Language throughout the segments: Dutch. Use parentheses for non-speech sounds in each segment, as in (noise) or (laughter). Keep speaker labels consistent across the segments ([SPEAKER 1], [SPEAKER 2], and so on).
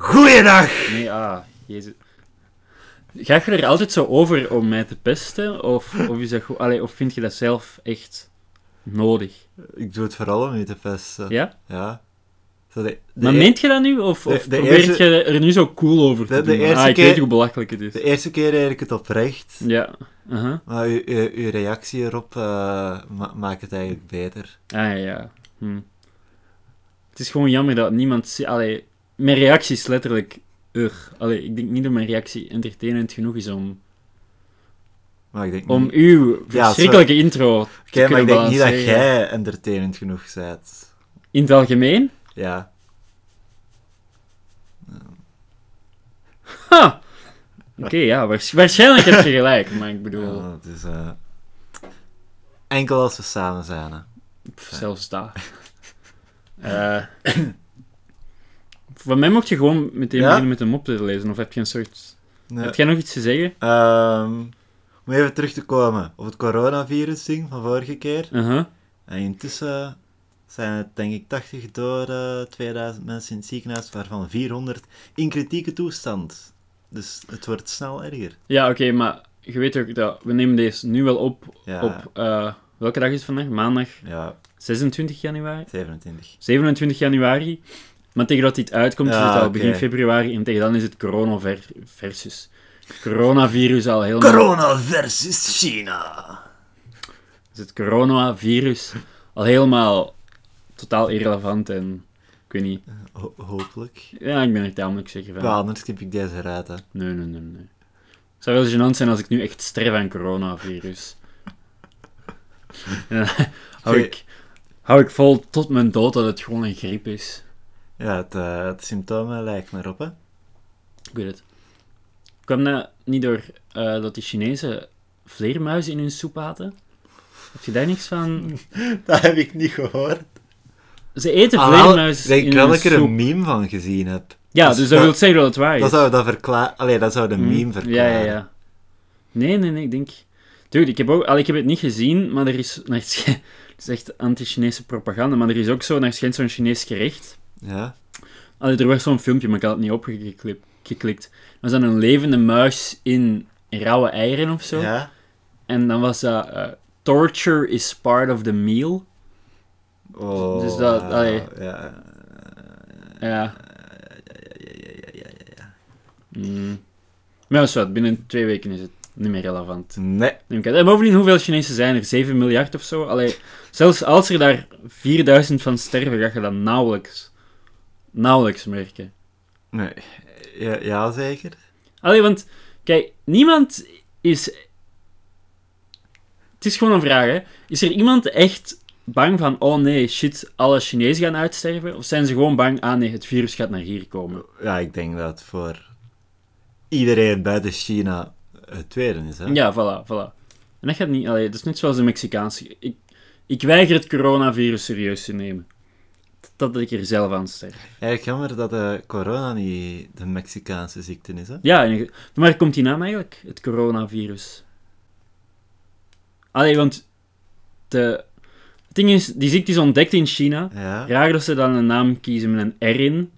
[SPEAKER 1] Vrijdag.
[SPEAKER 2] Nee, ah, jezus. Ga je er altijd zo over om mij te pesten? Of, of, is dat goed? Allee, of vind je dat zelf echt nodig?
[SPEAKER 1] Ik doe het vooral om je te pesten.
[SPEAKER 2] Ja?
[SPEAKER 1] Ja. Zo de, de e-
[SPEAKER 2] maar
[SPEAKER 1] eer-
[SPEAKER 2] meent je dat nu? Of, of
[SPEAKER 1] de
[SPEAKER 2] probeert
[SPEAKER 1] eerste-
[SPEAKER 2] je er nu zo cool over te
[SPEAKER 1] De- de
[SPEAKER 2] doen?
[SPEAKER 1] eerste
[SPEAKER 2] ah, ik
[SPEAKER 1] keer-
[SPEAKER 2] weet hoe belachelijk het is.
[SPEAKER 1] de eerste keer eigenlijk het oprecht,
[SPEAKER 2] Ja. aha.
[SPEAKER 1] maar uw, uw, uw reactie erop eh, ma- maakt het eigenlijk beter.
[SPEAKER 2] Ah ja. Hm. Het is gewoon jammer dat niemand... zie- Allee, mijn reactie is letterlijk... Ugh. Allee, ik denk niet dat mijn reactie entertainend genoeg is om,
[SPEAKER 1] Maar ik denk
[SPEAKER 2] om
[SPEAKER 1] niet,
[SPEAKER 2] uw
[SPEAKER 1] Hm. Ja,
[SPEAKER 2] verschrikkelijke intro te
[SPEAKER 1] Oké, maar ik
[SPEAKER 2] kunnen
[SPEAKER 1] denk niet dat
[SPEAKER 2] balanceren.
[SPEAKER 1] jij entertainend genoeg bent.
[SPEAKER 2] In het algemeen?
[SPEAKER 1] Ja.
[SPEAKER 2] Ha! Oké, ja, waarsch- waarschijnlijk heb je gelijk, maar ik bedoel,
[SPEAKER 1] Ja, het is, eh, enkel als we samen zijn. Hè.
[SPEAKER 2] pff, zelfs dat. Eh, van mij mocht je gewoon meteen
[SPEAKER 1] Ja?
[SPEAKER 2] beginnen met een mop te lezen, of heb je een soort...
[SPEAKER 1] Nee.
[SPEAKER 2] Heb jij nog iets te zeggen?
[SPEAKER 1] Ehm, om even terug te komen op het coronavirus ding van vorige keer.
[SPEAKER 2] Uh-huh.
[SPEAKER 1] En intussen zijn het denk ik 80 doden, 2000 mensen in het ziekenhuis, waarvan 400 in kritieke toestand. Dus het wordt snel erger.
[SPEAKER 2] Ja, oké, maar je weet ook dat we nemen deze nu wel op
[SPEAKER 1] Ja,
[SPEAKER 2] op... eh, welke dag is het vandaag? Maandag
[SPEAKER 1] ja
[SPEAKER 2] 26 januari?
[SPEAKER 1] 27.
[SPEAKER 2] 27 januari. Maar tegen dat dit uitkomt
[SPEAKER 1] Ja,
[SPEAKER 2] is het al
[SPEAKER 1] oké.
[SPEAKER 2] begin februari en tegen dan is het corona ver- versus... Coronavirus al helemaal...
[SPEAKER 1] Corona versus China.
[SPEAKER 2] Dus het coronavirus al helemaal totaal irrelevant en ik weet niet.
[SPEAKER 1] Ho- hopelijk.
[SPEAKER 2] Ja, ik ben er tamelijk zeker van.
[SPEAKER 1] Ja, anders knip ik deze eruit. Hè.
[SPEAKER 2] Nee, nee, nee, nee. Het zou wel gênant zijn als ik nu echt sterf aan coronavirus. (laughs) En dan hou, ik, hou ik vol tot mijn dood dat het gewoon een griep is.
[SPEAKER 1] Ja, het, eh, het symptomen lijkt maar op, hè.
[SPEAKER 2] Ik weet het. Kwam dat niet door eh, dat die Chinezen vleermuizen in hun soep aten? Heb je daar niks van?
[SPEAKER 1] Dat heb ik niet gehoord.
[SPEAKER 2] Ze eten
[SPEAKER 1] Ah, wel,
[SPEAKER 2] vleermuizen
[SPEAKER 1] denk
[SPEAKER 2] in
[SPEAKER 1] ik wel
[SPEAKER 2] hun
[SPEAKER 1] dat ik er
[SPEAKER 2] soep.
[SPEAKER 1] een meme van gezien heb.
[SPEAKER 2] Ja,
[SPEAKER 1] dus
[SPEAKER 2] dus dat
[SPEAKER 1] dat-
[SPEAKER 2] wil zeggen dat het waar is.
[SPEAKER 1] Dat zou dat verklaren. Allee, dat zou de meme
[SPEAKER 2] Hm.
[SPEAKER 1] verklaren.
[SPEAKER 2] Ja, ja, ja. Nee, nee, nee, ik denk... Dude, ik heb, ook, al, ik heb het niet gezien, maar er is... Naar sch- (laughs) het is echt anti-Chinese propaganda, maar er is ook zo, naar schijnt zo'n Chinees gerecht.
[SPEAKER 1] Ja?
[SPEAKER 2] Allee, er was zo'n filmpje, maar ik had het niet opgeklikt. Er was dan een levende muis in rauwe eieren of zo.
[SPEAKER 1] Ja?
[SPEAKER 2] En dan was dat... eh, Torture is part of the meal.
[SPEAKER 1] Oh,
[SPEAKER 2] Dus dat-
[SPEAKER 1] eh,
[SPEAKER 2] allee.
[SPEAKER 1] Ja.
[SPEAKER 2] Ja.
[SPEAKER 1] Eh, Ja, ja, ja, ja, ja, ja.
[SPEAKER 2] Mm. Maar dat is wat, binnen twee weken is het niet meer relevant.
[SPEAKER 1] Nee.
[SPEAKER 2] Neem ik aan. En bovendien, hoeveel Chinezen zijn er? 7 miljard of zo? Allee, zelfs als er daar 4000 van sterven, ga je dat nauwelijks, nauwelijks merken.
[SPEAKER 1] Nee. Ja, ja, zeker.
[SPEAKER 2] Allee, want, kijk, niemand is... Het is gewoon een vraag, hè. Is er iemand echt bang van, oh nee, shit, alle Chinezen gaan uitsterven? Of zijn ze gewoon bang, ah nee, het virus gaat naar hier komen?
[SPEAKER 1] Ja, ik denk dat voor iedereen buiten China het tweede is, hè?
[SPEAKER 2] Ja, voilà, voilà. En dat gaat niet... Allee, dat is net zoals de Mexicaanse... Ik, ik weiger het coronavirus serieus te nemen. Totdat ik er zelf aan sterf.
[SPEAKER 1] Eigenlijk jammer dat de corona niet de Mexicaanse ziekte is, hè?
[SPEAKER 2] Ja, en, maar komt die naam eigenlijk? Het coronavirus. Allee, want... De, het ding is, die ziekte is ontdekt in China.
[SPEAKER 1] Ja.
[SPEAKER 2] Raar dat ze dan een naam kiezen met een R in.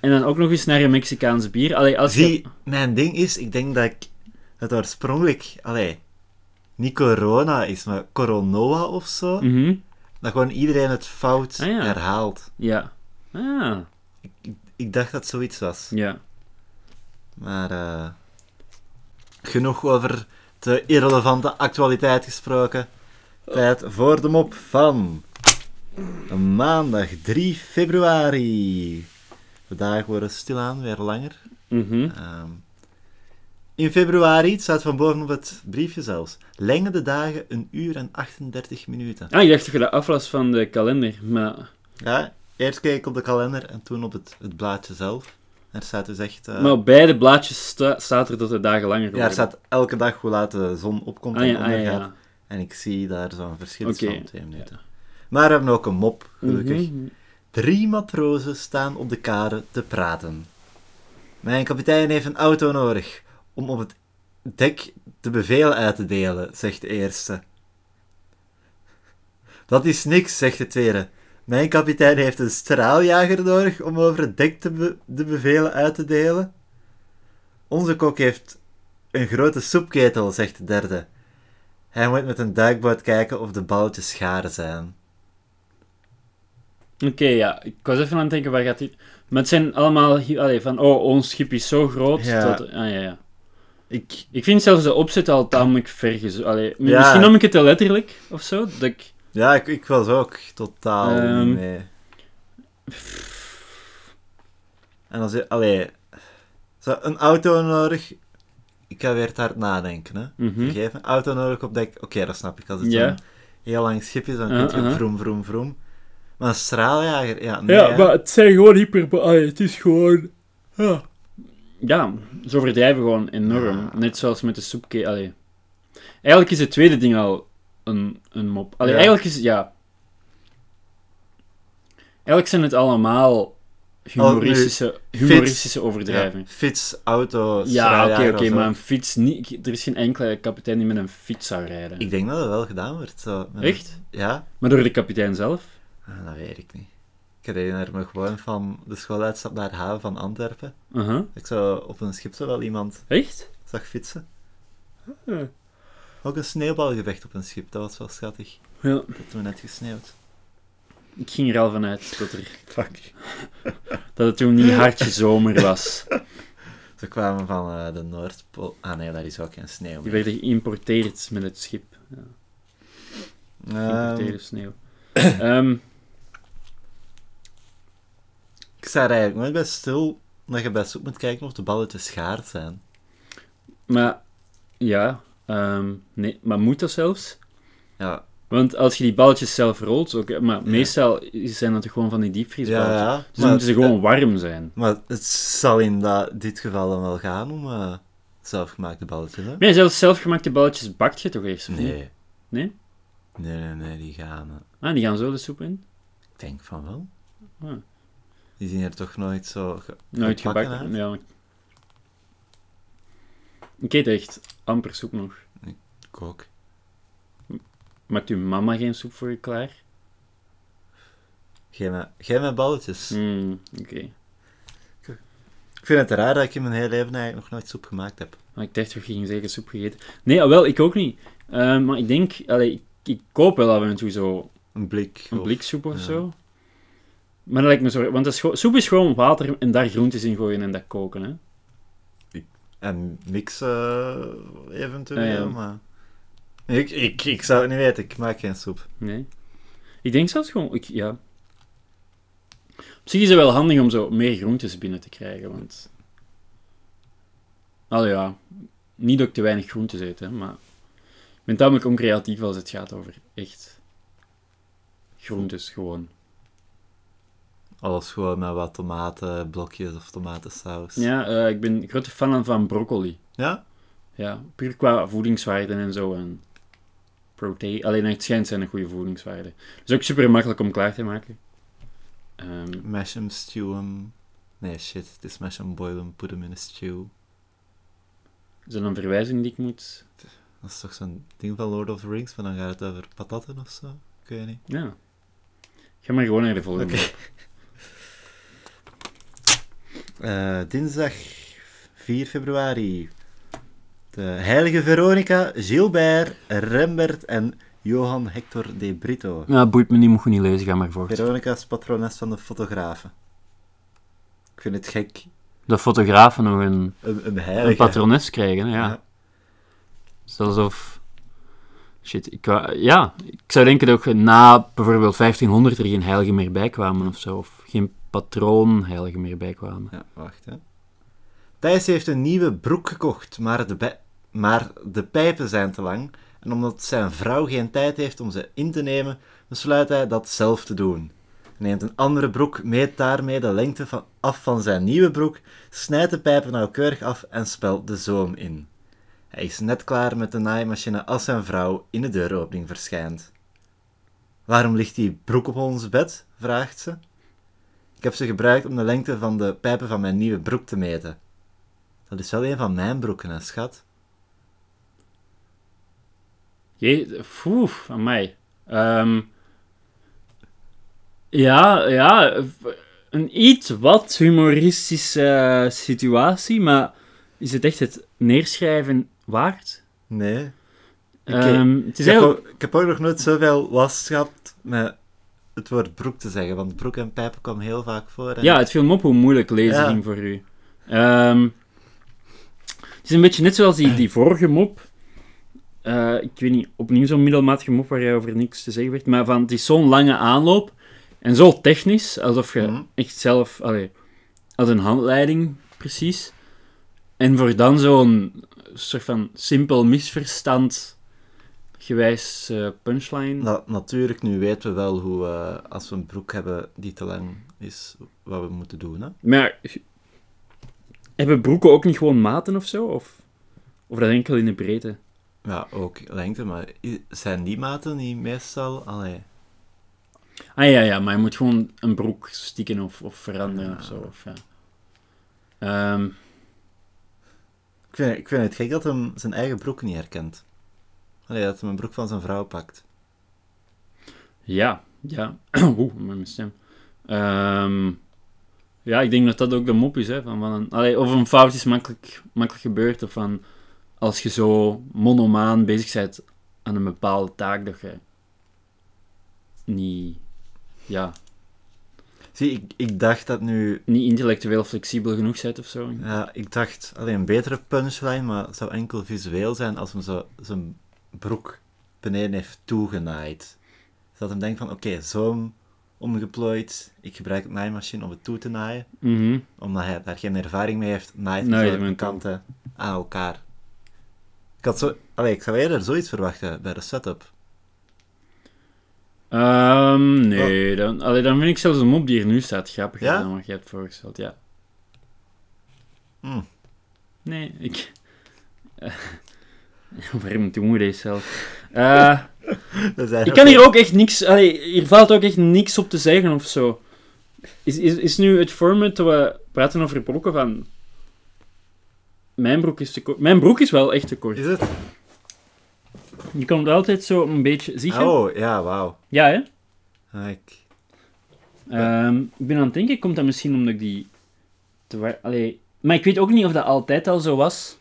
[SPEAKER 2] En dan ook nog eens naar een Mexicaans bier. Allee, als je-
[SPEAKER 1] Zie, mijn ding is, ik denk dat ik het oorspronkelijk, allee, niet corona is, maar coronoa of zo,
[SPEAKER 2] Mhm,
[SPEAKER 1] dat gewoon iedereen het fout
[SPEAKER 2] Ah, ja.
[SPEAKER 1] herhaalt.
[SPEAKER 2] Ja. Ah,
[SPEAKER 1] Ik, ik, ik dacht dat zoiets was.
[SPEAKER 2] ja.
[SPEAKER 1] Maar eh, genoeg over de irrelevante actualiteit gesproken. Tijd voor de mop van maandag 3 februari. De dagen worden stilaan weer langer.
[SPEAKER 2] Mhm.
[SPEAKER 1] Ehm, in februari, het staat van boven op het briefje zelfs, lengen de dagen een uur en 38 minuten.
[SPEAKER 2] Ah, ik dacht dat je dat aflas van de kalender, maar...
[SPEAKER 1] Ja, eerst keek ik op de kalender en toen op het, het blaadje zelf. Er staat dus echt... eh,
[SPEAKER 2] Maar op beide blaadjes sta- staat er dat de dagen langer worden.
[SPEAKER 1] ja, er staat elke dag hoe laat de zon opkomt
[SPEAKER 2] Ah
[SPEAKER 1] en
[SPEAKER 2] ja, ah ja,
[SPEAKER 1] ondergaat.
[SPEAKER 2] ja.
[SPEAKER 1] En ik zie daar zo'n verschil
[SPEAKER 2] Oké.
[SPEAKER 1] van twee minuten. Maar we hebben ook een mop, gelukkig.
[SPEAKER 2] Mhm.
[SPEAKER 1] Drie matrozen staan op de kade te praten. Mijn kapitein heeft een auto nodig om op het dek de bevelen uit te delen, zegt de eerste. Dat is niks, zegt de tweede. Mijn kapitein heeft een straaljager nodig om over het dek te be- de bevelen uit te delen. Onze kok heeft een grote soepketel, zegt de derde. Hij moet met een duikboot kijken of de balletjes schaar zijn.
[SPEAKER 2] Oké, ja. Ik was even aan het denken, waar gaat dit... Maar het zijn allemaal... hi- Allee, van, oh, ons schip is zo groot
[SPEAKER 1] Ja.
[SPEAKER 2] dat... Ah, ja, ja.
[SPEAKER 1] Ik,
[SPEAKER 2] Ik vind zelfs de opzet al tamelijk verges... Allee, m-
[SPEAKER 1] Ja.
[SPEAKER 2] misschien nam ik het te letterlijk, of zo. Dat ik...
[SPEAKER 1] ja, ik, ik was ook totaal
[SPEAKER 2] Ehm.
[SPEAKER 1] niet mee. En als je, allee, zo, een auto nodig. Ik ga weer te hard nadenken, hè.
[SPEAKER 2] Mhm.
[SPEAKER 1] Vergeef me. Auto nodig op dek. Oké, dat snap ik. Als het
[SPEAKER 2] Ja.
[SPEAKER 1] zo'n heel lang schip is, dan
[SPEAKER 2] Ja,
[SPEAKER 1] kun je
[SPEAKER 2] aha.
[SPEAKER 1] vroom, vroom, vroom. Maar een straaljager, ja, nee.
[SPEAKER 2] Ja,
[SPEAKER 1] hè.
[SPEAKER 2] maar het zijn gewoon hyper... Allee, het is gewoon... Ja. Ja, ze overdrijven gewoon enorm.
[SPEAKER 1] Ja.
[SPEAKER 2] Net zoals met de soepke... Allee. Eigenlijk is het tweede ding al een, een mop. Allee,
[SPEAKER 1] Ja.
[SPEAKER 2] eigenlijk is... Ja. Eigenlijk zijn het allemaal humoristische, humoristische overdrijvingen.
[SPEAKER 1] Oh, Ja, fiets, auto,
[SPEAKER 2] Ja, oké,
[SPEAKER 1] straaljager
[SPEAKER 2] oké,
[SPEAKER 1] of zo.
[SPEAKER 2] maar een fiets niet... ik- Er is geen enkele kapitein die met een fiets zou rijden.
[SPEAKER 1] Ik denk dat dat wel gedaan wordt. Zo, met-
[SPEAKER 2] Echt?
[SPEAKER 1] Ja,
[SPEAKER 2] Maar door de kapitein zelf?
[SPEAKER 1] Ah, dat weet ik niet. Ik herinner me gewoon van de schooluitstap naar de haven van Antwerpen.
[SPEAKER 2] Uh-huh.
[SPEAKER 1] Ik zo op een schip zo wel iemand
[SPEAKER 2] Echt?
[SPEAKER 1] zag fietsen.
[SPEAKER 2] Ja.
[SPEAKER 1] Ook een sneeuwbalgevecht op een schip, dat was wel schattig.
[SPEAKER 2] Ja,
[SPEAKER 1] Dat toen net gesneeuwd.
[SPEAKER 2] ik ging er al vanuit dat, er,
[SPEAKER 1] Fuck.
[SPEAKER 2] dat het toen
[SPEAKER 1] (laughs)
[SPEAKER 2] niet hartje zomer was.
[SPEAKER 1] Ze kwamen van eh, de Noordpool. Ah nee, daar is ook geen sneeuw.
[SPEAKER 2] Die
[SPEAKER 1] meer.
[SPEAKER 2] werden geïmporteerd met het schip. Geïmporteerde
[SPEAKER 1] Ehm,
[SPEAKER 2] sneeuw. Ehm,
[SPEAKER 1] ik sta er eigenlijk nooit bij stil dat je best op moet kijken of de balletjes schaard zijn.
[SPEAKER 2] maar, ja, ehm, nee, maar moet dat zelfs?
[SPEAKER 1] Ja,
[SPEAKER 2] Want als je die balletjes zelf rolt, oké, maar meestal zijn dat toch gewoon van die diepvriesballetjes.
[SPEAKER 1] ja, ja.
[SPEAKER 2] Dus dan moeten ze gewoon warm zijn.
[SPEAKER 1] maar het zal in da- dit geval dan wel gaan om eh, zelfgemaakte balletjes, hè?
[SPEAKER 2] Nee, zelfs zelfgemaakte balletjes bakt je toch eerst? of niet?
[SPEAKER 1] Nee.
[SPEAKER 2] Nee?
[SPEAKER 1] Nee, nee, nee, die gaan... eh,
[SPEAKER 2] Ah, die gaan zo de soep in?
[SPEAKER 1] ik denk van wel.
[SPEAKER 2] Ah.
[SPEAKER 1] Die zien er toch nooit zo... ge-
[SPEAKER 2] Nooit
[SPEAKER 1] gebakken
[SPEAKER 2] gebakken.
[SPEAKER 1] uit?
[SPEAKER 2] Ja. Ik eet echt amper soep nog.
[SPEAKER 1] Ik ook.
[SPEAKER 2] Maakt uw mama geen soep voor je klaar?
[SPEAKER 1] Geef mij, geef mij balletjes.
[SPEAKER 2] Mm, Oké.
[SPEAKER 1] Ik vind het raar dat ik in mijn hele leven eigenlijk nog nooit soep gemaakt heb.
[SPEAKER 2] Maar ik dacht dat je ging zeggen soep gegeten. Nee, ah, wel, ik ook niet. Eh, maar ik denk, allee, ik, ik koop wel af en toe zo
[SPEAKER 1] Een blik.
[SPEAKER 2] een
[SPEAKER 1] of-
[SPEAKER 2] bliksoep of
[SPEAKER 1] ja.
[SPEAKER 2] zo. Maar dat lijkt me zo... Want dat is gewoon- soep is gewoon water en daar groentes in gooien en dat koken, hè.
[SPEAKER 1] En mixen eventueel,
[SPEAKER 2] Ah, ja.
[SPEAKER 1] maar... Ik, ik, ik zou het niet weten, ik maak geen soep.
[SPEAKER 2] Nee. Ik denk zelfs gewoon, ik, ja. Op zich is het wel handig om zo meer groentes binnen te krijgen, want... Allee, ja. Niet dat ik te weinig groentes eet, hè, maar... Ik ben tamelijk oncreatief als het gaat over echt... Groentes, gewoon.
[SPEAKER 1] Alles gewoon met wat tomatenblokjes of tomatensaus.
[SPEAKER 2] Ja, eh, ik ben grote fan van broccoli.
[SPEAKER 1] Ja?
[SPEAKER 2] Ja, puur qua voedingswaarden en zo. En proteïne. Alleen het schijnt zijn een goede voedingswaarden. Dus ook super makkelijk om klaar te maken. Ehm,
[SPEAKER 1] Mash hem, stew hem. Nee, shit. Het is mash hem, boil hem, put hem in een stew.
[SPEAKER 2] is dat een verwijzing die ik moet...
[SPEAKER 1] Dat is toch zo'n ding van Lord of the Rings, maar dan gaat het over patatten of zo? Ik weet niet.
[SPEAKER 2] Ja. Ga maar gewoon naar de volgende.
[SPEAKER 1] Oké. Eh, dinsdag 4 februari. De heilige Veronica, Gilbert, Rembert en Johan Hector de Brito.
[SPEAKER 2] Nou, boeit me niet, moet je niet lezen, ga maar voort.
[SPEAKER 1] Veronica is patrones van de fotografen. Ik vind het gek.
[SPEAKER 2] De fotografen nog een,
[SPEAKER 1] Een, een heilige.
[SPEAKER 2] een patrones krijgen, hè, ja.
[SPEAKER 1] Ja.
[SPEAKER 2] Het is alsof... Shit, ik wou- ja, ik zou denken dat ook na bijvoorbeeld 1500 er geen heiligen meer bij kwamen of zo. Of geen patroonheiligen meer bij kwamen.
[SPEAKER 1] Ja, wacht hè. Thijs heeft een nieuwe broek gekocht, maar de, bij- maar de pijpen zijn te lang. En omdat zijn vrouw geen tijd heeft om ze in te nemen, besluit hij dat zelf te doen. Hij neemt een andere broek, meet daarmee de lengte van, af van zijn nieuwe broek, snijdt de pijpen nauwkeurig af en spelt de zoom in. Hij is net klaar met de naaimachine als zijn vrouw in de deuropening verschijnt. Waarom ligt die broek op ons bed? vraagt ze. Ik heb ze gebruikt om de lengte van de pijpen van mijn nieuwe broek te meten. Dat is wel een van mijn broeken, hè, schat.
[SPEAKER 2] Jee, foef, amai. Ehm Ja, ja, een iets wat humoristische eh, situatie, maar is het echt het neerschrijven waard?
[SPEAKER 1] Nee. Oké.
[SPEAKER 2] Ehm, het is
[SPEAKER 1] Ik heb,
[SPEAKER 2] heel...
[SPEAKER 1] ook, ik heb ook nog nooit zoveel last gehad met het woord broek te zeggen, want broek en pijpen kwam heel vaak voor. en-
[SPEAKER 2] Ja, het viel me op hoe moeilijk lezen
[SPEAKER 1] Ja.
[SPEAKER 2] ging voor u. Ehm, het is een beetje net zoals die, die vorige mop. Eh, ik weet niet, opnieuw zo'n middelmatige mop waar jij over niks te zeggen werd. Maar van, het is zo'n lange aanloop. En zo technisch, alsof je
[SPEAKER 1] Mhm.
[SPEAKER 2] echt zelf... Allee, als een handleiding, precies. En voor dan zo'n soort van simpel misverstand gewijs eh, punchline.
[SPEAKER 1] Na- natuurlijk, nu weten we wel hoe, eh, als we een broek hebben die te lang is, wat we moeten doen. Hè?
[SPEAKER 2] Maar ja, hebben broeken ook niet gewoon maten of zo? Of, of dat enkel in de breedte?
[SPEAKER 1] Ja, ook lengte, maar i- zijn die maten niet meestal... Allee,
[SPEAKER 2] Ah ja, ja, maar je moet gewoon een broek stikken of, of veranderen of zo. Of, ja. Ehm,
[SPEAKER 1] ik, vind, ik vind het gek dat hij zijn eigen broek niet herkent. Allee, dat hij een broek van zijn vrouw pakt.
[SPEAKER 2] ja, ja. (clears throat) Oeh, met mijn stem. Ehm, ja, ik denk dat dat ook de mop is. Hè, van, van een, allee, of een fout is makkelijk, makkelijk gebeurd. Of van als je zo monomaan bezig bent aan een bepaalde taak, dat je niet... Ja,
[SPEAKER 1] Zie, ik, ik dacht dat nu...
[SPEAKER 2] niet intellectueel flexibel genoeg bent of zo.
[SPEAKER 1] Ja, ik dacht, alleen een betere punchline, maar het zou enkel visueel zijn als hem zo, zijn broek beneden heeft toegenaaid. Zodat hem denkt van, oké, zo omgeplooid, ik gebruik het naaimachine om het toe te naaien.
[SPEAKER 2] Mhm.
[SPEAKER 1] Omdat hij daar geen ervaring mee heeft, naait
[SPEAKER 2] Nee,
[SPEAKER 1] hij
[SPEAKER 2] je
[SPEAKER 1] zo de
[SPEAKER 2] bent
[SPEAKER 1] kanten aan elkaar. Ik, had zo, allee, ik zou eerder zoiets verwachten bij de setup. (laughs)
[SPEAKER 2] Ehm, nee, dan, allee, dan vind ik zelfs een mop die er nu staat grappiger
[SPEAKER 1] Oh. Ja?
[SPEAKER 2] dan wat je hebt voorgesteld, ja.
[SPEAKER 1] Hmm.
[SPEAKER 2] Nee, ik... (laughs) Eh, waarom doen we deze zelf?
[SPEAKER 1] (laughs)
[SPEAKER 2] Eh,
[SPEAKER 1] Er zijn
[SPEAKER 2] ik
[SPEAKER 1] ook
[SPEAKER 2] kan hier ook echt niks... Allee, hier valt ook echt niks op te zeggen of zo. Is, is, is nu het format dat we praten over broeken van... Mijn broek is te kort. Mijn broek is wel echt te kort.
[SPEAKER 1] Is het?
[SPEAKER 2] Je komt altijd zo een beetje... Zie je?
[SPEAKER 1] Oh, ja, wauw.
[SPEAKER 2] Ja, hè?
[SPEAKER 1] Ah, ik-
[SPEAKER 2] Ehm, ik ben aan het denken, komt dat misschien omdat ik die... Te wa- Allee, maar ik weet ook niet of dat altijd al zo was.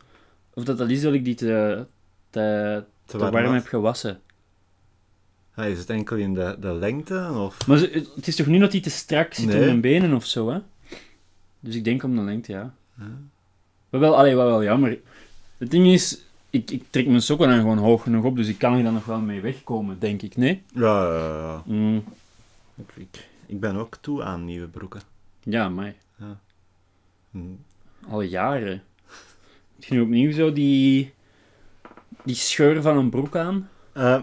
[SPEAKER 2] Of dat dat is dat ik die te, te, te warm,
[SPEAKER 1] was.
[SPEAKER 2] heb gewassen.
[SPEAKER 1] Ah, is het enkel in de, de lengte? Of...
[SPEAKER 2] Maar ze- het- het is toch niet dat die te strak zit
[SPEAKER 1] Nee.
[SPEAKER 2] om mijn benen of zo, hè? Dus ik denk om de lengte, ja. Wat wel, allee, wat wel jammer. Het ding is, ik, ik trek mijn sokken dan gewoon hoog genoeg op, dus ik kan er dan nog wel mee wegkomen, denk ik, nee?
[SPEAKER 1] Ja, ja, ja, ja.
[SPEAKER 2] Mm,
[SPEAKER 1] Ik- Ik, ik ben ook toe aan nieuwe broeken.
[SPEAKER 2] ja, maar
[SPEAKER 1] Hm.
[SPEAKER 2] Al jaren. Heb je nu opnieuw zo die, die scheur van een broek aan?
[SPEAKER 1] Eh,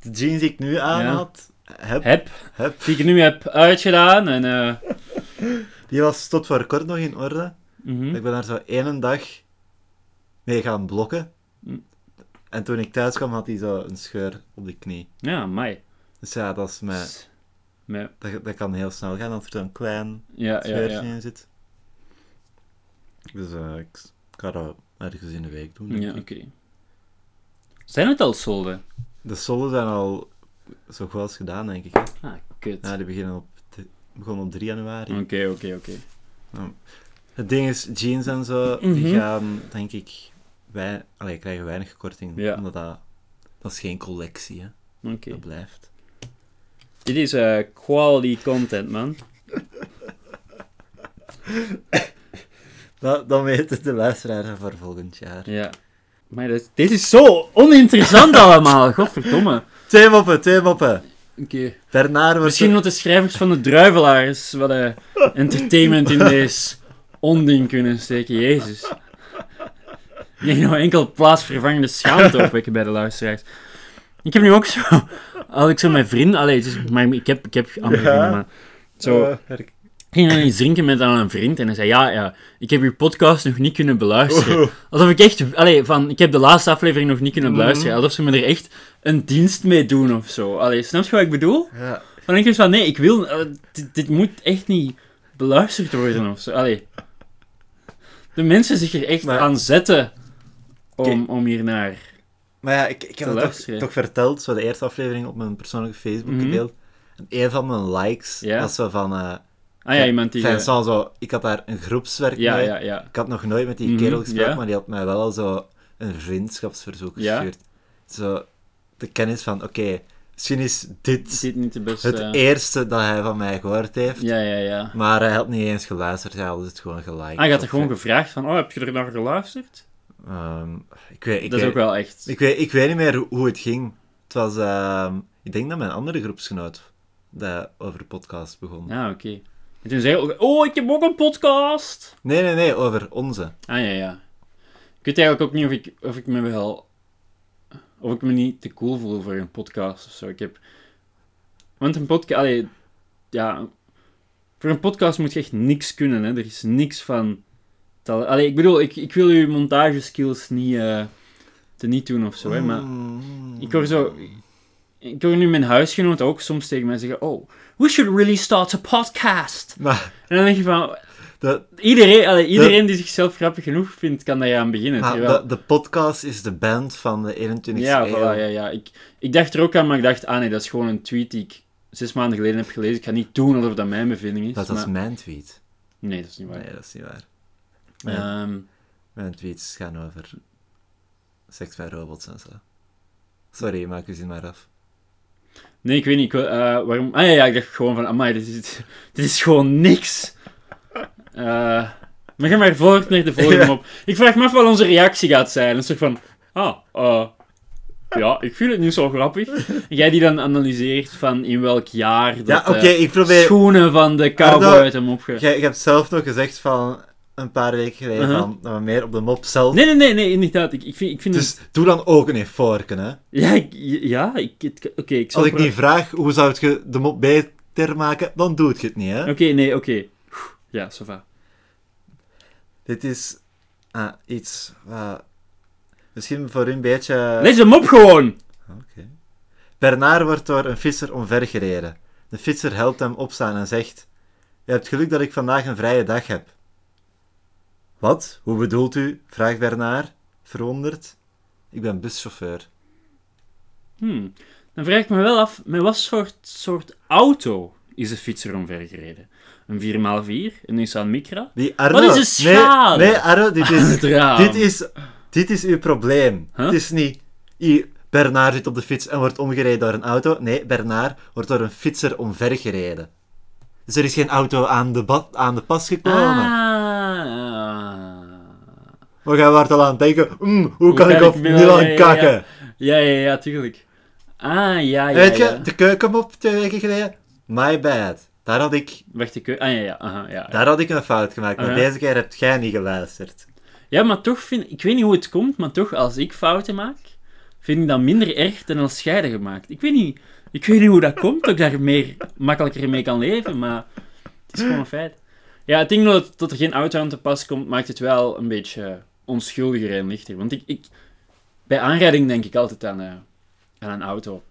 [SPEAKER 1] de jeans die ik nu aan
[SPEAKER 2] Ja.
[SPEAKER 1] had, heb,
[SPEAKER 2] Heb,
[SPEAKER 1] heb,
[SPEAKER 2] die ik nu heb uitgedaan. En, eh,
[SPEAKER 1] die was tot voor kort nog in orde.
[SPEAKER 2] mhm.
[SPEAKER 1] Ik ben daar zo één dag mee gaan blokken.
[SPEAKER 2] Hm.
[SPEAKER 1] En toen ik thuis kwam, had hij zo een scheur op de knie.
[SPEAKER 2] Ja, mij.
[SPEAKER 1] Dus ja, dat, is mijn, dat, dat kan heel snel gaan als er zo'n klein
[SPEAKER 2] Ja, ja,
[SPEAKER 1] scheurtje
[SPEAKER 2] ja.
[SPEAKER 1] in zit. Dus eh, ik, ik ga dat ergens in de week doen. denk
[SPEAKER 2] ja
[SPEAKER 1] ik.
[SPEAKER 2] oké. Zijn het al solden?
[SPEAKER 1] De sollen zijn al zo goed als gedaan, denk ik. hè.
[SPEAKER 2] Ah, kut.
[SPEAKER 1] Ja, die beginnen op, t- begonnen op 3 januari.
[SPEAKER 2] Oké, oké, oké.
[SPEAKER 1] Het ding is, jeans en zo, die
[SPEAKER 2] Mhm.
[SPEAKER 1] gaan, denk ik, wij, allee, krijgen weinig korting.
[SPEAKER 2] Ja.
[SPEAKER 1] Omdat dat, dat is geen collectie, hè.
[SPEAKER 2] Oké.
[SPEAKER 1] Dat blijft.
[SPEAKER 2] Dit is eh, quality content, man.
[SPEAKER 1] Dat, dan weet het de luisteraar voor volgend jaar.
[SPEAKER 2] Ja. Maar dit, dit is zo oninteressant (laughs) allemaal, godverdomme. Oké.
[SPEAKER 1] Twee moppen, twee moppen. Daarna wordt
[SPEAKER 2] Misschien
[SPEAKER 1] het-
[SPEAKER 2] dat de schrijvers van de Druivelaars wat eh, entertainment in deze onding kunnen steken. Jezus. Je nou enkel plaatsvervangende schaamte opwekken bij de luisteraars. Ik heb nu ook zo... Als ik zo mijn vrienden... Allee, het is, maar ik heb, ik heb andere
[SPEAKER 1] Ja.
[SPEAKER 2] vrienden, maar... Zo,
[SPEAKER 1] Eh, werk-
[SPEAKER 2] ik ging dan iets drinken met aan een vriend en hij zei, ja, ja, ik heb uw podcast nog niet kunnen beluisteren. Alsof ik echt, allee, van, ik heb de laatste aflevering nog niet kunnen beluisteren. Alsof ze me er echt een dienst mee doen of zo. Allee, snap je wat ik bedoel?
[SPEAKER 1] Ja.
[SPEAKER 2] Dan denk ik van, nee, ik wil... eh, dit, dit moet echt niet beluisterd worden of zo. Allee. De mensen zich er echt
[SPEAKER 1] Maar-
[SPEAKER 2] aan zetten om,
[SPEAKER 1] Oké.
[SPEAKER 2] om hiernaar...
[SPEAKER 1] Maar ja, ik, ik heb
[SPEAKER 2] Te
[SPEAKER 1] het toch,
[SPEAKER 2] luisteren.
[SPEAKER 1] toch verteld, zo de eerste aflevering op mijn persoonlijke Facebook
[SPEAKER 2] Mhm.
[SPEAKER 1] gedeeld. En een van mijn likes
[SPEAKER 2] Ja?
[SPEAKER 1] was zo van... eh,
[SPEAKER 2] Ah ja, iemand die...
[SPEAKER 1] Enfin,
[SPEAKER 2] eh,
[SPEAKER 1] zo- zo, ik had daar een groepswerk
[SPEAKER 2] ja,
[SPEAKER 1] mee.
[SPEAKER 2] ja, ja.
[SPEAKER 1] Ik had nog nooit met die
[SPEAKER 2] Mhm,
[SPEAKER 1] kerel gesproken,
[SPEAKER 2] ja.
[SPEAKER 1] maar die had mij wel al zo een vriendschapsverzoek
[SPEAKER 2] Ja.
[SPEAKER 1] gestuurd. Zo de kennis van, oké, misschien is dit
[SPEAKER 2] Is dit niet de beste...
[SPEAKER 1] het eerste dat hij van mij gehoord heeft.
[SPEAKER 2] Dus, eh, Ja, ja, ja.
[SPEAKER 1] Maar hij had niet eens geluisterd, hij had het gewoon geliked.
[SPEAKER 2] Ah, je had er
[SPEAKER 1] Of,
[SPEAKER 2] gewoon gevraagd van, oh, heb je er naar geluisterd?
[SPEAKER 1] ehm, ik, weet, ik,
[SPEAKER 2] dat is
[SPEAKER 1] weet,
[SPEAKER 2] ook wel echt...
[SPEAKER 1] ik, weet, ik weet niet meer hoe, hoe het ging. Het was, ehm, ik denk dat mijn andere groepsgenoot dat over de podcast begon.
[SPEAKER 2] Ja, Ah, oké. En toen zei hij ook, oh, ik heb ook een podcast!
[SPEAKER 1] Nee, nee, nee, over onze.
[SPEAKER 2] Ah, ja, ja. Ik weet eigenlijk ook niet of ik, of ik me wel... Of ik me niet te cool voel voor een podcast of zo. Ik heb... Want een podcast... Allee, ja... Voor een podcast moet je echt niks kunnen, hè. Er is niks van... tal- Allee, ik bedoel, ik, ik wil uw montageskills niet... eh te niet doen of zo, hè. Maar
[SPEAKER 1] Mm.
[SPEAKER 2] Ik hoor zo... Ik hoor nu mijn huisgenoot ook soms tegen mij zeggen... Oh, we should really start a podcast.
[SPEAKER 1] Maar
[SPEAKER 2] En dan denk je van...
[SPEAKER 1] de,
[SPEAKER 2] Iedereen, allee, iedereen die zichzelf grappig genoeg vindt, kan daar aan beginnen.
[SPEAKER 1] maar
[SPEAKER 2] terwijl-
[SPEAKER 1] Ah, de, de podcast is de band van de 21ste
[SPEAKER 2] ja,
[SPEAKER 1] eeuw.
[SPEAKER 2] voilà, ja, ja. Ik, ik dacht er ook aan, maar ik dacht... Ah nee, dat is gewoon een tweet die ik zes maanden geleden heb gelezen. Ik ga niet doen alsof dat mijn bevinding is.
[SPEAKER 1] Dat was
[SPEAKER 2] maar-
[SPEAKER 1] mijn tweet.
[SPEAKER 2] Nee, dat is niet waar.
[SPEAKER 1] Nee, dat is niet waar.
[SPEAKER 2] Ehm,
[SPEAKER 1] Mijn, mijn tweets gaan over seks bij robots en zo. Sorry, maak u zin maar af.
[SPEAKER 2] nee, ik weet niet. Ik, wil- eh, waarom... Ah ja, ja, ik dacht gewoon van... Amai, dit is, (laughs) dit is gewoon niks. Eh, maar ga maar voort naar de
[SPEAKER 1] (laughs)
[SPEAKER 2] volgende
[SPEAKER 1] Ja.
[SPEAKER 2] op. Ik vraag me af wat onze reactie gaat zijn. Een soort van... Ah, eh, ja, ik vind het niet
[SPEAKER 1] (laughs)
[SPEAKER 2] zo grappig. En jij die dan analyseert van in welk jaar dat...
[SPEAKER 1] Ja, oké,
[SPEAKER 2] eh,
[SPEAKER 1] ik probeer...
[SPEAKER 2] Schoenen van de cowboy
[SPEAKER 1] Arno,
[SPEAKER 2] uit hem opge...
[SPEAKER 1] Jij, jij hebt zelf nog gezegd van een paar weken geleden
[SPEAKER 2] Uh-huh.
[SPEAKER 1] van, dat we meer op de mop zelf...
[SPEAKER 2] Nee, nee, nee, nee, inderdaad. Ik, ik vind, ik vind het...
[SPEAKER 1] Dus doe dan ook een eforken, hè.
[SPEAKER 2] Ja, ik, ja, ik... het- Oké, ik zal...
[SPEAKER 1] Als ik
[SPEAKER 2] pro-
[SPEAKER 1] niet vraag hoe zou het je de mop beter maken, dan doe het je het niet, hè.
[SPEAKER 2] Oké, nee, oké. Oeh, Ja, ça va.
[SPEAKER 1] Dit is ah, iets wat misschien voor u een beetje...
[SPEAKER 2] Lees hem op gewoon!
[SPEAKER 1] Oké. Bernard wordt door een fietser omvergereden. De fietser helpt hem opstaan en zegt: Je hebt geluk dat ik vandaag een vrije dag heb. Wat? Hoe bedoelt u? vraagt Bernard, verwonderd. Ik ben buschauffeur.
[SPEAKER 2] Hmm. Dan vraag ik me wel af, met wat soort, soort auto is de fietser omvergereden? Een 4x4? Een Nissan Micra?
[SPEAKER 1] Wie Arno?
[SPEAKER 2] Wat is de schade?
[SPEAKER 1] Nee, nee
[SPEAKER 2] (laughs)
[SPEAKER 1] Arno, dit is,
[SPEAKER 2] Het raam.
[SPEAKER 1] dit is, dit is uw probleem.
[SPEAKER 2] Huh?
[SPEAKER 1] Het is niet. I, Bernard zit op de fiets en wordt omgereden door een auto. Nee, Bernard wordt door een fietser omvergereden. Dus er is geen auto aan de, ba- aan de pas gekomen.
[SPEAKER 2] Ah.
[SPEAKER 1] Maar jij werd al aan het denken, "Mm, hoe kan ik op
[SPEAKER 2] me- ja,
[SPEAKER 1] Milan
[SPEAKER 2] ja,
[SPEAKER 1] kakken?
[SPEAKER 2] Ja, ja, ja, tuurlijk. Ah, ja, ja,
[SPEAKER 1] Weet je,
[SPEAKER 2] ja.
[SPEAKER 1] de keukenmop twee weken geleden, my bad. Daar had ik,
[SPEAKER 2] Wacht, ik... Ah, ja, ja, aha, ja. ja.
[SPEAKER 1] daar had ik een fout gemaakt, maar
[SPEAKER 2] Ah, ja.
[SPEAKER 1] deze keer heb jij niet geluisterd.
[SPEAKER 2] Ja, maar toch vind... Ik weet niet hoe het komt, maar toch, als ik fouten maak, vind ik dat minder erg dan als jij dat gemaakt. Ik weet niet... Ik weet niet hoe dat komt, dat ik daar meer, makkelijker mee kan leven, maar... Het is gewoon een feit. Ja, het ding dat, dat er geen auto aan te pas komt, maakt het wel een beetje eh, onschuldiger en lichter. Want ik... ik bij aanrijding denk ik altijd aan, eh, aan een auto.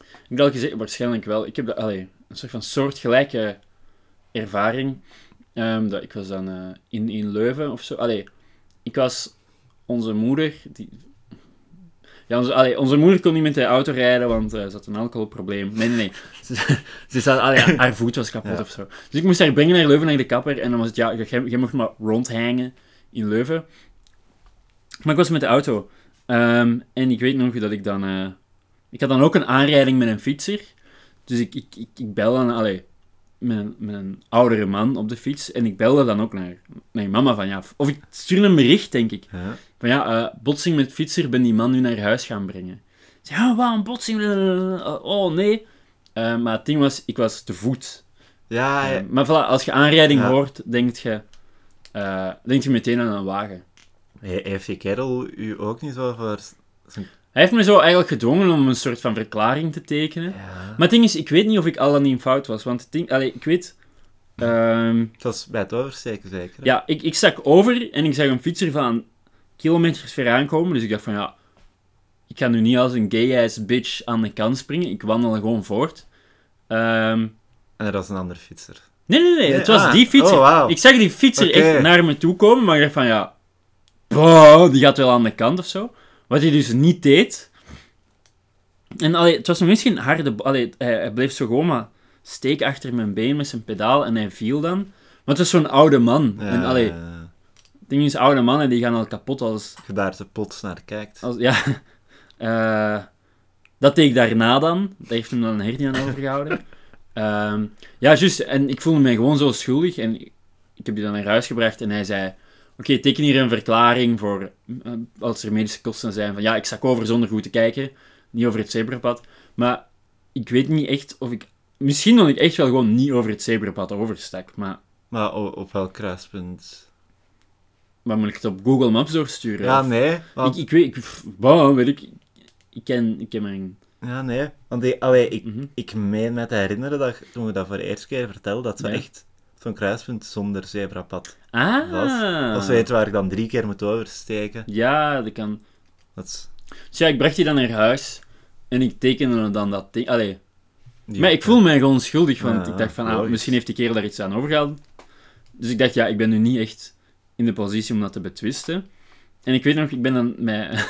[SPEAKER 2] Ik heb al gezegd, waarschijnlijk wel. Ik heb dat, allee, een soort van soortgelijke ervaring. Ehm, dat, ik was dan eh, in, in Leuven of zo. Allee, ik was onze moeder. Die... Ja, onze, allee, onze moeder kon niet met de auto rijden, want eh, ze had een alcoholprobleem. Nee, nee, (laughs) nee. Ze, ze zat, allee, haar voet was kapot
[SPEAKER 1] Ja.
[SPEAKER 2] of zo. Dus ik moest haar brengen naar Leuven, naar de kapper. En dan was het, ja, jij, jij mocht maar rondhangen in Leuven. Maar ik was met de auto. Ehm, en ik weet nog dat ik dan... eh, ik had dan ook een aanrijding met een fietser. Dus ik, ik, ik, ik bel dan... Allee, met een, met een oudere man op de fiets. En ik belde dan ook naar, naar je mama van ja... Of ik stuurde een bericht, denk ik.
[SPEAKER 1] Ja.
[SPEAKER 2] Van ja, eh, botsing met fietser, ben die man nu naar huis gaan brengen. Ik zei, ja, waarom botsing? Eh, Oh, nee. Eh, maar het ding was, ik was te voet.
[SPEAKER 1] Ja, ja.
[SPEAKER 2] Eh, maar voilà, als je aanrijding
[SPEAKER 1] Ja.
[SPEAKER 2] hoort, denkt je, eh, denkt je meteen aan een wagen.
[SPEAKER 1] He- heeft die kerel u ook niet zo voor... zijn-
[SPEAKER 2] Hij heeft me zo eigenlijk gedwongen om een soort van verklaring te tekenen.
[SPEAKER 1] Ja.
[SPEAKER 2] Maar het ding is, ik weet niet of ik al dan niet in fout was. Want het ding, allee, ik weet... ehm,
[SPEAKER 1] Het was bij het oversteken zeker. hè?
[SPEAKER 2] Ja, ik, ik stak over en ik zag een fietser van kilometers ver aankomen. Dus ik dacht van ja, ik ga nu niet als een gay-ass bitch aan de kant springen. Ik wandel gewoon voort. Ehm,
[SPEAKER 1] En er was een ander fietser.
[SPEAKER 2] nee, nee, nee,
[SPEAKER 1] Nee,
[SPEAKER 2] het was
[SPEAKER 1] ah,
[SPEAKER 2] die fietser.
[SPEAKER 1] oh, wauw.
[SPEAKER 2] Ik zag die fietser
[SPEAKER 1] Oké.
[SPEAKER 2] echt naar me toe komen, maar ik dacht van ja, boah, die gaat wel aan de kant of zo. Wat hij dus niet deed. En allee, het was nog eens geen harde... bo- Allee, hij, hij bleef zo gewoon maar steek achter mijn been met zijn pedaal en hij viel dan. Maar het was zo'n oude man.
[SPEAKER 1] Ja,
[SPEAKER 2] En allee,
[SPEAKER 1] eh,
[SPEAKER 2] het ding is, oude mannen die gaan al kapot als...
[SPEAKER 1] gebaart de pot naar kijkt.
[SPEAKER 2] als ja. (laughs) Eh, dat deed ik daarna dan. Daar heeft hem dan een hernie aan overgehouden.
[SPEAKER 1] (laughs)
[SPEAKER 2] Ehm, ja, juist. En ik voelde mij gewoon zo schuldig. En ik heb die dan naar huis gebracht en hij zei... Oké, teken hier een verklaring voor eh, als er medische kosten zijn. Van ja, ik zak over zonder goed te kijken. Niet over het zebrapad. Maar ik weet niet echt of ik... Misschien dat ik echt wel gewoon niet over het zebrapad overstak. Maar
[SPEAKER 1] Maar o- op welk kruispunt?
[SPEAKER 2] wat moet ik het op Google Maps doorsturen?
[SPEAKER 1] Ja,
[SPEAKER 2] Of-
[SPEAKER 1] nee. Want,
[SPEAKER 2] Ik, ik weet... Ik, pff, wow, weet ik... Ik ken, ik ken mijn...
[SPEAKER 1] Ja, nee. Want die, allee, ik,
[SPEAKER 2] Mhm.
[SPEAKER 1] ik meen me te herinneren dat toen we dat voor de eerste keer vertelden, dat ze
[SPEAKER 2] Ja.
[SPEAKER 1] echt zo'n kruispunt zonder zebrapad
[SPEAKER 2] Ah.
[SPEAKER 1] was. Dat is weet waar ik dan drie keer moet oversteken.
[SPEAKER 2] Ja, dat kan.
[SPEAKER 1] Dat is...
[SPEAKER 2] Dus ja, ik bracht die dan naar huis. En ik tekende dan dat ding. Allee.
[SPEAKER 1] die-
[SPEAKER 2] Maar ik voel mij gewoon schuldig, want
[SPEAKER 1] Ja,
[SPEAKER 2] ik dacht van, ah,
[SPEAKER 1] logisch.
[SPEAKER 2] misschien heeft die kerel daar iets aan overgehaald. Dus ik dacht, ja, ik ben nu niet echt in de positie om dat te betwisten. En ik weet nog, ik ben dan met... (laughs)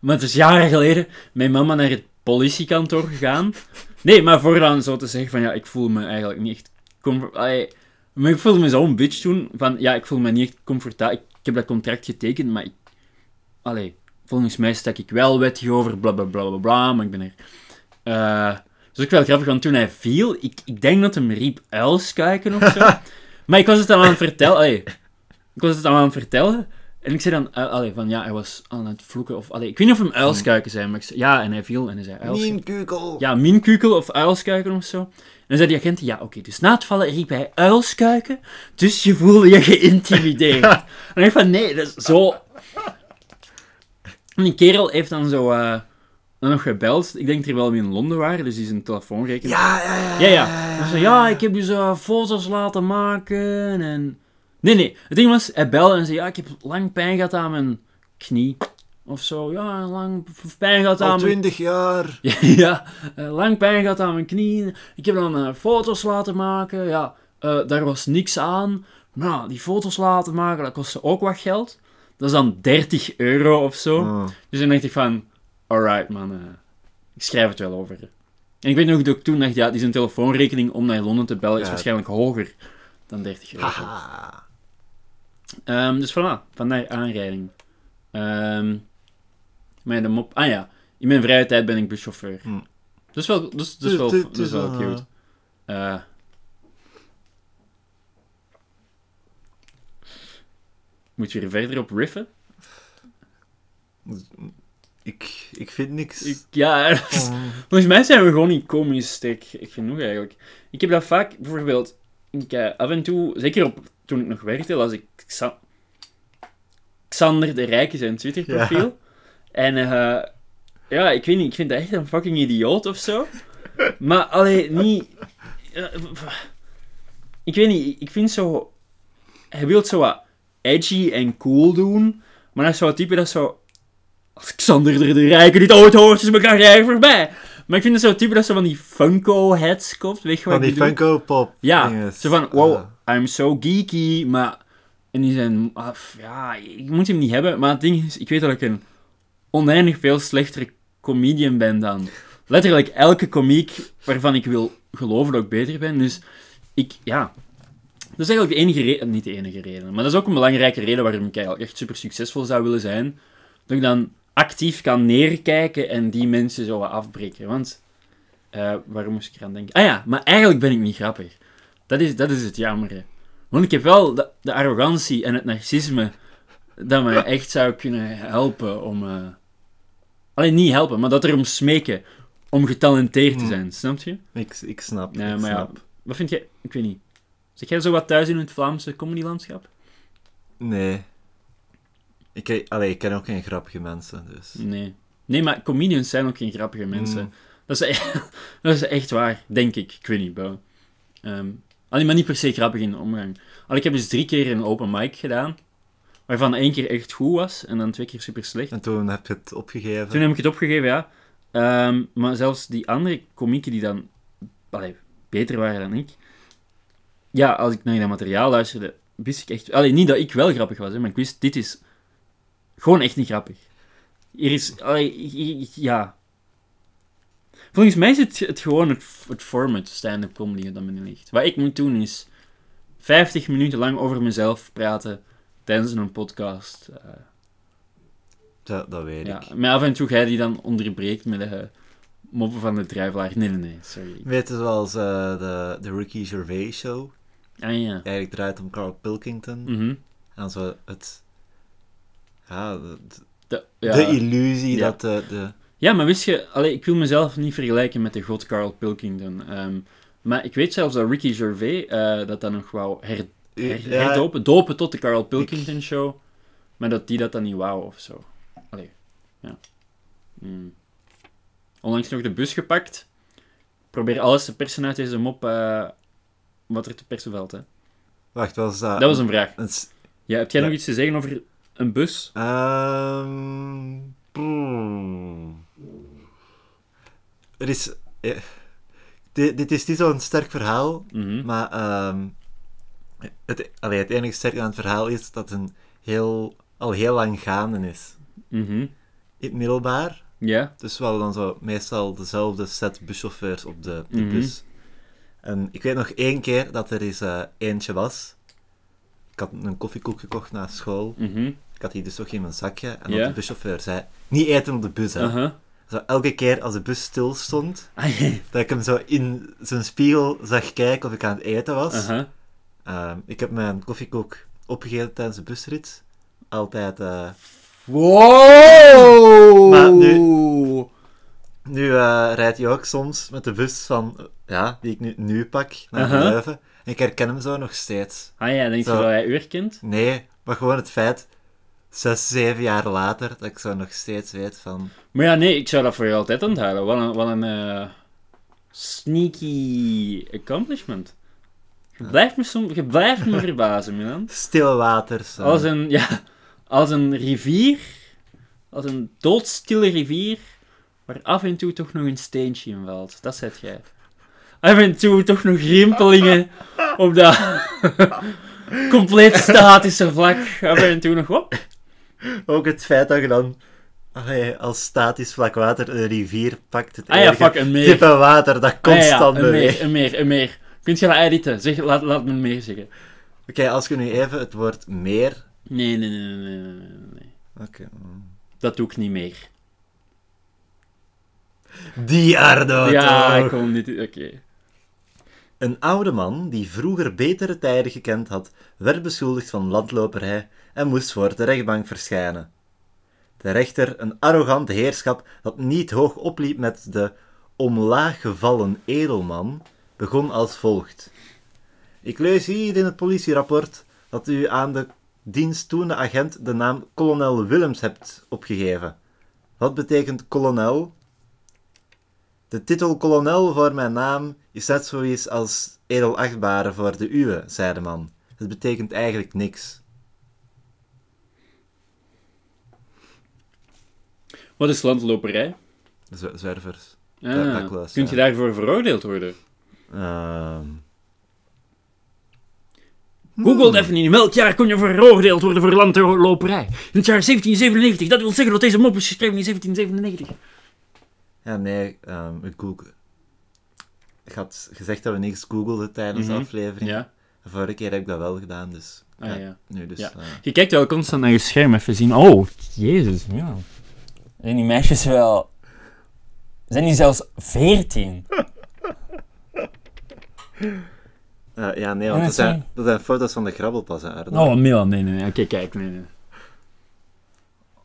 [SPEAKER 2] maar het is jaren geleden, mijn mama naar het politiekantoor gegaan. Nee, maar voor dan zo te zeggen van, ja, ik voel me eigenlijk niet echt... comfort- Allee, maar ik voelde me zo'n bitch toen, van, ja, ik voel me niet echt comfortabel. Ik, ik heb dat contract getekend, maar ik... Allee, volgens mij stak ik wel wettig over, bla, bla, bla, bla, bla, maar ik ben er... Eh, dat is ook wel grappig, want toen hij viel, ik, ik denk dat hem riep uilskuiken of zo. maar ik was het dan aan het vertellen. allee, ik was het dan aan het vertellen. En ik zei dan, eh, allee, van ja, hij was aan het vloeken. Of, allee, ik weet niet of hem uilskuiken zei, maar ik zei, ja, en hij viel en hij zei uilskuiken.
[SPEAKER 1] Mien Kukel!
[SPEAKER 2] Ja, minkukel of uilskuiken of zo. En dan zei die agent, ja, oké, dus na het vallen riep hij uilskuiken, dus je voelde je geïntimideerd.
[SPEAKER 1] (laughs)
[SPEAKER 2] en ik dacht van, nee, dat is zo... En die kerel heeft dan zo eh, dan nog gebeld. Ik denk dat er wel weer in Londen waren, dus die zijn telefoon rekenen.
[SPEAKER 1] Ja, ja, ja.
[SPEAKER 2] Ja, ja. Dus, ja, ik heb dus eh, foto's laten maken en... Nee, nee. Het ding was, hij belde en zei, ja, ik heb lang pijn gehad aan mijn knie. Of zo, ja, lang pijn gehad
[SPEAKER 1] Al
[SPEAKER 2] aan mijn...
[SPEAKER 1] twintig jaar.
[SPEAKER 2] Ja, (laughs) ja eh, lang pijn gehad aan mijn knieën. Ik heb dan eh, foto's laten maken. Ja, eh, daar was niks aan. Maar ja, die foto's laten maken, dat kostte ook wat geld. Dat is dan 30 euro of zo.
[SPEAKER 1] Oh.
[SPEAKER 2] Dus dan dacht ik van, alright man, eh, ik schrijf het wel over. En ik weet nog dat ik toen dacht, ja, die zijn telefoonrekening om naar Londen te bellen is
[SPEAKER 1] Ja.
[SPEAKER 2] waarschijnlijk hoger dan 30 euro.
[SPEAKER 1] Haha.
[SPEAKER 2] Ehm, dus voilà, vandaar aanrijding. Ehm maar de mop... Ah ja, in mijn vrije tijd ben ik buschauffeur.
[SPEAKER 1] Hm.
[SPEAKER 2] Dat is wel, dat is, dat is
[SPEAKER 1] Het-
[SPEAKER 2] wel,
[SPEAKER 1] het-
[SPEAKER 2] dat Mm. is wel
[SPEAKER 1] eh,
[SPEAKER 2] cute. Eh. moet je er verder op riffen?
[SPEAKER 1] Ik, ik vind niks.
[SPEAKER 2] Ik, ja, (laughs)
[SPEAKER 1] Oh.
[SPEAKER 2] Volgens mij zijn we gewoon niet komisch sterk genoeg eigenlijk. Ik heb dat vaak, bijvoorbeeld, ik, eh, af en toe, zeker op, toen ik nog werkte, las ik Xa- Xander de Rijke zijn Twitter-profiel. En eh, ja, ik weet niet, ik vind dat echt een fucking idioot of zo. Maar allee, niet. eh, ik weet niet, ik vind zo. Hij wil het zo wat edgy en cool doen, maar dat is zo'n type dat zo. Als Xander de- de Rijke dit ooit hoort, is mijn carrière voorbij. Maar ik vind het zo'n type dat zo van die Funko-heads koopt, weet je wat
[SPEAKER 1] Van
[SPEAKER 2] ik
[SPEAKER 1] die
[SPEAKER 2] bedoel?
[SPEAKER 1] Funko Pop.
[SPEAKER 2] Ja,
[SPEAKER 1] dinges.
[SPEAKER 2] zo van, wow,
[SPEAKER 1] Ah.
[SPEAKER 2] I'm so geeky, maar... En die zijn, af, ja, ik moet hem niet hebben, maar het ding is, ik weet dat ik een oneindig veel slechtere comedian ben dan letterlijk elke komiek waarvan ik wil geloven dat ik beter ben, dus ik, ja... Dat is eigenlijk de enige reden, niet de enige reden, maar dat is ook een belangrijke reden waarom ik eigenlijk echt super succesvol zou willen zijn, dat ik dan actief kan neerkijken en die mensen zo wat afbreken, want... eh, waarom moest ik eraan denken? Ah ja, maar eigenlijk ben ik niet grappig. Dat is, dat is het jammere. Want ik heb wel de, de arrogantie en het narcisme dat me echt zou kunnen helpen om... eh, Alleen niet helpen, maar dat erom smeken om getalenteerd te zijn, snap je?
[SPEAKER 1] Ik, ik snap,
[SPEAKER 2] Nee,
[SPEAKER 1] ik
[SPEAKER 2] maar ja,
[SPEAKER 1] snap.
[SPEAKER 2] wat vind jij... Ik weet niet. Zeg jij zo wat thuis in het Vlaamse comedylandschap?
[SPEAKER 1] Nee. Ik, ken- allee, ik ken ook geen grappige mensen, dus...
[SPEAKER 2] Nee. Nee, maar comedians zijn ook geen grappige mensen.
[SPEAKER 1] Mm.
[SPEAKER 2] Dat, is, e- (laughs) dat is echt waar, denk ik. Ik weet niet, bro. Ehm, allee, maar niet per se grappig in de omgang. Al ik heb dus drie keer een open mic gedaan, waarvan één keer echt goed was en dan twee keer super slecht.
[SPEAKER 1] En toen heb je het opgegeven.
[SPEAKER 2] Toen heb ik het opgegeven, ja. Ehm, maar zelfs die andere komieken die dan allee, beter waren dan ik. Ja, als ik naar dat materiaal luisterde, wist ik echt... Allee, niet dat ik wel grappig was, hè, maar ik wist, dit is gewoon echt niet grappig. Hier is... Allee, hier- hier- ja. Volgens mij is het, het gewoon het, het format stand-up comedy dat me niet ligt. Wat ik moet doen is 50 minuten lang over mezelf praten tijdens een podcast. Eh,
[SPEAKER 1] Dat, dat weet
[SPEAKER 2] ja.
[SPEAKER 1] ik.
[SPEAKER 2] Maar af en toe jij die dan onderbreekt met de eh, moppen van de drijflaag. Nee, nee, nee, sorry.
[SPEAKER 1] Weet je zoals eh, de, de Ricky Gervais show?
[SPEAKER 2] Ah ja.
[SPEAKER 1] Eigenlijk draait om Carl Pilkington.
[SPEAKER 2] Mhm.
[SPEAKER 1] En zo het... Ja, de,
[SPEAKER 2] De- ja.
[SPEAKER 1] de illusie
[SPEAKER 2] Ja.
[SPEAKER 1] dat de... de
[SPEAKER 2] Ja, maar wist je, allee, ik wil mezelf niet vergelijken met de god Carl Pilkington. ehm, maar ik weet zelfs dat Ricky Gervais eh, dat dan nog wou her, her-
[SPEAKER 1] ja,
[SPEAKER 2] herdopen, dopen tot de Carl Pilkington show. Maar dat die dat dan niet wou of zo. Allee, ja. Hmm. Onlangs nog de bus gepakt. Probeer alles te persen uit deze mop eh, wat er te persen valt.
[SPEAKER 1] Ah.
[SPEAKER 2] Hè.
[SPEAKER 1] wacht, was dat...
[SPEAKER 2] Dat was een vraag.
[SPEAKER 1] een s-
[SPEAKER 2] Ja, heb jij
[SPEAKER 1] Ja.
[SPEAKER 2] nog iets te zeggen over een bus?
[SPEAKER 1] Ehm, brrr. er is... eh, Dit, dit is niet zo'n sterk verhaal,
[SPEAKER 2] Mhm.
[SPEAKER 1] maar ehm, het, allee, het enige sterke aan het verhaal is dat het een heel, al heel lang gaande is.
[SPEAKER 2] Mhm.
[SPEAKER 1] In het middelbaar,
[SPEAKER 2] Ja.
[SPEAKER 1] dus we hadden dan zo meestal dezelfde set buschauffeurs op de, de
[SPEAKER 2] Mhm.
[SPEAKER 1] bus. En ik weet nog één keer dat er eens eh, eentje was. Ik had een koffiekoek gekocht na school.
[SPEAKER 2] Mhm.
[SPEAKER 1] Ik had die dus ook in mijn zakje. En
[SPEAKER 2] Ja.
[SPEAKER 1] dan de buschauffeur zei, niet eten op de bus. Hè.
[SPEAKER 2] Aha.
[SPEAKER 1] Zo, elke keer als de bus stil stond,
[SPEAKER 2] Aha.
[SPEAKER 1] dat ik hem zo in zijn spiegel zag kijken of ik aan het eten was. Ehm, ik heb mijn koffiekoek opgegeten tijdens de busrit. Altijd. eh,
[SPEAKER 2] Wow!
[SPEAKER 1] Maar nu eh, rijdt hij ook soms met de bus van, eh, ja, die ik nu, nu pak, naar
[SPEAKER 2] Aha.
[SPEAKER 1] Leuven. En ik herken hem zo nog steeds.
[SPEAKER 2] Ah ja, denk je
[SPEAKER 1] Zo.
[SPEAKER 2] dat hij u herkent?
[SPEAKER 1] Nee, maar gewoon het feit, zes, zeven jaar later, dat ik zo nog steeds weet van...
[SPEAKER 2] Maar ja, nee, ik zou dat voor je altijd onthouden. Wat een, wat een eh, sneaky accomplishment. Je blijft me, som, je blijft me (laughs) verbazen, Milan.
[SPEAKER 1] Stille waters. eh.
[SPEAKER 2] Als een, ja, als een rivier, als een doodstille rivier, waar af en toe toch nog een steentje in valt. Dat zet jij. Af en toe toch nog rimpelingen op dat (laughs) compleet statische vlak. Af en toe nog Ah, op.
[SPEAKER 1] Ook het feit dat je dan allee, als statisch vlak water een rivier pakt. Het
[SPEAKER 2] Ah ja,
[SPEAKER 1] enige
[SPEAKER 2] fuck, een meer.
[SPEAKER 1] type water dat
[SPEAKER 2] Ah ja, ja,
[SPEAKER 1] constant
[SPEAKER 2] een
[SPEAKER 1] beweegt.
[SPEAKER 2] meer, een meer, een meer. Kunt je dat editen? Zeg, laat, laat me een meer zeggen.
[SPEAKER 1] Oké, als je nu even het woord meer...
[SPEAKER 2] Nee, nee, nee, nee, nee, nee, nee, nee.
[SPEAKER 1] Oké.
[SPEAKER 2] Dat doe ik niet meer.
[SPEAKER 1] Die Ardo
[SPEAKER 2] ja,
[SPEAKER 1] Ah, toch.
[SPEAKER 2] ik kom niet... Oké.
[SPEAKER 1] Een oude man die vroeger betere tijden gekend had, werd beschuldigd van landloperij en moest voor de rechtbank verschijnen. De rechter, een arrogant heerschap dat niet hoog opliep met de omlaag gevallen edelman, begon als volgt. Ik lees hier in het politierapport dat u aan de dienstdoende agent de naam kolonel Willems hebt opgegeven. Wat betekent kolonel? De titel kolonel voor mijn naam is net zoiets als edelachtbare voor de uwe, zei de man. Het betekent eigenlijk niks.
[SPEAKER 2] Wat is landloperij?
[SPEAKER 1] Z- zwervers.
[SPEAKER 2] Ah,
[SPEAKER 1] dat klopt,
[SPEAKER 2] kunt
[SPEAKER 1] ja.
[SPEAKER 2] je daarvoor veroordeeld worden?
[SPEAKER 1] Ehm,
[SPEAKER 2] Google even in welk jaar kon je veroordeeld worden voor landloperij? In het jaar 1797. Dat wil zeggen dat deze mop is geschreven in 1797.
[SPEAKER 1] ja, nee, ehm, ik Google. Ik had gezegd dat we niks googelden tijdens
[SPEAKER 2] Mhm,
[SPEAKER 1] de aflevering.
[SPEAKER 2] Ja.
[SPEAKER 1] De vorige keer heb ik dat wel gedaan, dus.
[SPEAKER 2] Ah, ja.
[SPEAKER 1] Nu dus.
[SPEAKER 2] Ja.
[SPEAKER 1] eh,
[SPEAKER 2] Je kijkt wel constant naar je scherm even zien. Oh, jezus, ja. Zijn die meisjes wel... Zijn die zelfs 14?
[SPEAKER 1] eh, ja, nee,
[SPEAKER 2] Ah, Ja,
[SPEAKER 1] want dat zijn,
[SPEAKER 2] dat zijn-
[SPEAKER 1] dat zijn foto's van de grabbelpas, hè, Arno.
[SPEAKER 2] Oh, Milan, nee, nee, nee. Oké, kijk, nee, nee.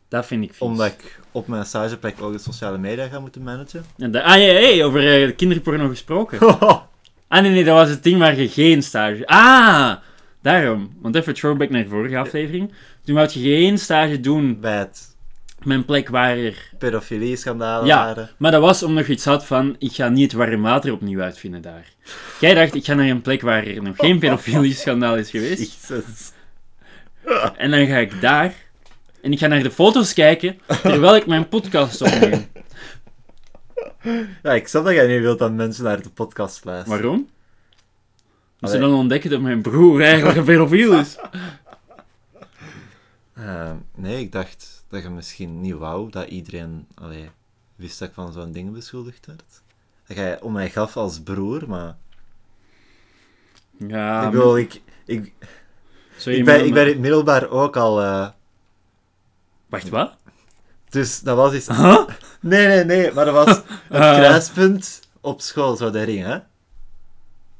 [SPEAKER 2] Dat vind ik vies.
[SPEAKER 1] Omdat ik op mijn stageplek ook de sociale media ga moeten
[SPEAKER 2] (laughs)
[SPEAKER 1] managen.
[SPEAKER 2] En da- ah, ja, ja, ja, over eh, kinderporno gesproken. Ah, nee, nee, dat was het ding waar je geen stage... Ah, daarom. Want even throwback naar de vorige aflevering. Toen wou je geen stage doen
[SPEAKER 1] Bij het
[SPEAKER 2] mijn plek waar er...
[SPEAKER 1] pedofilie-schandalen
[SPEAKER 2] Ja.
[SPEAKER 1] waren.
[SPEAKER 2] Maar dat was omdat je iets had van, ik ga niet het warm water opnieuw uitvinden daar. Jij dacht, ik ga naar een plek waar er nog
[SPEAKER 1] (laughs)
[SPEAKER 2] geen pedofilie-schandaal is geweest.
[SPEAKER 1] Jezus.
[SPEAKER 2] En dan ga ik daar. En ik ga naar de foto's kijken, terwijl ik mijn podcast opneem.
[SPEAKER 1] Ja, ik snap dat jij niet wilt dat mensen naar de podcast luisteren.
[SPEAKER 2] Waarom? Als ze
[SPEAKER 1] Allee.
[SPEAKER 2] dan ontdekken dat mijn broer eigenlijk een pedofiel is.
[SPEAKER 1] Ehm, nee, ik dacht dat je misschien niet wou dat iedereen allee, wist dat ik van zo'n ding beschuldigd werd. dat jij om mij gaf als broer, maar...
[SPEAKER 2] Ja,
[SPEAKER 1] ik bedoel, ik, ik,
[SPEAKER 2] Zo
[SPEAKER 1] ik, ben,
[SPEAKER 2] iemand met-
[SPEAKER 1] ik ben in het middelbaar ook al... eh,
[SPEAKER 2] Wacht, wat?
[SPEAKER 1] dus dat was iets...
[SPEAKER 2] Huh?
[SPEAKER 1] Nee, nee, nee, maar dat
[SPEAKER 2] (laughs)
[SPEAKER 1] was een
[SPEAKER 2] Eh.
[SPEAKER 1] kruispunt op school, zo de ring, hè?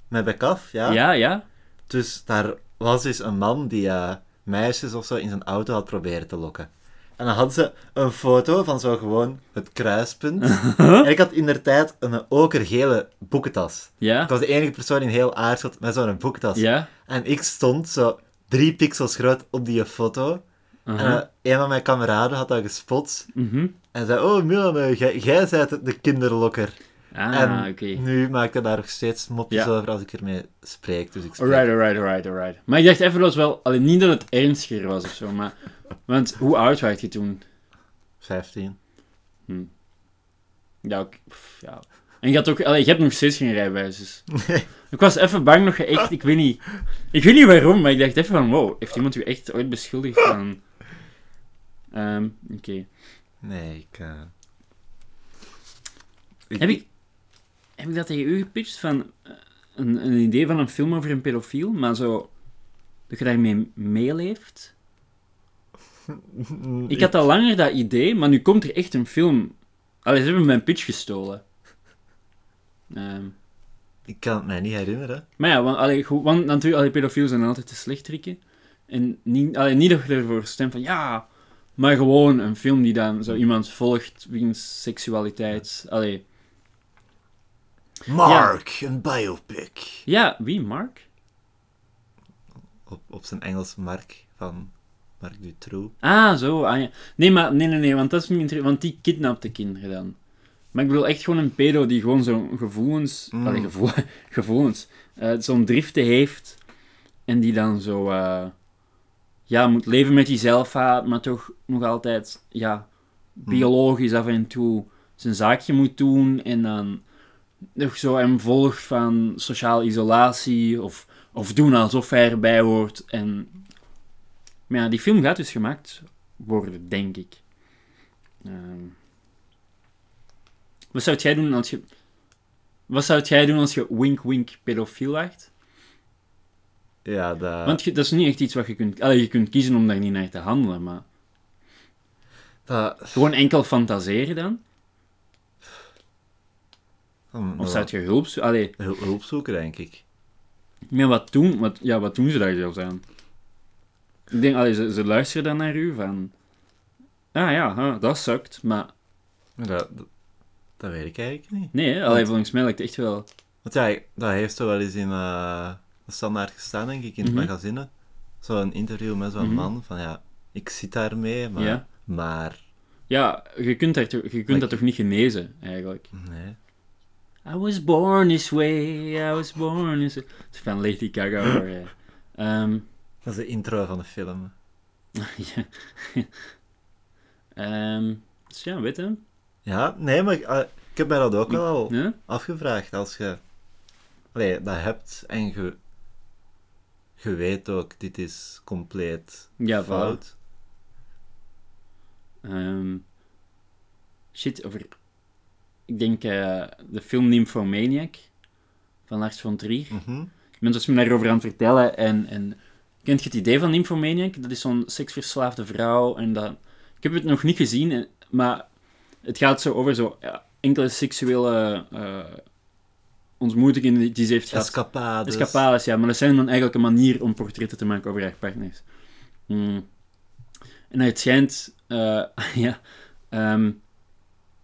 [SPEAKER 1] Met bekaf, ja.
[SPEAKER 2] Ja, ja.
[SPEAKER 1] Dus daar was dus een man die eh, meisjes of zo in zijn auto had proberen te lokken. En dan hadden ze een foto van zo gewoon het
[SPEAKER 2] (laughs)
[SPEAKER 1] kruispunt. en ik had in der tijd een okergele boekentas. Ik
[SPEAKER 2] Ja.
[SPEAKER 1] was de enige persoon in heel Aarschot met zo'n boekentas.
[SPEAKER 2] Ja.
[SPEAKER 1] En ik stond zo drie pixels groot op die foto. En
[SPEAKER 2] Aha.
[SPEAKER 1] eh, een van mijn kameraden had dat gespot.
[SPEAKER 2] Mhm.
[SPEAKER 1] En zei, oh Milan, eh, jij- jij bent de kinderlokker.
[SPEAKER 2] Ah,
[SPEAKER 1] en
[SPEAKER 2] oké.
[SPEAKER 1] nu maak ik daar nog steeds mopjes
[SPEAKER 2] Ja.
[SPEAKER 1] over als ik ermee spreek. Dus ik spreek.
[SPEAKER 2] Alright, alright, alright, alright. Maar ik dacht even los wel, alleen niet dat het ernstiger was of zo, maar. Want hoe oud werd je toen?
[SPEAKER 1] 15.
[SPEAKER 2] Ja, ik- pff, ja. En je, had ook, allee, je hebt nog steeds geen rijbewijs. dus. Ik was even bang nog echt, ik weet niet. Ik weet niet waarom, maar ik dacht even van, wow, heeft iemand u echt ooit beschuldigd van. Ehm, Oké.
[SPEAKER 1] Nee, ik... eh,
[SPEAKER 2] Heb ik, heb ik dat tegen u gepitcht van eh, een, een idee van een film over een pedofiel, maar zo dat je daarmee meeleeft? Ik had al langer dat idee, maar nu komt er echt een film. Allee, ze hebben mijn pitch gestolen. Ehm,
[SPEAKER 1] Ik kan het mij niet herinneren.
[SPEAKER 2] maar ja, want, allee, goed, want natuurlijk, allee, pedofielen zijn altijd te slechtrikken. En niet, allee, niet dat je ervoor stemt van ja, maar gewoon een film die dan zo iemand volgt wiens seksualiteit. Allee.
[SPEAKER 1] Mark, een biopic.
[SPEAKER 2] Ja, wie, Mark?
[SPEAKER 1] Op, op zijn Engels Mark, van Mark Dutroux.
[SPEAKER 2] Ah, zo. Ah, ja. Nee, maar nee, nee, nee, want dat is niet interessant, want die kidnapt de kinderen dan. Maar ik bedoel echt gewoon een pedo die gewoon zo'n gevoelens,
[SPEAKER 1] Mm.
[SPEAKER 2] allee, gevoel, (laughs) gevoelens, eh, zo'n driften heeft en die dan zo, eh, ja, moet leven met die zelfhaat, maar toch nog altijd, ja, biologisch af en toe zijn zaakje moet doen en dan nog zo een volg van sociale isolatie of, of doen alsof hij erbij hoort en maar ja, die film gaat dus gemaakt worden, denk ik. Ehm. wat zou jij doen als je... Wat zou jij doen als je wink-wink pedofiel werd?
[SPEAKER 1] Ja, dat...
[SPEAKER 2] Want je- dat is niet echt iets wat je kunt... Allee, je kunt kiezen om daar niet naar te handelen, maar...
[SPEAKER 1] dat...
[SPEAKER 2] Gewoon enkel fantaseren dan?
[SPEAKER 1] Hmm,
[SPEAKER 2] Of
[SPEAKER 1] dat-
[SPEAKER 2] zou je hulp zoeken? Allee,
[SPEAKER 1] Hul- Hulp zoeken, denk ik.
[SPEAKER 2] maar wat doen, wat, ja, wat doen ze daar zelfs aan? Ik denk, allee, ze, ze luisteren dan naar u van... Ah ja, huh, dat sukt, maar...
[SPEAKER 1] Maar Dat, dat, dat weet ik eigenlijk niet.
[SPEAKER 2] Nee, hè, allee, volgens mij lijkt het echt wel...
[SPEAKER 1] Want ja, dat heeft zo wel eens in eh, de standaard gestaan, denk ik, in het
[SPEAKER 2] Mhm.
[SPEAKER 1] magazine. Zo'n interview met zo'n
[SPEAKER 2] Mhm.
[SPEAKER 1] man, van ja, ik zit daarmee, maar...
[SPEAKER 2] Ja.
[SPEAKER 1] Maar,
[SPEAKER 2] Ja, je kunt, daar toch- je kunt dat toch niet genezen, eigenlijk?
[SPEAKER 1] nee.
[SPEAKER 2] I was born this way, I was born this way. Het is van Lady Gaga hoor. (laughs) hè. Ehm,
[SPEAKER 1] Dat is de intro van de film.
[SPEAKER 2] ja. Ehm, dus ja, weet hem.
[SPEAKER 1] Ja, nee, maar eh, ik heb mij dat ook wel al
[SPEAKER 2] Ja?
[SPEAKER 1] afgevraagd als je allee, dat hebt en je, je weet ook, dit is compleet
[SPEAKER 2] Ja, voilà.
[SPEAKER 1] fout.
[SPEAKER 2] Ehm, shit, over... Ik denk eh, de film Nymphomaniac van Lars von Trier.
[SPEAKER 1] Mhm.
[SPEAKER 2] Iemand was me daarover aan het vertellen en, en... Kent je het idee van Nymphomaniac? Dat is zo'n seksverslaafde vrouw en dat... Ik heb het nog niet gezien, en- maar het gaat zo over zo, ja, enkele seksuele eh ontmoetingen die- die ze heeft gehad.
[SPEAKER 1] Escapades.
[SPEAKER 2] Escapades, ja. Maar dat zijn dan eigenlijk een manier om portretten te maken over haar partners. Hmm. En het schijnt... eh, (laughs) ja, ehm,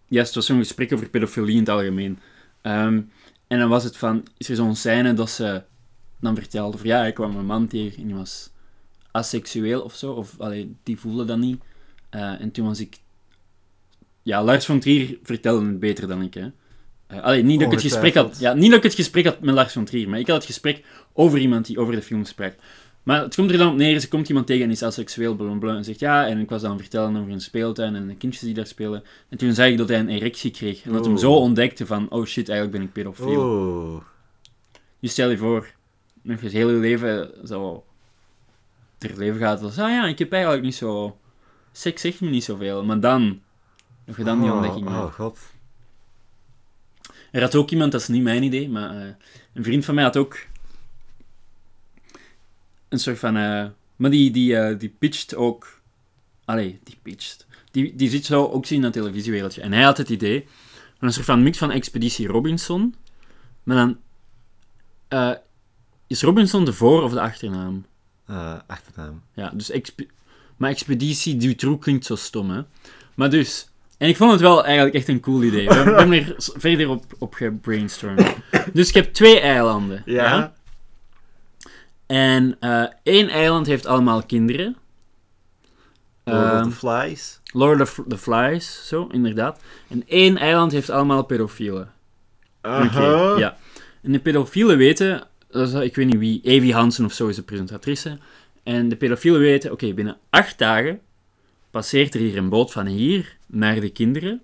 [SPEAKER 2] ja, het was zo'n gesprek over pedofilie in het algemeen. Ehm, en dan was het van... Is er zo'n scène dat ze dan vertelde van... Ja, ik kwam een man tegen en die was asexueel of zo. Of allee, die voelde dat niet. Eh, en toen was ik... Ja, Lars von Trier vertelde het beter dan ik, hè. Eh, allee, niet dat, ik het gesprek had,
[SPEAKER 1] Ongetwijfeld.
[SPEAKER 2] ja, niet dat ik het gesprek had met Lars von Trier, maar ik had het gesprek over iemand die over de film sprak. Maar het komt er dan op neer, ze komt iemand tegen en is asexueel, blablabla, en zegt ja, en ik was dan vertellen over een speeltuin en de kindjes die daar spelen. En toen zei ik dat hij een erectie kreeg, en dat hem
[SPEAKER 1] Oeh.
[SPEAKER 2] zo ontdekte van, oh shit, eigenlijk ben ik pedofiel.
[SPEAKER 1] Oh. Oeh.
[SPEAKER 2] Je stel je voor, nog eens heel je leven zo ter leven gaat als, ah ja, ik heb eigenlijk niet zo... Seks zegt me niet zoveel, maar dan... Nog je dan die
[SPEAKER 1] Oh,
[SPEAKER 2] ontdekking
[SPEAKER 1] Oh,
[SPEAKER 2] maakt.
[SPEAKER 1] god.
[SPEAKER 2] En Er had ook iemand, dat is niet mijn idee, maar eh, een vriend van mij had ook een soort van... eh, maar die, die, eh, die pitcht ook... Allee, die pitcht. Die, die zit zo ook zien in dat televisiewereldje. En hij had het idee van een soort van mix van Expeditie Robinson. Maar dan... eh, is Robinson de voor- of de achternaam?
[SPEAKER 1] Eh, achternaam.
[SPEAKER 2] Ja, dus exp- maar Expeditie Dutroux klinkt zo stom, hè. Maar dus... En ik vond het wel eigenlijk echt een cool idee. We hebben we hebben er s- verder op, op gebrainstormd. Dus ik heb twee eilanden.
[SPEAKER 1] Ja.
[SPEAKER 2] En eh, één eiland heeft allemaal kinderen.
[SPEAKER 1] Lord of
[SPEAKER 2] Ehm,
[SPEAKER 1] the Flies.
[SPEAKER 2] Lord of the Flies, zo, inderdaad. En één eiland heeft allemaal pedofielen. Oké,
[SPEAKER 1] Aha.
[SPEAKER 2] ja. En de pedofielen weten, dat is, ik weet niet wie, Evie Hansen of zo is de presentatrice. En de pedofielen weten, oké, binnen acht dagen passeert er hier een boot van hier naar de kinderen.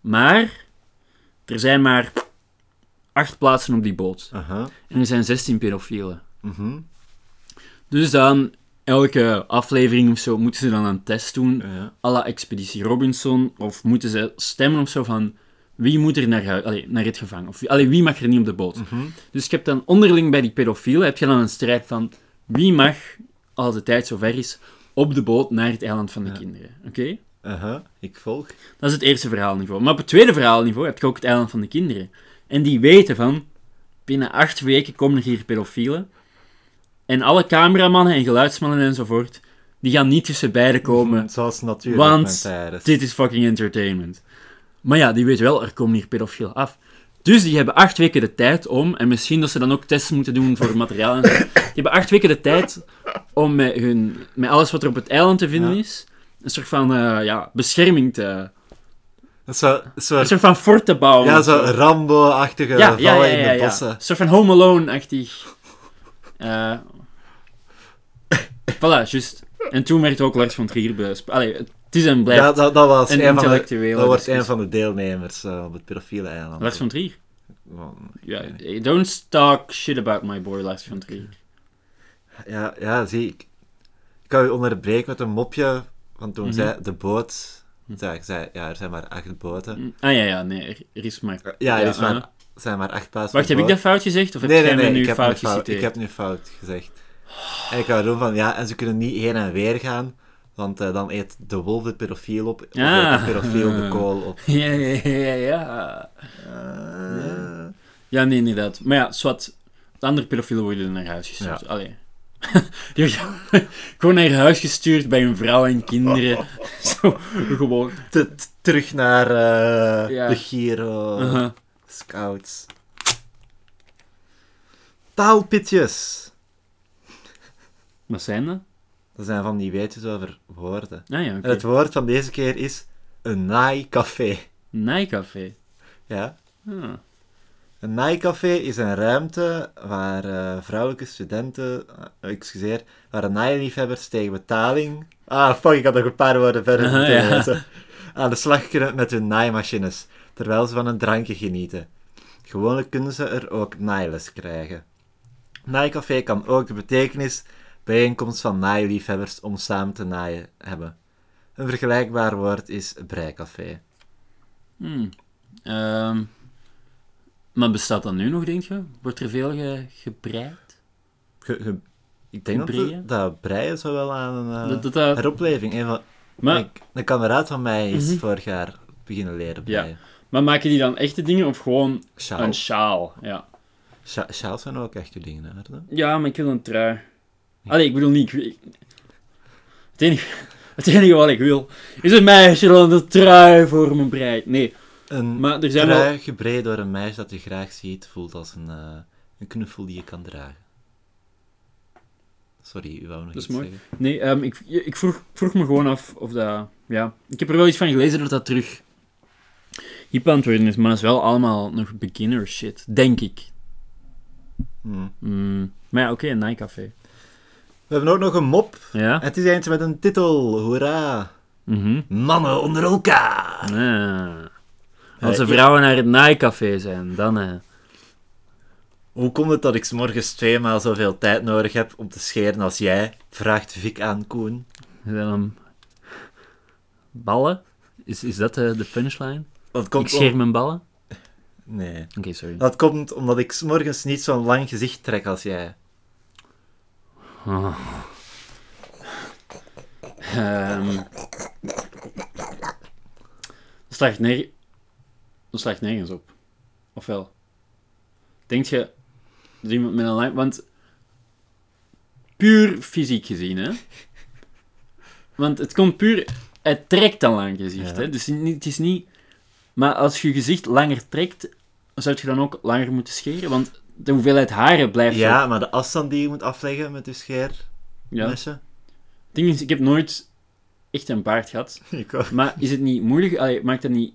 [SPEAKER 2] Maar er zijn maar acht plaatsen op die boot.
[SPEAKER 1] Aha.
[SPEAKER 2] En er zijn 16 pedofielen.
[SPEAKER 1] Mhm.
[SPEAKER 2] Dus dan, elke aflevering of zo, moeten ze dan een test doen
[SPEAKER 1] Ja.
[SPEAKER 2] à la Expeditie Robinson, of moeten ze stemmen of zo van wie moet er naar, hui- allee, naar het gevangen, of wie- allee, wie mag er niet op de boot.
[SPEAKER 1] Mhm.
[SPEAKER 2] Dus je hebt dan onderling bij die pedofielen, heb je dan een strijd van wie mag, als de tijd zover is, op de boot naar het eiland van de
[SPEAKER 1] Ja.
[SPEAKER 2] kinderen. Oké?
[SPEAKER 1] Aha. Ik volg.
[SPEAKER 2] Dat is het eerste verhaalniveau. Maar op het tweede verhaalniveau heb je ook het eiland van de kinderen. En die weten van, binnen acht weken komen er hier pedofielen. En alle cameramannen en geluidsmannen enzovoort, die gaan niet tussen beiden komen
[SPEAKER 1] Zoals
[SPEAKER 2] Want
[SPEAKER 1] natuurdocumentaires.
[SPEAKER 2] dit is fucking entertainment. Maar ja, die weet wel, er komen hier pedofielen af. Dus die hebben acht weken de tijd om, en misschien dat ze dan ook tests moeten doen voor materiaal en zo. Die hebben acht weken de tijd om met, hun, met alles wat er op het eiland te vinden
[SPEAKER 1] Ja.
[SPEAKER 2] is, een soort van eh, ja, bescherming te...
[SPEAKER 1] Dat is Zo, zo,
[SPEAKER 2] Een soort van fort te bouwen.
[SPEAKER 1] ja,
[SPEAKER 2] of
[SPEAKER 1] zo Rambo-achtige
[SPEAKER 2] Ja,
[SPEAKER 1] vallen
[SPEAKER 2] ja, ja, ja,
[SPEAKER 1] in de
[SPEAKER 2] ja.
[SPEAKER 1] bossen.
[SPEAKER 2] Een soort van Home Alone-achtig. Eh (laughs) voilà, juist. En toen werd ook Lars van Trier besp- Allee, het is en blijft
[SPEAKER 1] Ja, dat, dat was
[SPEAKER 2] een
[SPEAKER 1] een van de,
[SPEAKER 2] intellectuele
[SPEAKER 1] dat wordt
[SPEAKER 2] discussie.
[SPEAKER 1] een van de deelnemers eh, op het profielen-eiland.
[SPEAKER 2] Lars van Trier.
[SPEAKER 1] Want-
[SPEAKER 2] Ja, eh, don't talk shit about my boy Lars van Trier.
[SPEAKER 1] Ja, ja, zie ik. Ik kan u onderbreken met een mopje. Want
[SPEAKER 2] Mhm.
[SPEAKER 1] toen zei de boot. Ja, ik zei, ja, er zijn maar acht boten.
[SPEAKER 2] Ah ja, ja, nee, er, er is maar...
[SPEAKER 1] Ja, er is maar,
[SPEAKER 2] aha.
[SPEAKER 1] er zijn maar acht plaatsen.
[SPEAKER 2] Wacht,
[SPEAKER 1] voor
[SPEAKER 2] heb ik dat
[SPEAKER 1] boten.
[SPEAKER 2] fout gezegd? Of heb
[SPEAKER 1] Nee,
[SPEAKER 2] jij
[SPEAKER 1] nee, nee.
[SPEAKER 2] me nu
[SPEAKER 1] ik, heb
[SPEAKER 2] fout
[SPEAKER 1] nu fout,
[SPEAKER 2] geciteerd?
[SPEAKER 1] ik heb nu fout gezegd. En ik wou doen van ja, en ze kunnen niet heen en weer gaan. Want eh, dan eet de wolf de pedofiel op. Of
[SPEAKER 2] Ah.
[SPEAKER 1] eet de pedofiel
[SPEAKER 2] (laughs)
[SPEAKER 1] de kool op.
[SPEAKER 2] Ja, ja, ja, ja.
[SPEAKER 1] Eh,
[SPEAKER 2] Ja, nee, inderdaad. Maar ja, zwart. De andere pedofielen worden naar huis gestuurd.
[SPEAKER 1] Ja.
[SPEAKER 2] Allee. (laughs) Die worden (laughs) gewoon naar huis gestuurd bij een vrouw
[SPEAKER 1] (laughs)
[SPEAKER 2] en kinderen. Zo, gewoon.
[SPEAKER 1] te- te- terug naar eh,
[SPEAKER 2] Ja. Uh-huh.
[SPEAKER 1] de Giro.
[SPEAKER 2] Aha.
[SPEAKER 1] Scouts. Taalpitjes.
[SPEAKER 2] Wat zijn dat?
[SPEAKER 1] Dat zijn van die weetjes over woorden.
[SPEAKER 2] Ah ja,
[SPEAKER 1] En het
[SPEAKER 2] oké.
[SPEAKER 1] woord van deze keer is een naaicafé.
[SPEAKER 2] Nijcafé.
[SPEAKER 1] Ja?
[SPEAKER 2] Ah.
[SPEAKER 1] Een naaicafé is een ruimte waar eh, vrouwelijke studenten, eh, excuseer, waar naailiefhebbers tegen betaling... Ah, fuck, ik had nog een paar woorden verder
[SPEAKER 2] Aha,
[SPEAKER 1] moeten
[SPEAKER 2] ja.
[SPEAKER 1] lezen. Aan de slag kunnen met hun naaimachines, terwijl ze van een drankje genieten. Gewoonlijk kunnen ze er ook naailes krijgen. Naaicafé kan ook de betekenis bijeenkomst van naailiefhebbers om samen te naaien hebben. Een vergelijkbaar woord is breicafé.
[SPEAKER 2] Hmm. Ehm, maar bestaat dat nu nog, denk je? Wordt er veel ge- gebreid?
[SPEAKER 1] Ge- ge- ik denk dat,
[SPEAKER 2] Breien?
[SPEAKER 1] dat, dat breien zo wel aan een eh,
[SPEAKER 2] Dat- dat dat-
[SPEAKER 1] heropleving. Een, van,
[SPEAKER 2] Maar,
[SPEAKER 1] een, een kameraad van mij is
[SPEAKER 2] Mhm.
[SPEAKER 1] vorig jaar beginnen leren
[SPEAKER 2] Ja.
[SPEAKER 1] breien.
[SPEAKER 2] maar maken die dan echte dingen of gewoon
[SPEAKER 1] Sjaal.
[SPEAKER 2] een sjaal? Ja.
[SPEAKER 1] Sja- Sjaals zijn ook echte dingen, hè? Arno?
[SPEAKER 2] ja, maar ik wil een trui. Allee, ik bedoel niet... Ik, ik- het, enige, (laughs) het enige wat ik wil is een meisje dat een trui voor me breidt. Nee,
[SPEAKER 1] Een
[SPEAKER 2] maar er zijn wel...
[SPEAKER 1] trui gebreid door een meisje dat je graag ziet, voelt als een, eh, een knuffel die je kan dragen. Sorry, u wou nog
[SPEAKER 2] Dat is
[SPEAKER 1] iets
[SPEAKER 2] mooi.
[SPEAKER 1] zeggen?
[SPEAKER 2] Nee, ehm, ik, ik vroeg, vroeg me gewoon af of dat... Ja, ik heb er wel iets van gelezen dat dat terug hip aan het worden is, maar dat is wel allemaal nog beginner shit, denk ik.
[SPEAKER 1] Hm.
[SPEAKER 2] Mm, Maar ja, oké, een Nike-café.
[SPEAKER 1] We hebben ook nog een mop.
[SPEAKER 2] Ja?
[SPEAKER 1] Het is eentje met een titel, hoera.
[SPEAKER 2] Mhm.
[SPEAKER 1] Mannen onder elkaar.
[SPEAKER 2] Ah. Als de
[SPEAKER 1] Eh,
[SPEAKER 2] vrouwen naar het naaicafé zijn, dan... eh.
[SPEAKER 1] Hoe komt het dat ik 's morgens tweemaal zoveel tijd nodig heb om te scheren als jij? Vraagt Vic aan Koen.
[SPEAKER 2] zijn dan ballen? Is, is dat eh, de punchline?
[SPEAKER 1] Dat
[SPEAKER 2] ik
[SPEAKER 1] komt, om-
[SPEAKER 2] scheer mijn ballen?
[SPEAKER 1] Nee.
[SPEAKER 2] Oké, sorry.
[SPEAKER 1] Dat komt omdat ik 's morgens niet zo'n lang gezicht trek als jij.
[SPEAKER 2] Ah. Ehm. dat, slaagt nerg- dat slaagt nergens op. Ofwel. Denk je dat iemand met een lijn. Want puur fysiek gezien, hè? Want het komt puur. Het trekt een lang gezicht,
[SPEAKER 1] Ja.
[SPEAKER 2] hè? Dus niet- het is niet. Maar als je gezicht langer trekt, zou je dan ook langer moeten scheren? Want de hoeveelheid haren blijft. ook-
[SPEAKER 1] Ja, maar de afstand die je moet afleggen met je scheermessen.
[SPEAKER 2] Ja. Het ding is, ik heb nooit echt een baard gehad.
[SPEAKER 1] (laughs) Ik ook.
[SPEAKER 2] Maar is het niet moeilijk? Allee, maakt dat niet...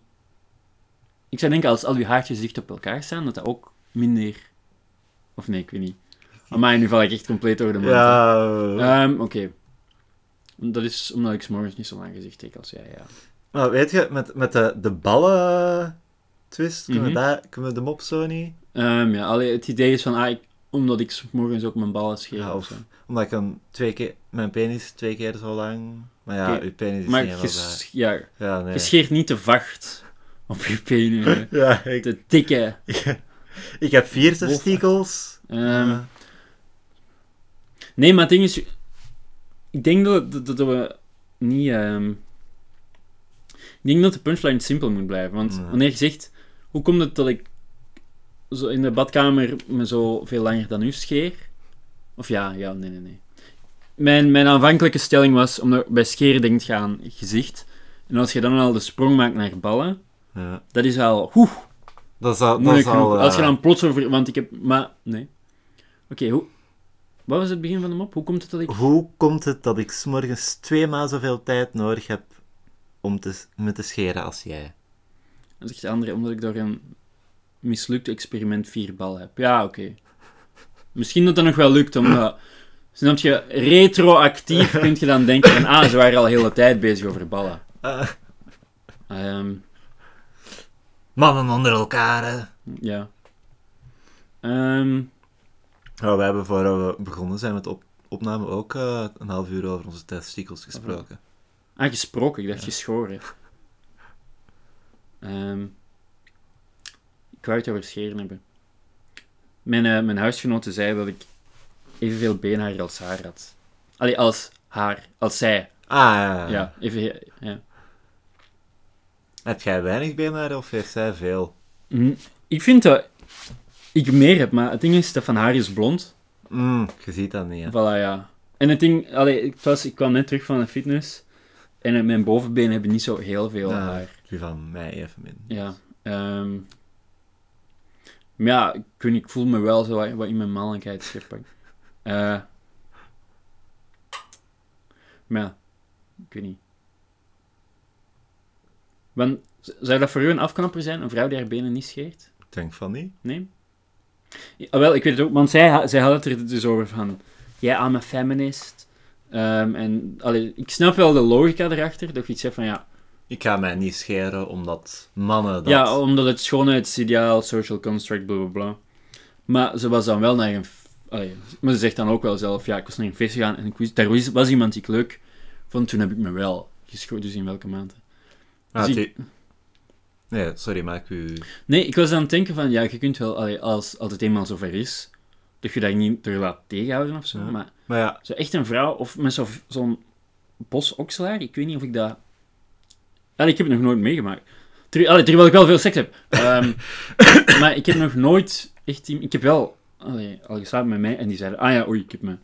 [SPEAKER 2] Ik zou denken, als al uw haartjes dicht op elkaar staan, dat dat ook minder... Of nee, ik weet niet. Maar nu val ik echt compleet door de mand. hè.
[SPEAKER 1] Ja.
[SPEAKER 2] Ehm, Oké. Dat is omdat ik 's morgens niet zo lang gezicht trek als jij, ja.
[SPEAKER 1] Maar weet je, met, met de, de ballen twist, kunnen,
[SPEAKER 2] Mhm.
[SPEAKER 1] we daar, kunnen we de mop zo niet?
[SPEAKER 2] Ehm, ja, allee, het idee is van, ah, ik- omdat ik 's morgens ook mijn ballen scheer
[SPEAKER 1] Ja,
[SPEAKER 2] of
[SPEAKER 1] of
[SPEAKER 2] zo.
[SPEAKER 1] omdat ik hem twee keer, mijn penis twee keer zo lang. Maar ja,
[SPEAKER 2] Oké,
[SPEAKER 1] uw penis is
[SPEAKER 2] Maar
[SPEAKER 1] niet
[SPEAKER 2] je,
[SPEAKER 1] helemaal daar.
[SPEAKER 2] s- ja,
[SPEAKER 1] Ja, nee.
[SPEAKER 2] je scheert niet te vacht op je penis. hè.
[SPEAKER 1] Ja, ik,
[SPEAKER 2] Te dikke.
[SPEAKER 1] ik heb vier
[SPEAKER 2] Wolf.
[SPEAKER 1] testikels.
[SPEAKER 2] Ehm, Nee, maar het ding is... Ik denk dat, dat, dat we niet... ehm, ik denk dat de punchline simpel moet blijven. Want
[SPEAKER 1] Ja.
[SPEAKER 2] wanneer je zegt... Hoe komt het dat ik zo in de badkamer me zo veel langer dan u scheer? Of ja, ja, nee, nee, nee. Mijn, mijn aanvankelijke stelling was... Omdat bij scheren denkt je aan gezicht. En als je dan al de sprong maakt naar ballen...
[SPEAKER 1] ja.
[SPEAKER 2] Dat is al... Hoe,
[SPEAKER 1] Dat is al... Dat
[SPEAKER 2] moeilijk
[SPEAKER 1] is al
[SPEAKER 2] genoeg. Als je
[SPEAKER 1] eh,
[SPEAKER 2] dan plots over... Want ik heb... Maar... Nee. Oké, hoe... Wat was het begin van de mop? Hoe komt het dat ik...
[SPEAKER 1] Hoe komt het dat ik s'morgens twee maal zoveel tijd nodig heb om te, me te scheren als jij?
[SPEAKER 2] Dan zegt de andere, omdat ik door een mislukt experiment vier bal heb. Ja, oké. Misschien dat dat nog wel lukt, omdat... Snap je, retroactief kun je dan denken van, ah, ze waren al de hele tijd bezig over ballen.
[SPEAKER 1] Eh,
[SPEAKER 2] Ehm,
[SPEAKER 1] mannen onder elkaar, hè.
[SPEAKER 2] ja. Ehm,
[SPEAKER 1] Nou, we hebben voor we begonnen zijn met op opname ook eh, een half uur over onze testikels gesproken.
[SPEAKER 2] ah, gesproken, ik dacht geschoren. Ehm, ik wou het over scheren hebben. Mijn, eh, mijn huisgenote zei dat ik evenveel beenhaar als haar had. Allee, als haar, als zij.
[SPEAKER 1] Ah, ja. ja.
[SPEAKER 2] Ja, even, ja.
[SPEAKER 1] Heb jij weinig benen of heeft zij veel?
[SPEAKER 2] Mm, Ik vind dat ik meer heb, maar het ding is dat van haar is blond.
[SPEAKER 1] Mm, je ziet dat niet, hè.
[SPEAKER 2] Voilà, ja. En het ding, allee, ik, was, ik kwam net terug van de fitness en eh, mijn bovenbenen hebben niet zo heel veel
[SPEAKER 1] Ja.
[SPEAKER 2] haar.
[SPEAKER 1] Nou, Die van mij even min.
[SPEAKER 2] Ja. ehm. maar ja, ik, weet niet, ik voel me wel zo wat, wat in mijn mannelijkheid scheppen. Eh, maar ja, ik weet niet. Want, z- zou dat voor u een afknapper zijn, een vrouw die haar benen niet scheert?
[SPEAKER 1] Ik denk van niet.
[SPEAKER 2] Nee? Ja, wel, ik weet het ook, want zij, ha- zij had het er dus over van... Jij, I'm a feminist. Ehm, en, allee, ik snap wel de logica erachter, dat je iets zegt van ja...
[SPEAKER 1] Ik ga mij niet scheren omdat mannen dat...
[SPEAKER 2] Ja, oh, omdat het schoonheidsideaal, social construct, bla bla bla. Maar ze was dan wel naar een... f- Allee, maar ze zegt dan ook wel zelf, ja, ik was naar een feest gegaan en ik wist, daar was, was iemand die ik leuk vond, toen heb ik me wel geschoten, dus in welke maanden.
[SPEAKER 1] Ah,
[SPEAKER 2] zie-
[SPEAKER 1] die- Nee, sorry, maar ik u...
[SPEAKER 2] Nee, ik was aan het denken van, ja, je kunt wel, allee, als, als het eenmaal zover is, dat je daar niet door laat tegenhouden of zo,
[SPEAKER 1] Ja.
[SPEAKER 2] maar...
[SPEAKER 1] Maar ja,
[SPEAKER 2] Zo echt een vrouw, of met zo- zo'n bos okselaar, ik weet niet of ik dat... Allee, ik heb het nog nooit meegemaakt. Ter, allee, terwijl ik wel veel seks heb. Ehm, maar ik heb nog nooit echt... iem- Ik heb wel allee, al geslapen met mij en die zeiden, ah ja, oei, ik heb me...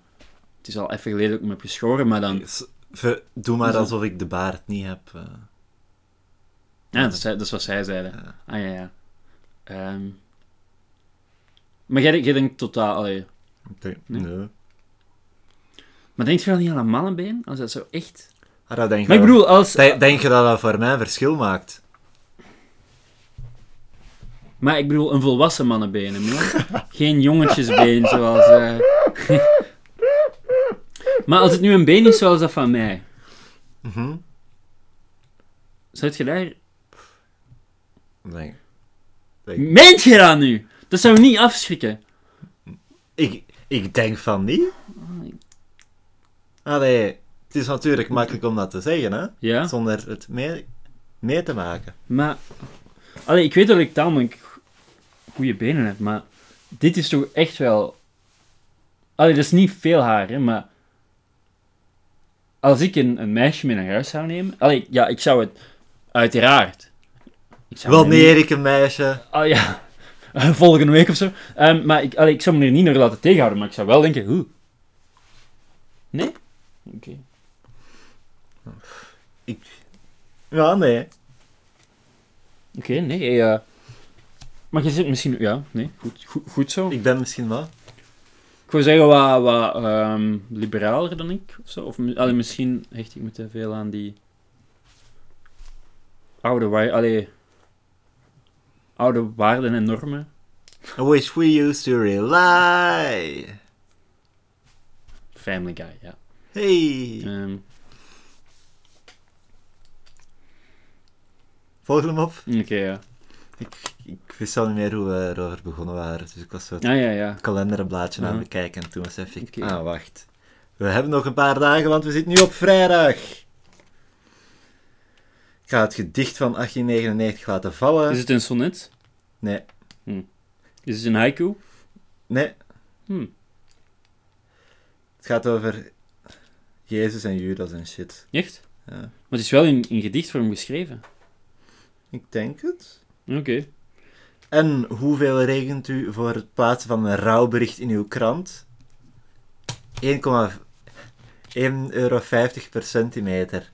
[SPEAKER 2] Het is al even geleden dat ik me heb geschoren, maar dan...
[SPEAKER 1] s- ver- doe maar
[SPEAKER 2] Hoezo?
[SPEAKER 1] alsof ik de baard niet heb. eh.
[SPEAKER 2] Ja, dat is, dat is wat zij zeiden.
[SPEAKER 1] Ja.
[SPEAKER 2] Ah ja, ja. Ehm, maar jij, jij denkt totaal... Allee,
[SPEAKER 1] Ik denk,
[SPEAKER 2] Nee.
[SPEAKER 1] nee.
[SPEAKER 2] maar denk je wel niet aan een mannenbeen? Als dat zo echt...
[SPEAKER 1] Ah, dat denk je
[SPEAKER 2] Maar ik
[SPEAKER 1] wel.
[SPEAKER 2] bedoel, als...
[SPEAKER 1] Denk- Denk je dat dat voor mij een verschil maakt?
[SPEAKER 2] Maar ik bedoel, een volwassen mannenbeen, hè, man. (laughs) Geen jongetjesbeen zoals... eh. (laughs) maar als het nu een been is zoals dat van mij,
[SPEAKER 1] Mhm.
[SPEAKER 2] zou je daar...
[SPEAKER 1] Nee.
[SPEAKER 2] Meent je dat nu? Dat zou niet afschrikken.
[SPEAKER 1] Ik, ik denk van niet. Allee, het is natuurlijk makkelijk om dat te zeggen, hè?
[SPEAKER 2] Ja,
[SPEAKER 1] Zonder het mee, mee te maken.
[SPEAKER 2] maar... Allee, ik weet dat ik tamelijk goede benen hebt, maar dit is toch echt wel... Allee, dat is niet veel haar, hè, maar... Als ik een, een meisje mee naar huis zou nemen... Allee, ja, ik zou het... Uiteraard. Ik zou haar
[SPEAKER 1] Wanneer ik een meisje...
[SPEAKER 2] Ah ja, (laughs) volgende week of zo. Ehm, maar ik, allee, ik zou me er niet naar laten tegenhouden, maar ik zou wel denken, hoe? Nee? Oké.
[SPEAKER 1] Ja, nee.
[SPEAKER 2] Oké, nee. eh, eh, maar je zit misschien... Ja, nee, goed, goed, goed zo. Ik
[SPEAKER 1] Ik ben misschien wel.
[SPEAKER 2] wou zeggen, wat, wat ehm, liberaler dan ik of zo. Of mi- allee, misschien hecht ik me te veel aan die... Oude, wa- allee, oude waarden en normen.
[SPEAKER 1] I wish we used to rely.
[SPEAKER 2] Family guy, ja.
[SPEAKER 1] Hey.
[SPEAKER 2] Ehm,
[SPEAKER 1] Volg hem op.
[SPEAKER 2] Oké, ja.
[SPEAKER 1] Ik wist al niet meer hoe we erover begonnen waren, dus ik was zo het
[SPEAKER 2] Ah, ja, ja.
[SPEAKER 1] kalenderblaadje aan
[SPEAKER 2] Mhm.
[SPEAKER 1] het bekijken en toen besef ik,
[SPEAKER 2] Oké.
[SPEAKER 1] ah wacht, we hebben nog een paar dagen, want we zitten nu op vrijdag. Ik ga het gedicht van 1899 laten vallen.
[SPEAKER 2] Is het een sonnet? Hm.
[SPEAKER 1] Nee,
[SPEAKER 2] Is het een haiku?
[SPEAKER 1] nee,
[SPEAKER 2] Hm.
[SPEAKER 1] het gaat over Jezus en Judas en shit.
[SPEAKER 2] Echt?
[SPEAKER 1] Ja.
[SPEAKER 2] Maar het is wel in, in gedichtvorm geschreven.
[SPEAKER 1] Ik denk het.
[SPEAKER 2] Oké.
[SPEAKER 1] En hoeveel regent u voor het plaatsen van een rouwbericht in uw krant? 1,1 euro per centimeter.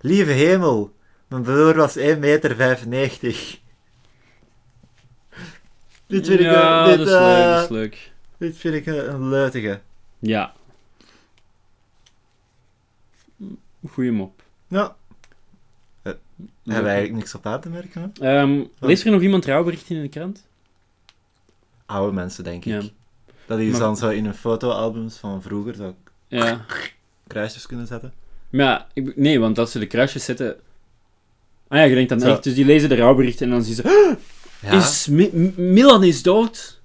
[SPEAKER 1] Lieve hemel, mijn broer was 1,95 meter. Dit vind ik,
[SPEAKER 2] ja,
[SPEAKER 1] een,
[SPEAKER 2] dat
[SPEAKER 1] dit,
[SPEAKER 2] is leuk,
[SPEAKER 1] eh,
[SPEAKER 2] dat is leuk.
[SPEAKER 1] dit vind ik een, een leutige.
[SPEAKER 2] Ja. Goeie mop.
[SPEAKER 1] Nou, daar hebben we eigenlijk niks op aan te merken. Hè?
[SPEAKER 2] Ehm, leest er nog iemand rouwberichten in de krant?
[SPEAKER 1] Oude mensen, denk ik.
[SPEAKER 2] Ja.
[SPEAKER 1] Dat die
[SPEAKER 2] Maar-
[SPEAKER 1] dan zo in hun fotoalbums van vroeger zo
[SPEAKER 2] Ja.
[SPEAKER 1] kruisjes kunnen zetten.
[SPEAKER 2] Maar ja, ik be- nee, want als ze de kruisjes zetten... Ah ja, je denkt dan
[SPEAKER 1] Zo.
[SPEAKER 2] echt, dus die lezen de rouwberichten en dan zien ze... "Ah,
[SPEAKER 1] Ja.
[SPEAKER 2] Is Mi- M- Milan is dood?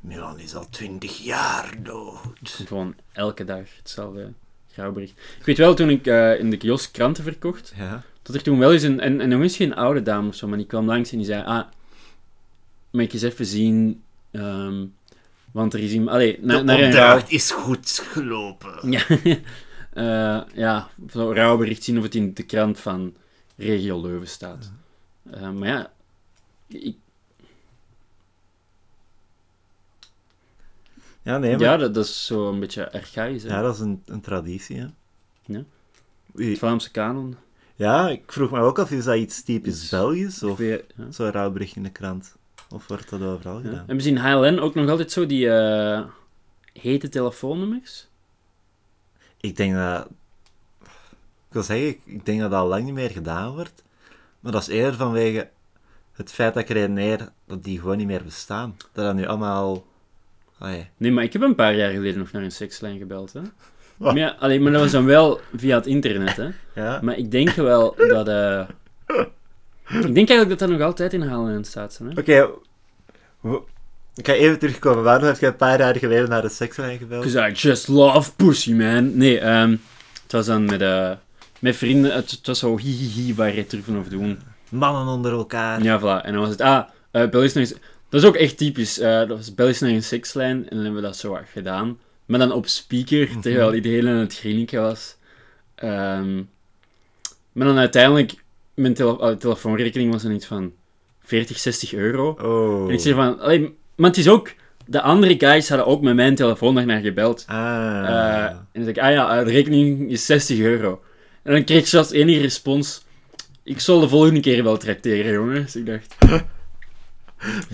[SPEAKER 1] Milan is al twintig jaar dood.
[SPEAKER 2] Gewoon elke dag hetzelfde rouwbericht. Ik weet wel, toen ik eh, in de kiosk kranten verkocht,
[SPEAKER 1] Ja.
[SPEAKER 2] Dat er toen wel eens een, en, en nog eens geen oude dame of zo, maar die kwam langs en die zei, ah, mag ik eens even zien, ehm, want er is iemand, allee, na- naar een rouw-
[SPEAKER 1] is goed gelopen.
[SPEAKER 2] Ja, (laughs) Eh, ja, zo'n rouwbericht zien of het in de krant van regio Leuven staat. Eh, maar ja, ik,
[SPEAKER 1] Ja, nee, maar...
[SPEAKER 2] ja
[SPEAKER 1] Ja,
[SPEAKER 2] dat, dat is zo'n beetje archaïs, hè.
[SPEAKER 1] dat is een, een traditie, hè.
[SPEAKER 2] Ja.
[SPEAKER 1] Oei.
[SPEAKER 2] Vlaamse kanon.
[SPEAKER 1] Ja, ik vroeg me ook af, is dat iets typisch
[SPEAKER 2] Iets-
[SPEAKER 1] Belgisch? Of
[SPEAKER 2] Weer- ja.
[SPEAKER 1] zo'n rouwbericht in de krant? Of wordt dat overal
[SPEAKER 2] Ja.
[SPEAKER 1] gedaan?
[SPEAKER 2] Hebben ze in HLN ook nog altijd zo die eh, hete telefoonnummers?
[SPEAKER 1] Ik denk dat... Ik wil zeggen, ik- ik denk dat dat al lang niet meer gedaan wordt. Maar dat is eerder vanwege het feit dat ik redeneer dat die gewoon niet meer bestaan. Dat dat nu allemaal... Allee.
[SPEAKER 2] Nee, maar ik heb een paar jaar geleden nog naar een sekslijn gebeld, hè. Maar, ja, allee, maar dat was dan wel via het internet, hè.
[SPEAKER 1] Ja.
[SPEAKER 2] Maar ik denk wel dat... eh, Ik denk eigenlijk dat dat nog altijd in Halen staat, hè.
[SPEAKER 1] Oké. w- Ik ga even terugkomen. Waarom heb je een paar jaar geleden naar de sekslijn gebeld?
[SPEAKER 2] Because I just love pussy, man. Nee, ehm, het was dan met, eh, met vrienden. Het, het was zo hihihi, waar je turven over doen.
[SPEAKER 1] Mannen onder elkaar.
[SPEAKER 2] Ja, voilà. En dan was het... Ah, eh bel eens naar een- Dat is ook echt typisch. eh, dat was bel eens naar een sekslijn. En dan hebben we dat zo wat gedaan. Maar dan op speaker, terwijl iedereen aan het grinniken was. Ehm, maar dan uiteindelijk... Mijn tele- allee, telefoonrekening was dan iets van 40, 60 euro.
[SPEAKER 1] Oh.
[SPEAKER 2] En ik zeg van... allee, maar het is ook... De andere guys hadden ook met mijn telefoon daar naar gebeld.
[SPEAKER 1] Ah.
[SPEAKER 2] Eh, en dan zeg ik, ah ja, eh, de rekening is 60 euro. En dan kreeg ik zelfs enige respons, ik zal de volgende keer wel tracteren, jongen. Dus ik dacht,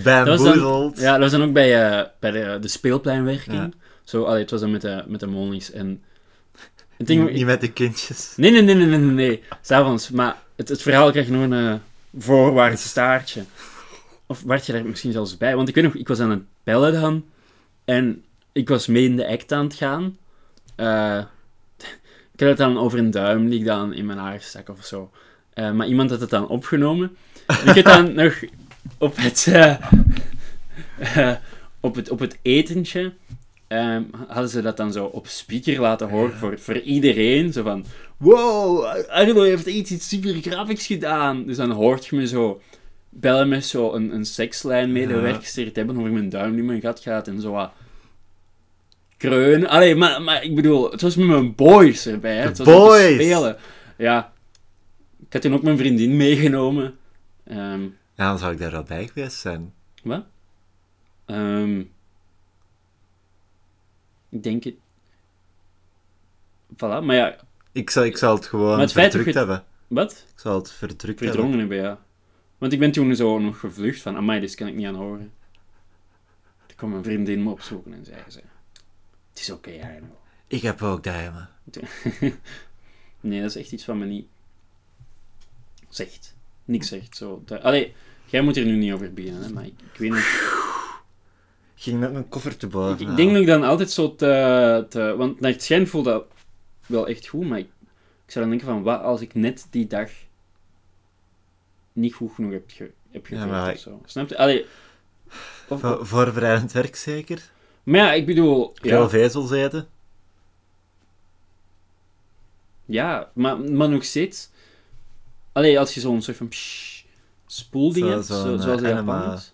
[SPEAKER 1] Bamboezeld.
[SPEAKER 2] ja, dat was dan ook bij, eh, bij de, de speelpleinwerking.
[SPEAKER 1] Ja.
[SPEAKER 2] Zo, allee, het was dan met de, met de monies. En het ding,
[SPEAKER 1] Niet met de kindjes.
[SPEAKER 2] nee, nee, nee, nee, nee, nee, nee, s'avonds. Maar het, het verhaal kreeg nog een eh, voorwaarts staartje. Of werd je daar misschien zelfs bij? Want ik weet nog, ik was aan het bellen dan. En ik was mee in de act aan het gaan. Eh, (laughs) ik had het dan over een duim die ik dan in mijn haar stak of zo. Eh, maar iemand had het dan opgenomen. En ik heb dan nog op het, eh, eh, op het, op het etentje... ehm, hadden ze dat dan zo op speaker laten horen voor, voor iedereen. Zo van, wow, Arno heeft iets, iets super graphics gedaan. Dus dan hoort je me zo bellen met zo een, een sekslijn-medewerker gestuurd hebben over mijn duim die mijn gat gaat en zo wat kreunen. Allee, maar, maar ik bedoel, het was met mijn boys erbij. Hè.
[SPEAKER 1] De
[SPEAKER 2] Het was om te
[SPEAKER 1] boys!
[SPEAKER 2] spelen. Ja. Ik had toen ook mijn vriendin meegenomen. Ehm,
[SPEAKER 1] Ja, dan zou ik daar wel bij geweest zijn.
[SPEAKER 2] wat? Ehm, ik denk het... Voilà, maar ja,
[SPEAKER 1] Ik zou, ik zou het gewoon
[SPEAKER 2] Maar het feit dat
[SPEAKER 1] verdrukt
[SPEAKER 2] je het-
[SPEAKER 1] hebben.
[SPEAKER 2] wat?
[SPEAKER 1] Ik zou het verdrukt
[SPEAKER 2] Verdrongen hebben, ja. Want ik ben toen zo nog gevlucht van, amai, dit kan ik niet aan horen. Toen kwam mijn vriendin me opzoeken en zei ze... Het is oké, okay, Arno."
[SPEAKER 1] hebben. Ik heb ook duimen.
[SPEAKER 2] (laughs) Nee, dat is echt iets wat me niet zegt. Niks zegt. Zo. Da- Allee, jij moet er nu niet over beginnen, hè, maar ik, ik weet niet.
[SPEAKER 1] Ik ging net mijn koffer te boven.
[SPEAKER 2] Ik, ik denk dat ik dan altijd zo te, te- Want naar het schijn voelde dat wel echt goed, maar ik, ik zou dan denken van, wat als ik net die dag niet goed genoeg heb, ge, heb
[SPEAKER 1] Ja,
[SPEAKER 2] gegeven
[SPEAKER 1] maar
[SPEAKER 2] of zo. Snap je? Allee... Of,
[SPEAKER 1] Vo- voorbereidend werk zeker.
[SPEAKER 2] maar ja, ik bedoel...
[SPEAKER 1] Veel
[SPEAKER 2] Ja,
[SPEAKER 1] vezels eten.
[SPEAKER 2] ja maar, maar nog steeds... Allee, als je zo'n soort van... pssst, spoelding
[SPEAKER 1] Zo-
[SPEAKER 2] hebt,
[SPEAKER 1] zo'n,
[SPEAKER 2] zo,
[SPEAKER 1] eh,
[SPEAKER 2] zoals de
[SPEAKER 1] enema.
[SPEAKER 2] Japanners.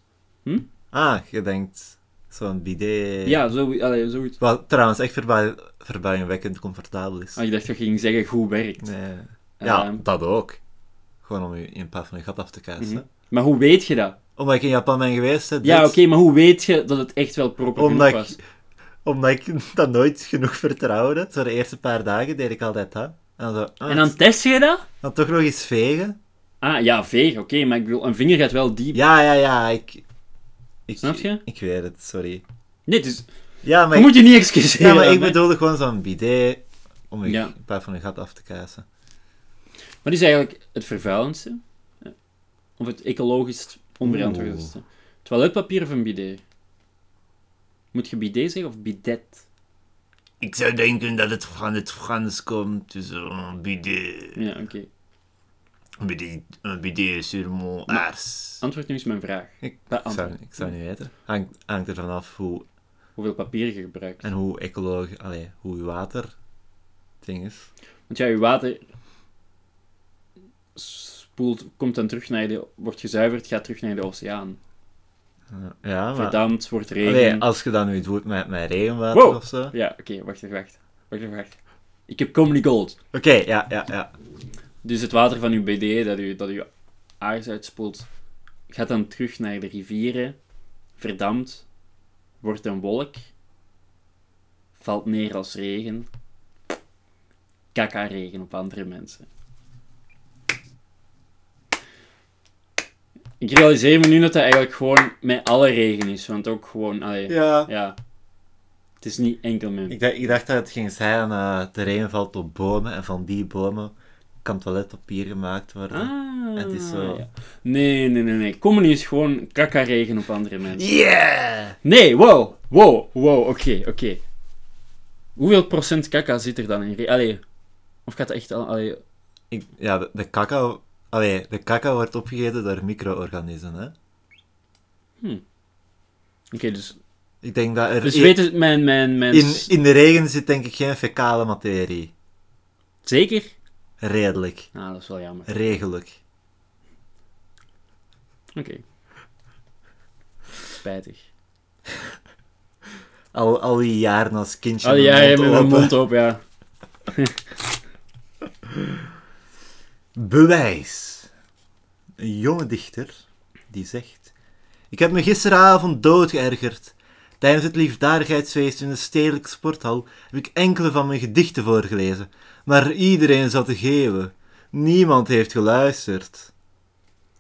[SPEAKER 1] Ah, je denkt zo'n bidet.
[SPEAKER 2] Ja, zo, allee, zoiets.
[SPEAKER 1] Wat trouwens echt verba verbazingwekkend comfortabel is.
[SPEAKER 2] Ah, ik dacht dat je ging zeggen goed werkt.
[SPEAKER 1] Nee. Ja,
[SPEAKER 2] Ehm,
[SPEAKER 1] dat ook. Gewoon om je een paar van je gat af te kassen.
[SPEAKER 2] mhm. Maar hoe weet je dat?
[SPEAKER 1] Omdat ik in Japan ben geweest, hè,
[SPEAKER 2] Ja,
[SPEAKER 1] dit.
[SPEAKER 2] oké, maar hoe weet je dat het echt wel proper
[SPEAKER 1] Omdat
[SPEAKER 2] genoeg
[SPEAKER 1] ik-
[SPEAKER 2] was?
[SPEAKER 1] Omdat ik (laughs) dat nooit genoeg vertrouwde. Zo de eerste paar dagen deed ik altijd dat. En dan, zo, ah,
[SPEAKER 2] En dan test je dat?
[SPEAKER 1] dan toch nog eens vegen.
[SPEAKER 2] Ah, ja, veeg, oké, maar ik bedoel, een vinger gaat wel diep.
[SPEAKER 1] Ja, ja, ja, ik... ik
[SPEAKER 2] Snap je?
[SPEAKER 1] Ik weet het, sorry.
[SPEAKER 2] Nee, het is-
[SPEAKER 1] Ja, maar,
[SPEAKER 2] je
[SPEAKER 1] ik,
[SPEAKER 2] moet je niet excuseren.
[SPEAKER 1] ja, maar
[SPEAKER 2] aan
[SPEAKER 1] ik
[SPEAKER 2] mij.
[SPEAKER 1] bedoelde gewoon zo'n bidet om je
[SPEAKER 2] Ja.
[SPEAKER 1] een paar van je gat af te kassen.
[SPEAKER 2] Wat is eigenlijk het vervuilendste? Ja. Of het ecologisch onverantwoordelijkste? Toiletpapier of een bidet? Moet je bidet zeggen of bidet?
[SPEAKER 1] Ik zou denken dat het van het Frans komt, dus een bidet.
[SPEAKER 2] Ja, oké.
[SPEAKER 1] Een bidet, een bidet sur mon aars.
[SPEAKER 2] Antwoord nu eens mijn vraag.
[SPEAKER 1] Ik,
[SPEAKER 2] Dat
[SPEAKER 1] ik zou,
[SPEAKER 2] antwoord.
[SPEAKER 1] ik zou niet weten. Hangt, hangt er vanaf hoe,
[SPEAKER 2] Hoeveel papier je gebruikt.
[SPEAKER 1] en hoe ecologisch, allee, hoe je water ding is.
[SPEAKER 2] Want ja, je water spoelt, komt dan terug naar de, wordt gezuiverd, gaat terug naar de oceaan.
[SPEAKER 1] Ja, maar
[SPEAKER 2] Verdampt, wordt regen.
[SPEAKER 1] Ah. allee, ah. als je dat nu doet met, met regenwater
[SPEAKER 2] Wow.
[SPEAKER 1] of zo. Oké,
[SPEAKER 2] Ja, oké, wacht even, wacht. Wacht even, wacht. Ik heb Comedy Gold.
[SPEAKER 1] ja, ja, ja.
[SPEAKER 2] Dus het water van uw BD dat u, dat u aars uitspoelt, gaat dan terug naar de rivieren, verdampt, wordt een wolk, valt neer als regen, kaka regen op andere mensen. Ik realiseer me nu dat dat eigenlijk gewoon met alle regen is, want ook gewoon, allee, ja.
[SPEAKER 1] Ja.
[SPEAKER 2] Het is niet enkel met...
[SPEAKER 1] Ik dacht, ik dacht dat het ging zijn, eh de regen valt op bomen en van die bomen kan toiletpapier gemaakt worden.
[SPEAKER 2] Ah,
[SPEAKER 1] Het is zo.
[SPEAKER 2] ja. Nee, nee, nee, nee. Comedy is gewoon kaka regen op andere mensen.
[SPEAKER 1] Yeah!
[SPEAKER 2] Nee, wow, wow, wow, oké, oké. Hoeveel procent kaka zit er dan in? re- Allee, of gaat dat echt al... Allee,
[SPEAKER 1] Ik, ja, de, de cacao... Allee, de cacao wordt opgegeten door micro-organismen, hè.
[SPEAKER 2] oké, dus...
[SPEAKER 1] Ik denk dat er...
[SPEAKER 2] Dus
[SPEAKER 1] i-
[SPEAKER 2] weten mijn... mijn, mijn
[SPEAKER 1] in, in de regen zit denk ik geen fecale materie.
[SPEAKER 2] Zeker?
[SPEAKER 1] Redelijk.
[SPEAKER 2] Ah, dat is wel jammer.
[SPEAKER 1] Regelijk.
[SPEAKER 2] Oké. Spijtig.
[SPEAKER 1] Al, al die jaren als kindje
[SPEAKER 2] Allee,
[SPEAKER 1] mijn
[SPEAKER 2] jij hebt
[SPEAKER 1] mond
[SPEAKER 2] met
[SPEAKER 1] open.
[SPEAKER 2] een mond op, ja.
[SPEAKER 1] Bewijs. Een jonge dichter die zegt... Ik heb me gisteravond doodgeërgerd. Tijdens het liefdadigheidsfeest in de stedelijke sporthal heb ik enkele van mijn gedichten voorgelezen. Maar iedereen zat te geeuwen. Niemand heeft geluisterd.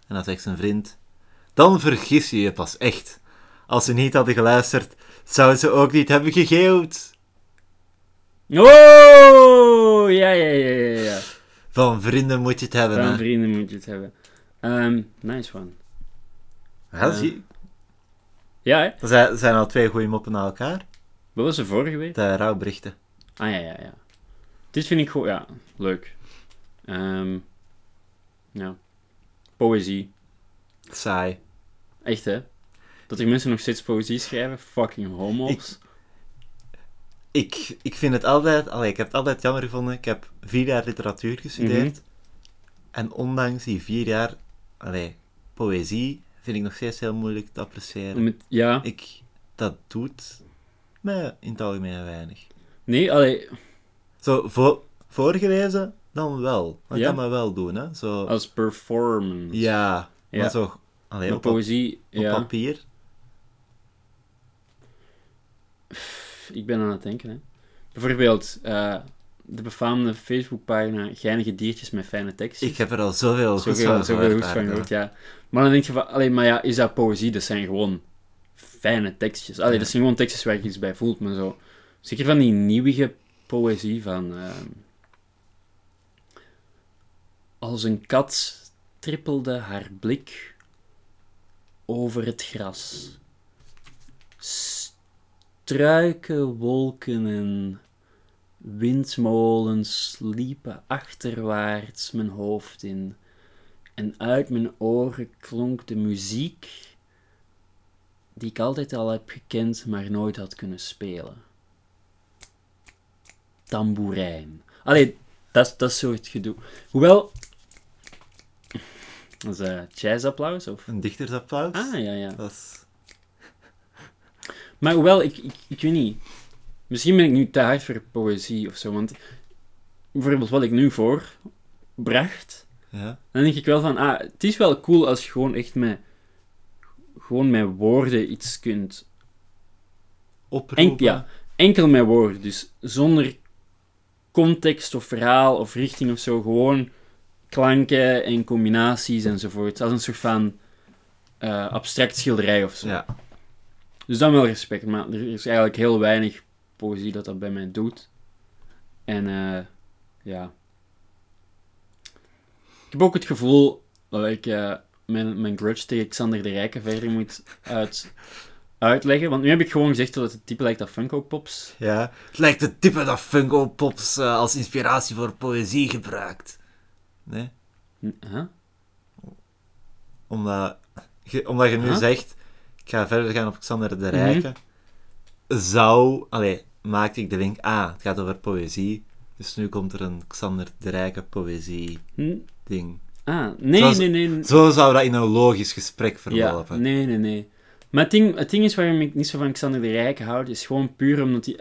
[SPEAKER 1] En dan zegt zijn vriend... Dan vergis je je pas echt. Als ze niet hadden geluisterd, zouden ze ook niet hebben gegeeuwd.
[SPEAKER 2] Oh, ja, ja, ja, ja, ja.
[SPEAKER 1] Van vrienden moet je het hebben,
[SPEAKER 2] Van
[SPEAKER 1] hè.
[SPEAKER 2] vrienden moet je het hebben. Ehm, nice one.
[SPEAKER 1] Ja, zie-
[SPEAKER 2] Ja, hè?
[SPEAKER 1] Er zijn- er zijn al twee goede moppen na elkaar.
[SPEAKER 2] Wat was er vorige week?
[SPEAKER 1] De rouwberichten.
[SPEAKER 2] Ah ja, ja, ja. Dit vind ik goed, ja, leuk. Ehm, ja. Poëzie.
[SPEAKER 1] Saai.
[SPEAKER 2] Echt hè? Dat er mensen nog steeds poëzie schrijven, fucking homo's.
[SPEAKER 1] Ik, ik vind het altijd... Allee, ik heb het altijd jammer gevonden. Ik heb
[SPEAKER 2] Mhm.
[SPEAKER 1] vier jaar literatuur gestudeerd. En ondanks die vier jaar... Allee, poëzie vind ik nog steeds heel moeilijk te appreciëren.
[SPEAKER 2] Met, ja,
[SPEAKER 1] Ik, dat doet mij in het algemeen weinig.
[SPEAKER 2] nee, allee,
[SPEAKER 1] Zo, vo- voorgelezen, dan wel. Dat
[SPEAKER 2] Ja.
[SPEAKER 1] kan dat wel doen, hè. Zo,
[SPEAKER 2] als performance.
[SPEAKER 1] ja,
[SPEAKER 2] Ja.
[SPEAKER 1] maar zo... Alleen
[SPEAKER 2] Maar
[SPEAKER 1] op, op
[SPEAKER 2] poëzie, ja.
[SPEAKER 1] papier.
[SPEAKER 2] Ik ben aan het denken, hè. Bijvoorbeeld, eh, de befaamde Facebookpagina Geinige Diertjes met Fijne Tekst.
[SPEAKER 1] Ik heb er al zoveel goeds
[SPEAKER 2] Zoveel,
[SPEAKER 1] van
[SPEAKER 2] zoveel
[SPEAKER 1] gehoord.
[SPEAKER 2] goeds van
[SPEAKER 1] eigenlijk.
[SPEAKER 2] gehoord, ja. Maar dan denk je van, allee, maar ja, is dat poëzie? Dat zijn gewoon fijne tekstjes. Allee,
[SPEAKER 1] Ja.
[SPEAKER 2] dat zijn gewoon tekstjes waar je iets bij voelt, maar zo. Zeker van die nieuwige poëzie van... ehm, als een kat trippelde haar blik over het gras. Struiken, wolken en Windmolens liepen achterwaarts mijn hoofd in, en uit mijn oren klonk de muziek die ik altijd al heb gekend, maar nooit had kunnen spelen. Tamboerijn. Allee, dat, is- dat soort gedoe. Hoewel... Dat is eh, jazzapplaus, of...
[SPEAKER 1] Een dichtersapplaus.
[SPEAKER 2] Ah, ja, ja.
[SPEAKER 1] Dat is...
[SPEAKER 2] Maar hoewel, ik, ik, ik weet niet. Misschien ben ik nu te hard voor poëzie of zo. Want bijvoorbeeld wat ik nu voorbracht,
[SPEAKER 1] Ja.
[SPEAKER 2] dan denk ik wel van, ah, het is wel cool als je gewoon echt met, gewoon met woorden iets kunt.
[SPEAKER 1] Oproepen.
[SPEAKER 2] En, ja, enkel met woorden. Dus zonder context of verhaal of richting of zo. Gewoon klanken en combinaties enzovoort. Als een soort van eh, abstract schilderij of zo.
[SPEAKER 1] Ja.
[SPEAKER 2] Dus dan wel respect, maar er is eigenlijk heel weinig poëzie dat dat bij mij doet. En eh, ja. Ik heb ook het gevoel dat ik eh, mijn, mijn grudge tegen Xander de Rijken verder moet uit, uitleggen. Want nu heb ik gewoon gezegd dat het een type lijkt op Funko Pops.
[SPEAKER 1] Ja. Het lijkt het type dat Funko Pops eh, als inspiratie voor poëzie gebruikt. Nee?
[SPEAKER 2] Hm, Huh?
[SPEAKER 1] Omdat je, omdat je nu
[SPEAKER 2] Huh?
[SPEAKER 1] zegt, ik ga verder gaan op Xander de
[SPEAKER 2] Mhm.
[SPEAKER 1] Rijken. Zou... Allee, maakte ik de link. Ah, het gaat over poëzie. Dus nu komt er een Xander de Rijken poëzie
[SPEAKER 2] Hm?
[SPEAKER 1] ding.
[SPEAKER 2] Ah, nee,
[SPEAKER 1] Zoals-
[SPEAKER 2] nee, nee.
[SPEAKER 1] Zo zou dat in een logisch gesprek
[SPEAKER 2] Ja,
[SPEAKER 1] verlopen.
[SPEAKER 2] nee, nee, nee. Maar het ding, het ding is waarom ik niet zo van Xander de Rijken houd, is gewoon puur omdat hij...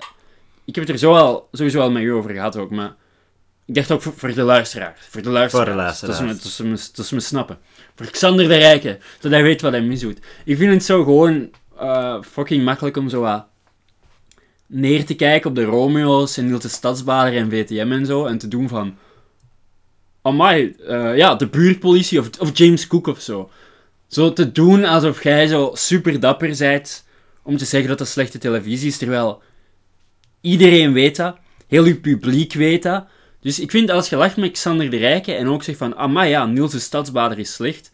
[SPEAKER 2] Ik heb het er zo al, sowieso al met u over gehad ook, maar... Ik dacht ook voor, voor de luisteraar. Voor de luisteraar.
[SPEAKER 1] luisteraars.
[SPEAKER 2] Dat ze, me, dat, ze me, dat ze me snappen. Voor Xander de Rijken, dat hij weet wat hij misdoet. Ik vind het zo gewoon eh, fucking makkelijk om zo wat neer te kijken op de Romeo's en Niels de Stadsbader en VTM en zo. En te doen van... Amai, eh ja, de buurtpolitie of, of James Cook of zo. Zo te doen alsof jij zo super dapper bent om te zeggen dat dat slechte televisie is, terwijl iedereen weet dat, heel je publiek weet dat. Dus ik vind als je lacht met Xander de Rijken en ook zegt van, amai ja, Niels de Stadsbader is slecht,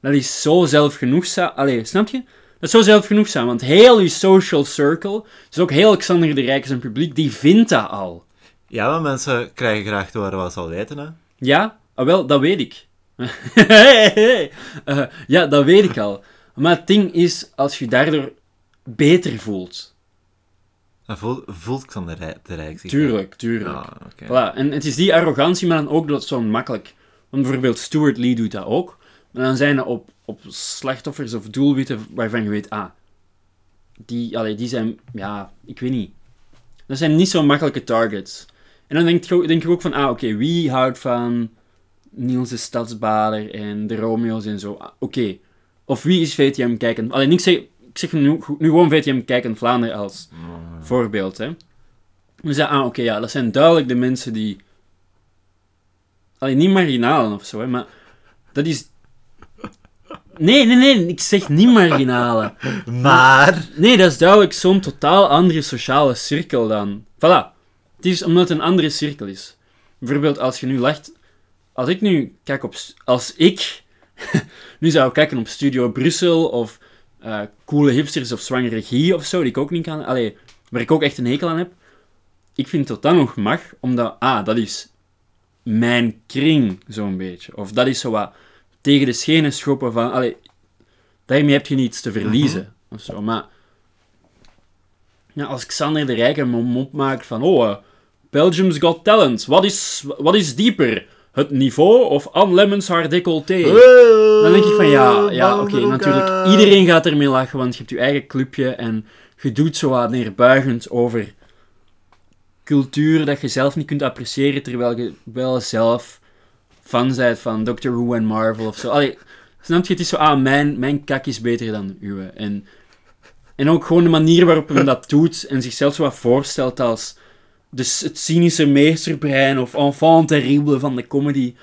[SPEAKER 2] dat is zo zelfgenoegzaam. Allee, snap je? Dat is zo zelfgenoegzaam, want heel je social circle, dus ook heel Xander de Rijken zijn publiek, die vindt dat al.
[SPEAKER 1] Ja, maar mensen krijgen graag te horen wat ze al weten, hè.
[SPEAKER 2] Ja, ah, wel, dat weet ik. (laughs) Eh, ja, dat weet ik al. Maar het ding is, als je daardoor beter voelt.
[SPEAKER 1] En voelt, voelt Xander Rij- de Rijk zich
[SPEAKER 2] Tuurlijk, tuurlijk.
[SPEAKER 1] Ah, oké.
[SPEAKER 2] Voilà. En het is die arrogantie, maar dan ook dat zo makkelijk. Want bijvoorbeeld Stuart Lee doet dat ook. Maar dan zijn er op, op slachtoffers of doelwitten waarvan je weet, ah, die, allee, die zijn, ja, ik weet niet. Dat zijn niet zo makkelijke targets. En dan denk je, ook- denk je ook van, ah, oké, wie houdt van Niels de Stadsbader en de Romeo's en zo? Ah, oké. Of wie is VTM kijken? Alleen ik zeg, ik zeg nu, nu gewoon VTM kijken Vlaanderen als
[SPEAKER 1] Mm.
[SPEAKER 2] voorbeeld, hè. We zeiden, ah, oké, ja, dat zijn duidelijk de mensen die... Alleen niet marginalen of zo, hè, maar dat is... Nee, nee, nee, ik zeg niet marginalen.
[SPEAKER 1] Maar...
[SPEAKER 2] Nee, dat is duidelijk zo'n totaal andere sociale cirkel dan. Voilà. Het is omdat het een andere cirkel is. Bijvoorbeeld, als je nu lacht... Als ik nu kijk op... st- Als ik nu zou kijken op Studio Brussel of eh, Coole Hipsters of Zwangere Gie of zo, die ik ook niet kan... Allee, waar ik ook echt een hekel aan heb. Ik vind dat dat nog mag, omdat... Ah, dat is mijn kring, zo'n beetje. Of dat is zo wat tegen de schenen schoppen van... Allee, daarmee heb je niets te verliezen. of zo. Maar ja, als Xander de Rijken een mop maakt van... Oh, eh, Belgium's Got Talent. Wat is, wat is dieper? Het niveau of Anne Lemmens haar décolleté? dan denk ik van ja, ja
[SPEAKER 1] Ballen
[SPEAKER 2] oké,
[SPEAKER 1] door
[SPEAKER 2] natuurlijk.
[SPEAKER 1] elkaar.
[SPEAKER 2] Iedereen gaat ermee lachen, want je hebt je eigen clubje en je doet zo wat neerbuigend over cultuur dat je zelf niet kunt appreciëren, terwijl je wel zelf fan bent van Doctor Who en Marvel of zo. Allee, snap je? Het is zo, ah, mijn, mijn kak is beter dan uwe. En, en ook gewoon de manier waarop men dat doet en zichzelf zo wat voorstelt als dus het cynische meesterbrein of enfant terrible van de comedy.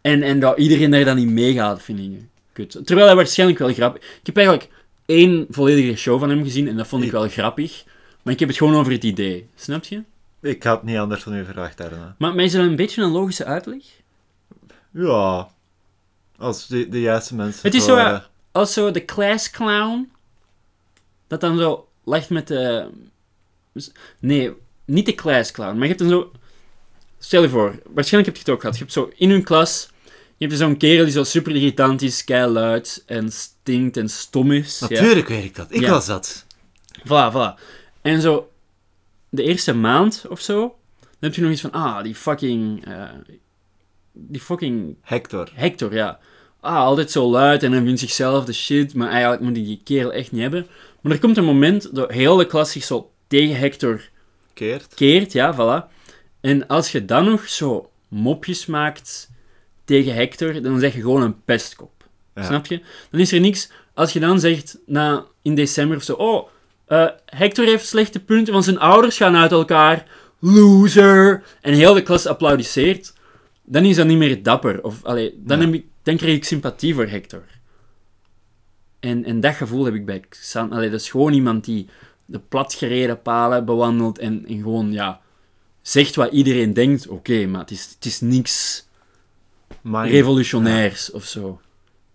[SPEAKER 2] En, en dat iedereen daar dan in meegaat, vind ik. Kut. Terwijl hij waarschijnlijk wel grappig... Ik heb eigenlijk één volledige show van hem gezien en dat vond ik wel grappig. Maar ik heb het gewoon over het idee. Snap je?
[SPEAKER 1] Ik had niet anders van u verwacht daarna.
[SPEAKER 2] Maar, maar is dat een beetje een logische uitleg?
[SPEAKER 1] Ja. Als de, de juiste mensen.
[SPEAKER 2] Het is
[SPEAKER 1] voor,
[SPEAKER 2] zo,
[SPEAKER 1] eh,
[SPEAKER 2] eh, als zo de class clown, dat dan zo legt met de... Nee, niet de class clown, maar je hebt dan zo... Stel je voor, waarschijnlijk heb je het ook gehad. Je hebt zo in hun klas, je hebt dus zo'n kerel die zo super irritant is, luid en stinkt en stom is. ja.
[SPEAKER 1] Natuurlijk weet ik dat. Ik
[SPEAKER 2] Ja.
[SPEAKER 1] was dat.
[SPEAKER 2] Voilà, voilà. En zo, de eerste maand of zo, dan heb je nog iets van, ah, die fucking... eh, die fucking
[SPEAKER 1] Hector.
[SPEAKER 2] Hector, ja. Ah, altijd zo luid en hij vindt zichzelf de shit, maar eigenlijk moet hij die kerel echt niet hebben. Maar er komt een moment dat heel de klas zich zo tegen Hector
[SPEAKER 1] Keert.
[SPEAKER 2] keert, ja, voilà. En als je dan nog zo mopjes maakt tegen Hector, dan zeg je gewoon een pestkop.
[SPEAKER 1] Ja.
[SPEAKER 2] Snap je? Dan is er niks. Als je dan zegt, na, in december of zo, oh, eh, Hector heeft slechte punten, want zijn ouders gaan uit elkaar, loser, en heel de klas applaudisseert, dan is dat niet meer dapper. Of, allee, dan,
[SPEAKER 1] Ja.
[SPEAKER 2] heb ik, dan krijg ik sympathie voor Hector. En, en dat gevoel heb ik bij Xan. Allee, dat is gewoon iemand die de platgereden palen bewandelt en, en gewoon, ja, zegt wat iedereen denkt. Oké, maar het is, het is niks
[SPEAKER 1] Maar
[SPEAKER 2] revolutionairs of zo.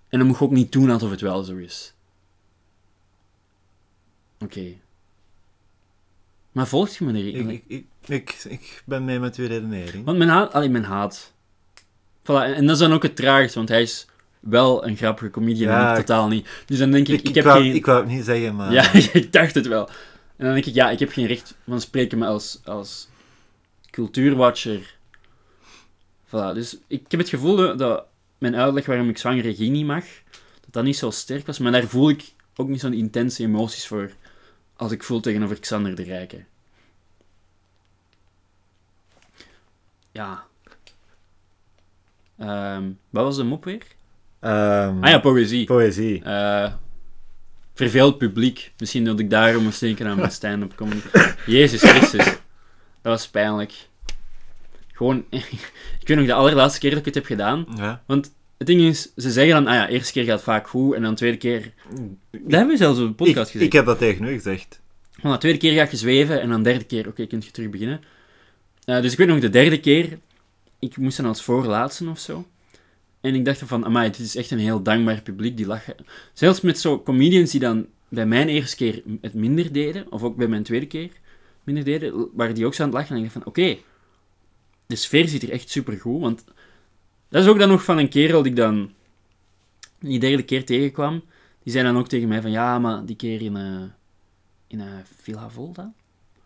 [SPEAKER 2] En dan moet je ook niet doen alsof het wel zo is. Oké. Maar volgt je me er?
[SPEAKER 1] ik, ik, ik, ik, ik ben mee met uw redenering.
[SPEAKER 2] Want men haat... Allee, men haat. Voilà, en, en dat is dan ook het tragisch, want hij is wel een grappige comedian,
[SPEAKER 1] Ja,
[SPEAKER 2] en ik
[SPEAKER 1] ik-
[SPEAKER 2] totaal niet. Dus dan denk ik,
[SPEAKER 1] Ik,
[SPEAKER 2] ik,
[SPEAKER 1] ik,
[SPEAKER 2] heb
[SPEAKER 1] wou,
[SPEAKER 2] geen...
[SPEAKER 1] ik wou het niet zeggen, maar...
[SPEAKER 2] Ja, (laughs) ik dacht het wel. En dan denk ik, ja, ik heb geen recht van spreken, maar als, als cultuurwatcher... Voilà, dus ik heb het gevoel dat- dat mijn uitleg waarom ik zwangere ging niet mag, dat dat niet zo sterk was, maar daar voel ik ook niet zo'n intense emoties voor als ik voel tegenover Xander de Rijke. Ja. Ehm, wat was de mop weer?
[SPEAKER 1] Ehm,
[SPEAKER 2] Ah ja, poëzie.
[SPEAKER 1] Poëzie.
[SPEAKER 2] Eh, verveeld publiek. Misschien dat ik daarom moest denken aan mijn stand-up comedy. Jezus Christus. Dat was pijnlijk. Gewoon, (laughs) ik weet nog de allerlaatste keer dat ik het heb gedaan.
[SPEAKER 1] Ja.
[SPEAKER 2] Het ding is, ze zeggen dan, ah ja, eerste keer gaat vaak goed, en dan tweede keer... Dat hebben we zelfs op de
[SPEAKER 1] Mm. Ik,
[SPEAKER 2] podcast gezien.
[SPEAKER 1] ik heb dat tegen u gezegd.
[SPEAKER 2] Van de tweede keer ga je zweven en dan de derde keer, oké, kun je terug beginnen. Eh, dus ik weet nog de derde keer, ik moest dan als voorlaatste of zo. En ik dacht dan van, amai, dit is echt een heel dankbaar publiek, die lachen. Zelfs met zo comedians die dan bij mijn eerste keer het minder deden, of ook bij mijn tweede keer minder deden, waren die ook zo aan het lachen. En ik dacht van, oké, de sfeer zit er echt supergoed, want dat is ook dan nog van een kerel die ik dan die derde keer tegenkwam. Die zei dan ook tegen mij van, ja, maar die keer in... eh, in eh Villa Volta.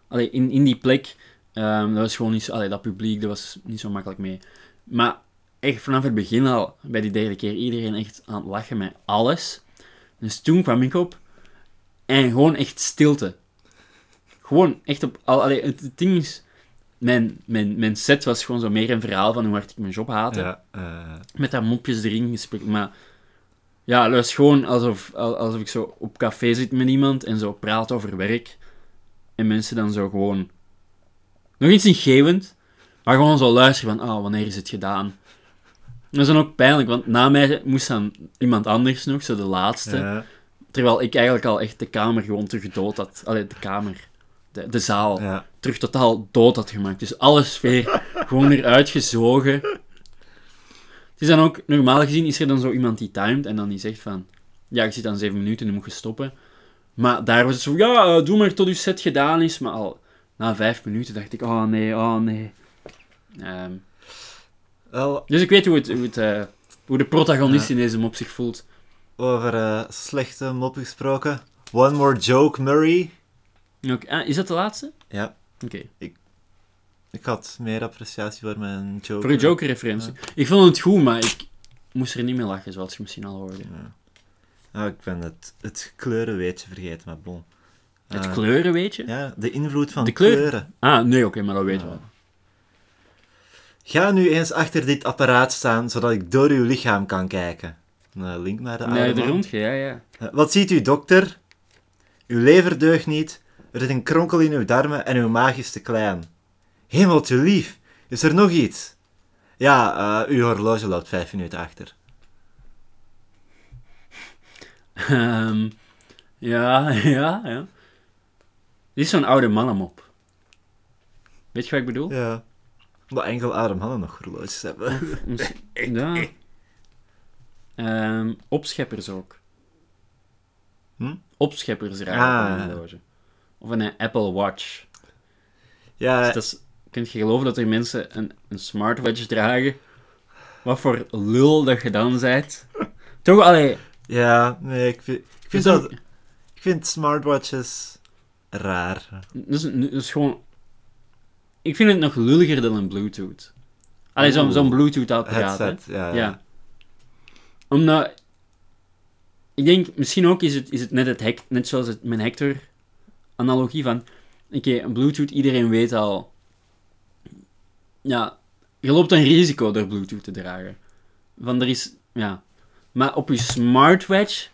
[SPEAKER 2] Allee, in, in die plek, ehm, dat was gewoon niet zo, allee, dat publiek, dat was niet zo makkelijk mee. Maar echt vanaf het begin al, bij die derde keer, iedereen echt aan het lachen met alles. Dus toen kwam ik op en gewoon echt stilte. Gewoon echt op, al, allee, het, het ding is, mijn, mijn, mijn set was gewoon zo meer een verhaal van hoe hard ik mijn job haatte
[SPEAKER 1] Ja, eh,
[SPEAKER 2] met dat mopjes erin gespeeld. Maar ja, dat is gewoon alsof, al- alsof ik zo op café zit met iemand en zo praat over werk. En mensen dan zo gewoon... Nog iets ingevend, maar gewoon zo luisteren van, ah, wanneer is het gedaan? Dat is dan ook pijnlijk, want na mij moest dan iemand anders nog, zo de laatste.
[SPEAKER 1] ja,
[SPEAKER 2] Terwijl ik eigenlijk al echt de kamer gewoon terug dood had. Allee, de kamer. De, de zaal
[SPEAKER 1] ja.
[SPEAKER 2] terug totaal dood had gemaakt. Dus alle sfeer gewoon eruit gezogen. Het is dan ook, normaal gezien is er dan zo iemand die timed en dan die zegt van... Ja, ik zit aan zeven minuten, nu moet je stoppen. Maar daar was het zo ja, eh, doe maar tot je set gedaan is. Maar al na vijf minuten dacht ik, oh nee, oh nee. Ehm,
[SPEAKER 1] Wel,
[SPEAKER 2] dus ik weet hoe, het, hoe, het, eh, hoe de protagonist
[SPEAKER 1] Ja.
[SPEAKER 2] in deze mop zich voelt.
[SPEAKER 1] over eh, slechte moppen gesproken. One more joke, Murray.
[SPEAKER 2] Ook, ah, is dat de laatste?
[SPEAKER 1] Ja,
[SPEAKER 2] Oké.
[SPEAKER 1] ik had meer appreciatie voor mijn joke.
[SPEAKER 2] Voor een Joker-referentie. Ik vond het goed, maar ik moest er niet meer lachen, zoals je misschien al hoorde.
[SPEAKER 1] Ah, ik ben het, het kleurenweetje vergeten, maar bon.
[SPEAKER 2] het
[SPEAKER 1] Eh,
[SPEAKER 2] kleuren, weet je?
[SPEAKER 1] Ja, de invloed van
[SPEAKER 2] De kleur?
[SPEAKER 1] kleuren.
[SPEAKER 2] Ah, nee, oké, maar dat weten we
[SPEAKER 1] Ja.
[SPEAKER 2] wel.
[SPEAKER 1] Ga nu eens achter dit apparaat staan, zodat ik door uw lichaam kan kijken. Een link naar de oude
[SPEAKER 2] Nee, de
[SPEAKER 1] man.
[SPEAKER 2] rondje, ja, ja.
[SPEAKER 1] Eh, Wat ziet u, dokter? Uw lever deugt niet, er zit een kronkel in uw darmen en uw maag is te klein. Hemeltje lief, is er nog iets? Ja, eh, uw horloge loopt vijf minuten achter.
[SPEAKER 2] Ehm, ja, (laughs) ja, ja. Dit is zo'n oude mannenmop. Weet je wat ik
[SPEAKER 1] (laughs)
[SPEAKER 2] bedoel?
[SPEAKER 1] Ja. Omdat enkel oude mannen nog horloges hebben.
[SPEAKER 2] Misschien- Ja. Ehm, opscheppers ook.
[SPEAKER 1] Hm?
[SPEAKER 2] Opscheppers raken
[SPEAKER 1] Ah.
[SPEAKER 2] een horloge. Of een Apple Watch.
[SPEAKER 1] Ja, Eh.
[SPEAKER 2] Dus dat is, kun je geloven dat er mensen een, een smartwatch dragen? Wat voor lul dat je dan bent. Toch, allee...
[SPEAKER 1] ja nee, ik vind, ik vind, dat, ik vind smartwatches raar.
[SPEAKER 2] Dus, dus gewoon... Ik vind het nog lulliger dan een Bluetooth. Allee, zo'n
[SPEAKER 1] Oeh.
[SPEAKER 2] zo'n Bluetooth-apparaat, hè.
[SPEAKER 1] Headset, eh. ja.
[SPEAKER 2] Ja. Omdat... Ik denk, misschien ook is het, is het net het hek... Net zoals het, mijn Hector-analogie van... Oké, een Bluetooth, iedereen weet al... Ja, je loopt een risico door Bluetooth te dragen. Want er is... Ja. Maar op je smartwatch...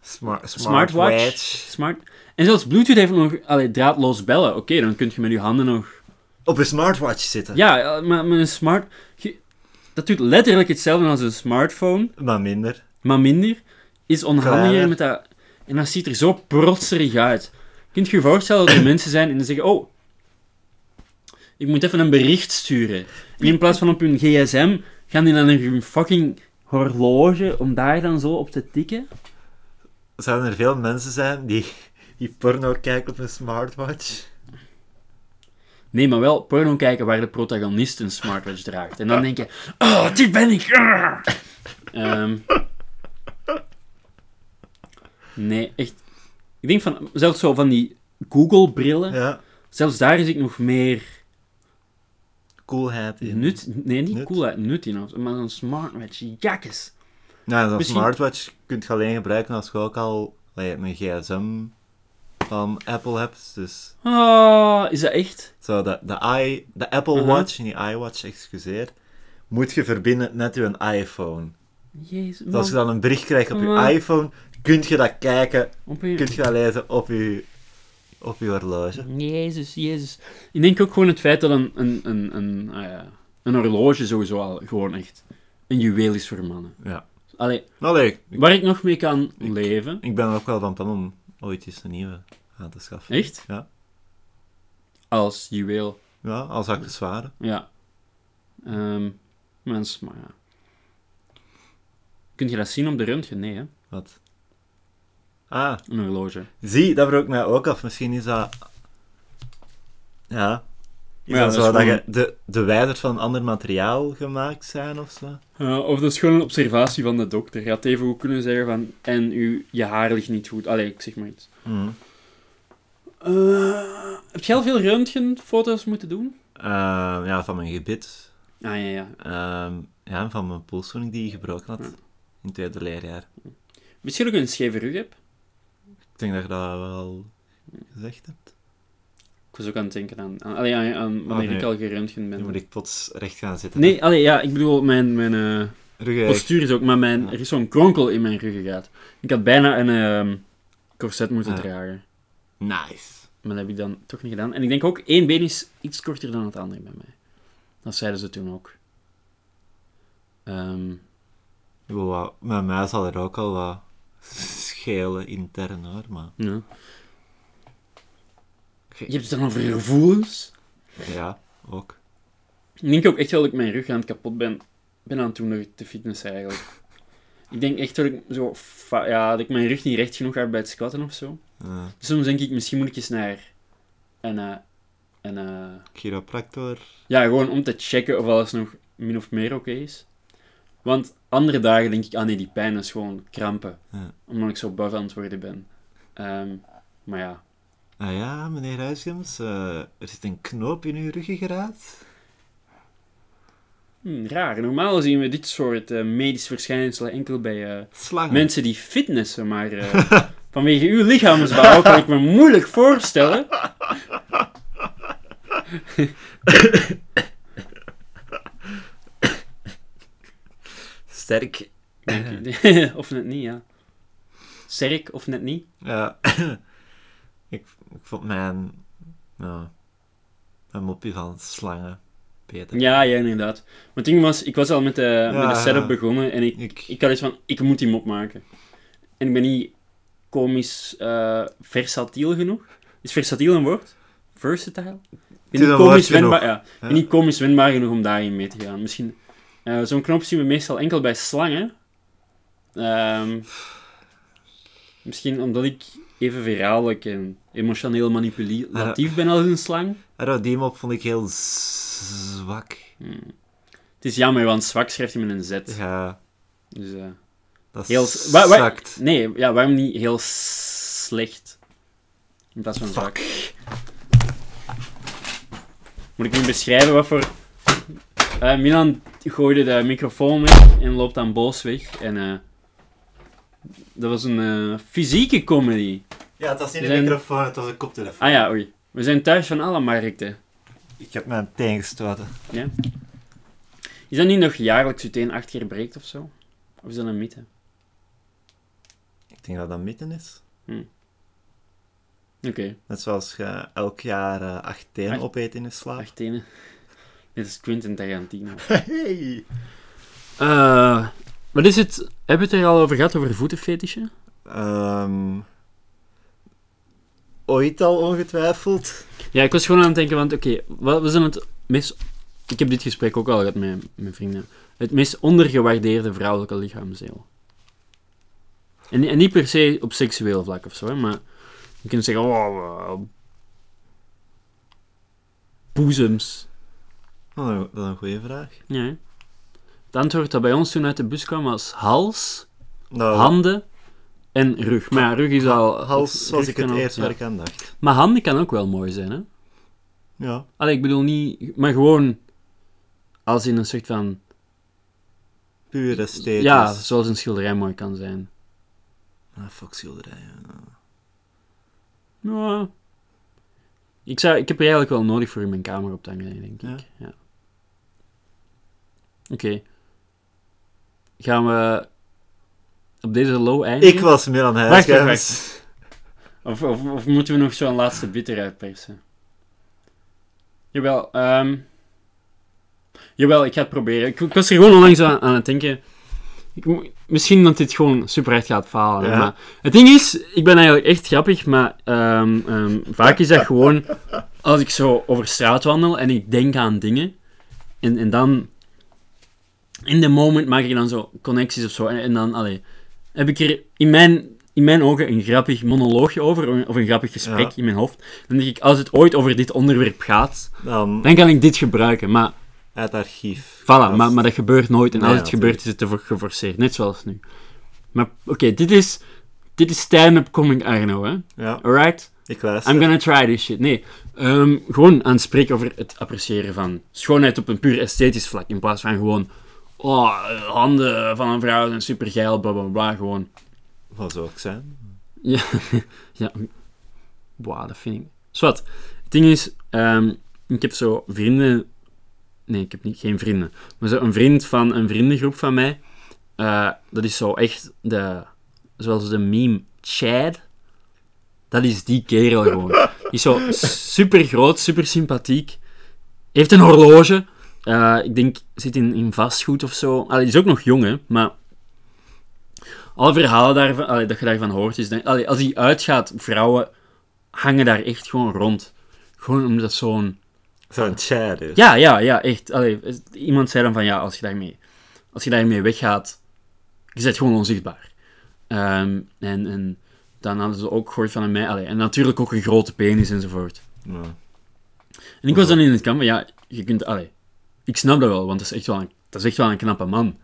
[SPEAKER 1] Smart,
[SPEAKER 2] Smartwatch. Smart... En zelfs Bluetooth heeft nog... Allee, draadloos bellen. Oké, dan kun je met je handen nog...
[SPEAKER 1] Op een smartwatch zitten.
[SPEAKER 2] Ja, ja, eh, maar met een smart... je- dat doet letterlijk hetzelfde als een smartphone,
[SPEAKER 1] Maar minder.
[SPEAKER 2] maar minder. Is onhandiger
[SPEAKER 1] Kleiner.
[SPEAKER 2] met dat... En dat ziet er zo protserig uit. Kunt je je voorstellen dat er mensen zijn en die zeggen... Oh, ik moet even een bericht sturen. En in plaats van op hun gsm, gaan die dan naar hun fucking horloge om daar dan zo op te tikken?
[SPEAKER 1] Zouden er veel mensen zijn die, die porno kijken op een smartwatch?
[SPEAKER 2] Nee, maar wel porno kijken waar de protagonist een smartwatch draagt. En dan denk je, oh, dit ben ik. Arr. Ehm. nee, echt. Ik denk van, zelfs zo van die Google-brillen,
[SPEAKER 1] Ja.
[SPEAKER 2] zelfs daar is ik nog meer
[SPEAKER 1] Coolheid in.
[SPEAKER 2] nut, nee, niet
[SPEAKER 1] Nut.
[SPEAKER 2] coolheid, nut in, of- maar zo'n smartwatch, jakkes.
[SPEAKER 1] Nou, zo'n
[SPEAKER 2] Misschien-
[SPEAKER 1] smartwatch kun je alleen gebruiken als je ook al like, een gsm van Apple hebt. Dus
[SPEAKER 2] Ah, is dat echt?
[SPEAKER 1] zo de, de, i, de Apple
[SPEAKER 2] Aha.
[SPEAKER 1] Watch, niet iWatch, excuseer, moet je verbinden met je iPhone.
[SPEAKER 2] Jezus,
[SPEAKER 1] Dus als je
[SPEAKER 2] man.
[SPEAKER 1] dan een bericht krijgt op je
[SPEAKER 2] Maar-
[SPEAKER 1] iPhone, kun je dat kijken,
[SPEAKER 2] Op je-
[SPEAKER 1] kun je dat lezen op je, op je horloge.
[SPEAKER 2] Jezus, Jezus. Ik denk ook gewoon het feit dat een, een, een, een, ah ja, een horloge sowieso al gewoon echt een juweel is voor mannen.
[SPEAKER 1] Ja.
[SPEAKER 2] Allee,
[SPEAKER 1] Nou leuk, ik,
[SPEAKER 2] waar ik nog mee kan leven.
[SPEAKER 1] ik ben er ook wel van plan om ooit eens een nieuwe aan te schaffen.
[SPEAKER 2] Echt?
[SPEAKER 1] Ja.
[SPEAKER 2] Als juweel.
[SPEAKER 1] Ja, als accessoire.
[SPEAKER 2] Ja. Ehm mens, maar ja. Kun je dat zien op de röntgen? Nee, hè?
[SPEAKER 1] Wat? Ah,
[SPEAKER 2] Een horloge.
[SPEAKER 1] zie, dat vroeg ik mij ook af. Misschien is dat... Ja. Is
[SPEAKER 2] Maar ja,
[SPEAKER 1] dat,
[SPEAKER 2] dat is
[SPEAKER 1] zo
[SPEAKER 2] gewoon-
[SPEAKER 1] dat je de, de wijders van ander materiaal gemaakt zijn of zo?
[SPEAKER 2] Ja, Eh, of dat is gewoon een observatie van de dokter. Je had even goed kunnen zeggen van... En u, je haar ligt niet goed. Allee, ik zeg maar iets.
[SPEAKER 1] Mhm.
[SPEAKER 2] Eh, heb je al veel röntgenfoto's moeten doen?
[SPEAKER 1] Ehm, ja, van mijn gebit.
[SPEAKER 2] Ah, ja, ja.
[SPEAKER 1] Ehm, ja, van mijn polsvoering die ik gebroken had in het tweede leerjaar.
[SPEAKER 2] Misschien ook een scheve rug heb.
[SPEAKER 1] Ik denk dat je dat wel gezegd hebt.
[SPEAKER 2] Ik was ook aan het denken aan... aan allee, aan, aan wanneer
[SPEAKER 1] Oh, nee.
[SPEAKER 2] ik al geröntgen
[SPEAKER 1] Nu moet
[SPEAKER 2] ben.
[SPEAKER 1] ik plots recht gaan zitten.
[SPEAKER 2] Nee, allee, ja, ik bedoel, mijn... mijn eh,
[SPEAKER 1] Rug echt.
[SPEAKER 2] postuur is ook, maar mijn, er is zo'n kronkel in mijn ruggengraat. Ik had bijna een ehm, corset moeten
[SPEAKER 1] Ja.
[SPEAKER 2] dragen.
[SPEAKER 1] Nice.
[SPEAKER 2] Maar dat heb ik dan toch niet gedaan. En ik denk ook, één been is iets korter dan het andere bij mij. Dat zeiden ze toen ook. Ehm,
[SPEAKER 1] Wow, mijn mij zal er ook al wat schelen intern hoor, maar...
[SPEAKER 2] ja.
[SPEAKER 1] Oké.
[SPEAKER 2] Je hebt het dan over gevoelens.
[SPEAKER 1] Ja, ook.
[SPEAKER 2] Ik denk ook echt wel dat ik mijn rug aan het kapot ben, ben aan het doen door te fitness eigenlijk. Ik denk echt dat ik, zo, fa- ja, dat ik mijn rug niet recht genoeg heb bij het squatten of zo.
[SPEAKER 1] Eh,
[SPEAKER 2] Soms denk ik, misschien moet ik eens naar een, eh, een eh,
[SPEAKER 1] chiropractor.
[SPEAKER 2] Ja, gewoon om te checken of alles nog min of meer oké is. Want andere dagen denk ik, ah nee, die pijn is gewoon krampen.
[SPEAKER 1] Ja.
[SPEAKER 2] Omdat ik zo baf aan het worden ben. Ehm, maar ja.
[SPEAKER 1] Ah ja, meneer Huisgems, eh, er zit een knoop in uw ruggengraat.
[SPEAKER 2] Hm, raar. Normaal zien we dit soort eh, medische verschijnselen enkel bij eh,
[SPEAKER 1] Slangen.
[SPEAKER 2] mensen die fitnessen, maar eh, (laughs) vanwege uw lichaamsbouw kan ik me moeilijk voorstellen.
[SPEAKER 1] Sterk.
[SPEAKER 2] Denk ik. (laughs) of net niet, ja. Sterk of net niet.
[SPEAKER 1] Ja. (coughs) ik, ik vond mijn... Nou, mijn mopje van slangen beter.
[SPEAKER 2] Ja, ja, inderdaad. Maar het ding was, ik was al met de, met de setup begonnen en ik,
[SPEAKER 1] Ik,
[SPEAKER 2] ik had iets van, ik moet die mop maken. En ik ben niet komisch eh, versatiel genoeg. Is versatiel een woord? Versatile?
[SPEAKER 1] is
[SPEAKER 2] Ik ben niet
[SPEAKER 1] een
[SPEAKER 2] komisch,
[SPEAKER 1] woord genoeg.
[SPEAKER 2] wendbaar, ja. ik ben
[SPEAKER 1] Ja.
[SPEAKER 2] niet komisch wendbaar genoeg om daarin mee te gaan. Misschien, eh, zo'n knop zien we meestal enkel bij slangen. Ehm, misschien omdat ik even verhaallijk en emotioneel manipulatief ben als een slang.
[SPEAKER 1] Ah, die mop vond ik heel z- zwak.
[SPEAKER 2] Het is jammer, want zwak schrijft hij met een Z.
[SPEAKER 1] Ja,
[SPEAKER 2] Dus, eh,
[SPEAKER 1] dat
[SPEAKER 2] Heel s- wa- wa-
[SPEAKER 1] zakt.
[SPEAKER 2] Nee, ja, waarom niet heel s- slecht? In plaats van zwak. Moet ik nu beschrijven wat voor... Eh, Milan gooide de microfoon weg en loopt dan boos weg. En eh, dat was een eh, fysieke comedy.
[SPEAKER 1] Ja, het was niet
[SPEAKER 2] een Zijn-
[SPEAKER 1] microfoon, het was een koptelefoon.
[SPEAKER 2] Ah ja, oei. We zijn thuis van alle markten.
[SPEAKER 1] Ik heb mijn teen gestoten.
[SPEAKER 2] Is dat niet nog jaarlijks uteen acht keer breekt of zo? Of is dat een mythe?
[SPEAKER 1] Ik denk dat dat midden is.
[SPEAKER 2] Oké,
[SPEAKER 1] Net zoals je elk jaar eh, acht tenen
[SPEAKER 2] Acht-
[SPEAKER 1] opeet in je slaap.
[SPEAKER 2] acht tenen. (laughs) Dit is Quentin Tarantino.
[SPEAKER 1] Hey.
[SPEAKER 2] Eh, wat is het? Hebben we het er al over gehad, over voetenfetisje?
[SPEAKER 1] Ehm, ooit al ongetwijfeld.
[SPEAKER 2] Ja, ik was gewoon aan het denken, want oké, wat was dan het meest... Ik heb dit gesprek ook al gehad met mijn vrienden. Het meest ondergewaardeerde vrouwelijke lichaamsdeel. En, en niet per se op seksueel vlak of zo, hè, maar... Je kunt zeggen, oh... eh, boezems.
[SPEAKER 1] Oh, dat is een goede vraag.
[SPEAKER 2] Ja, hè. Het antwoord dat bij ons toen uit de bus kwam was hals,
[SPEAKER 1] Nou,
[SPEAKER 2] handen en rug. Maar ja, rug is al...
[SPEAKER 1] hals zoals
[SPEAKER 2] rug
[SPEAKER 1] ik het
[SPEAKER 2] kan al-
[SPEAKER 1] eerst
[SPEAKER 2] ja.
[SPEAKER 1] waar ik aan dacht.
[SPEAKER 2] Maar handen kan ook wel mooi zijn, hè?
[SPEAKER 1] Ja.
[SPEAKER 2] Allee, ik bedoel niet... Maar gewoon... Als in een soort van...
[SPEAKER 1] Puur esthetisch.
[SPEAKER 2] Ja, zoals een schilderij mooi kan zijn.
[SPEAKER 1] Ah, fuck schilderijen.
[SPEAKER 2] Ja. Ik, zou, ik heb er eigenlijk wel nodig voor in mijn kamer op te hangen, denk ik. Ja.
[SPEAKER 1] Ja.
[SPEAKER 2] Oké. Gaan we op deze low eindigen?
[SPEAKER 1] Ik was Milan
[SPEAKER 2] Wacht, wacht,
[SPEAKER 1] Huisgens.
[SPEAKER 2] Of, of, of moeten we nog zo'n laatste bit eruit persen? Jawel, ehm jawel, ik ga het proberen. Ik, ik was er gewoon onlangs aan, aan het denken. Ik, mo- misschien dat dit gewoon super hard gaat falen. hè,
[SPEAKER 1] Ja.
[SPEAKER 2] Maar het ding is, ik ben eigenlijk echt grappig, maar ehm, ehm, vaak is dat gewoon als ik zo over straat wandel en ik denk aan dingen. En, en dan, in the moment, maak ik dan zo connecties of zo. En, en dan, allee, heb ik er in mijn, in mijn ogen een grappig monoloogje over, of een- of een grappig gesprek
[SPEAKER 1] Ja.
[SPEAKER 2] in mijn hoofd. Dan denk ik, als het ooit over dit onderwerp gaat,
[SPEAKER 1] Dan
[SPEAKER 2] dan kan ik dit gebruiken. Maar,
[SPEAKER 1] uit archief.
[SPEAKER 2] voilà,
[SPEAKER 1] Dat is-
[SPEAKER 2] maar, maar dat gebeurt nooit. En als
[SPEAKER 1] Nee,
[SPEAKER 2] het gebeurt, is het te voor- geforceerd. Net zoals nu. Maar, oké, dit is... Dit is stand-up coming Arno, hè?
[SPEAKER 1] Ja,
[SPEAKER 2] Alright?
[SPEAKER 1] ik luister.
[SPEAKER 2] I'm gonna try this shit. Nee, ehm, gewoon aan het spreken over het appreciëren van schoonheid op een puur esthetisch vlak. In plaats van gewoon, oh, eh, handen van een vrouw zijn supergeil, bla bla bla. Gewoon,
[SPEAKER 1] Wat zou ik zijn?
[SPEAKER 2] ja, ja. Wauw, dat vind ik. Zwat. Het ding is, ehm, ik heb zo vrienden. Nee, ik heb niet, geen vrienden. Maar zo een vriend van een vriendengroep van mij. eh, dat is zo echt de. Zoals de meme Chad. Dat is die kerel gewoon. Die is zo super groot, super sympathiek. Heeft een horloge. Eh, ik denk, zit in, in vastgoed of zo. Allee, die is ook nog jong, hè, maar alle verhalen daarvan, allee, dat je daarvan hoort, is denk, allee, als hij uitgaat, vrouwen hangen daar echt gewoon rond. Gewoon omdat dat zo'n...
[SPEAKER 1] Zo'n chair dus.
[SPEAKER 2] Ja, ja, ja, echt. Allee, is- iemand zei dan van, ja, als je daarmee, als je daarmee weggaat, je bent gewoon onzichtbaar. Ehm, en, en dan hadden ze ook gehoord van mij, allee, en natuurlijk ook een grote penis enzovoort.
[SPEAKER 1] Ja.
[SPEAKER 2] En ik was dan in het kamp van, ja, je kunt, allee, ik snap dat wel, want dat is echt wel een, dat is echt wel een knappe man.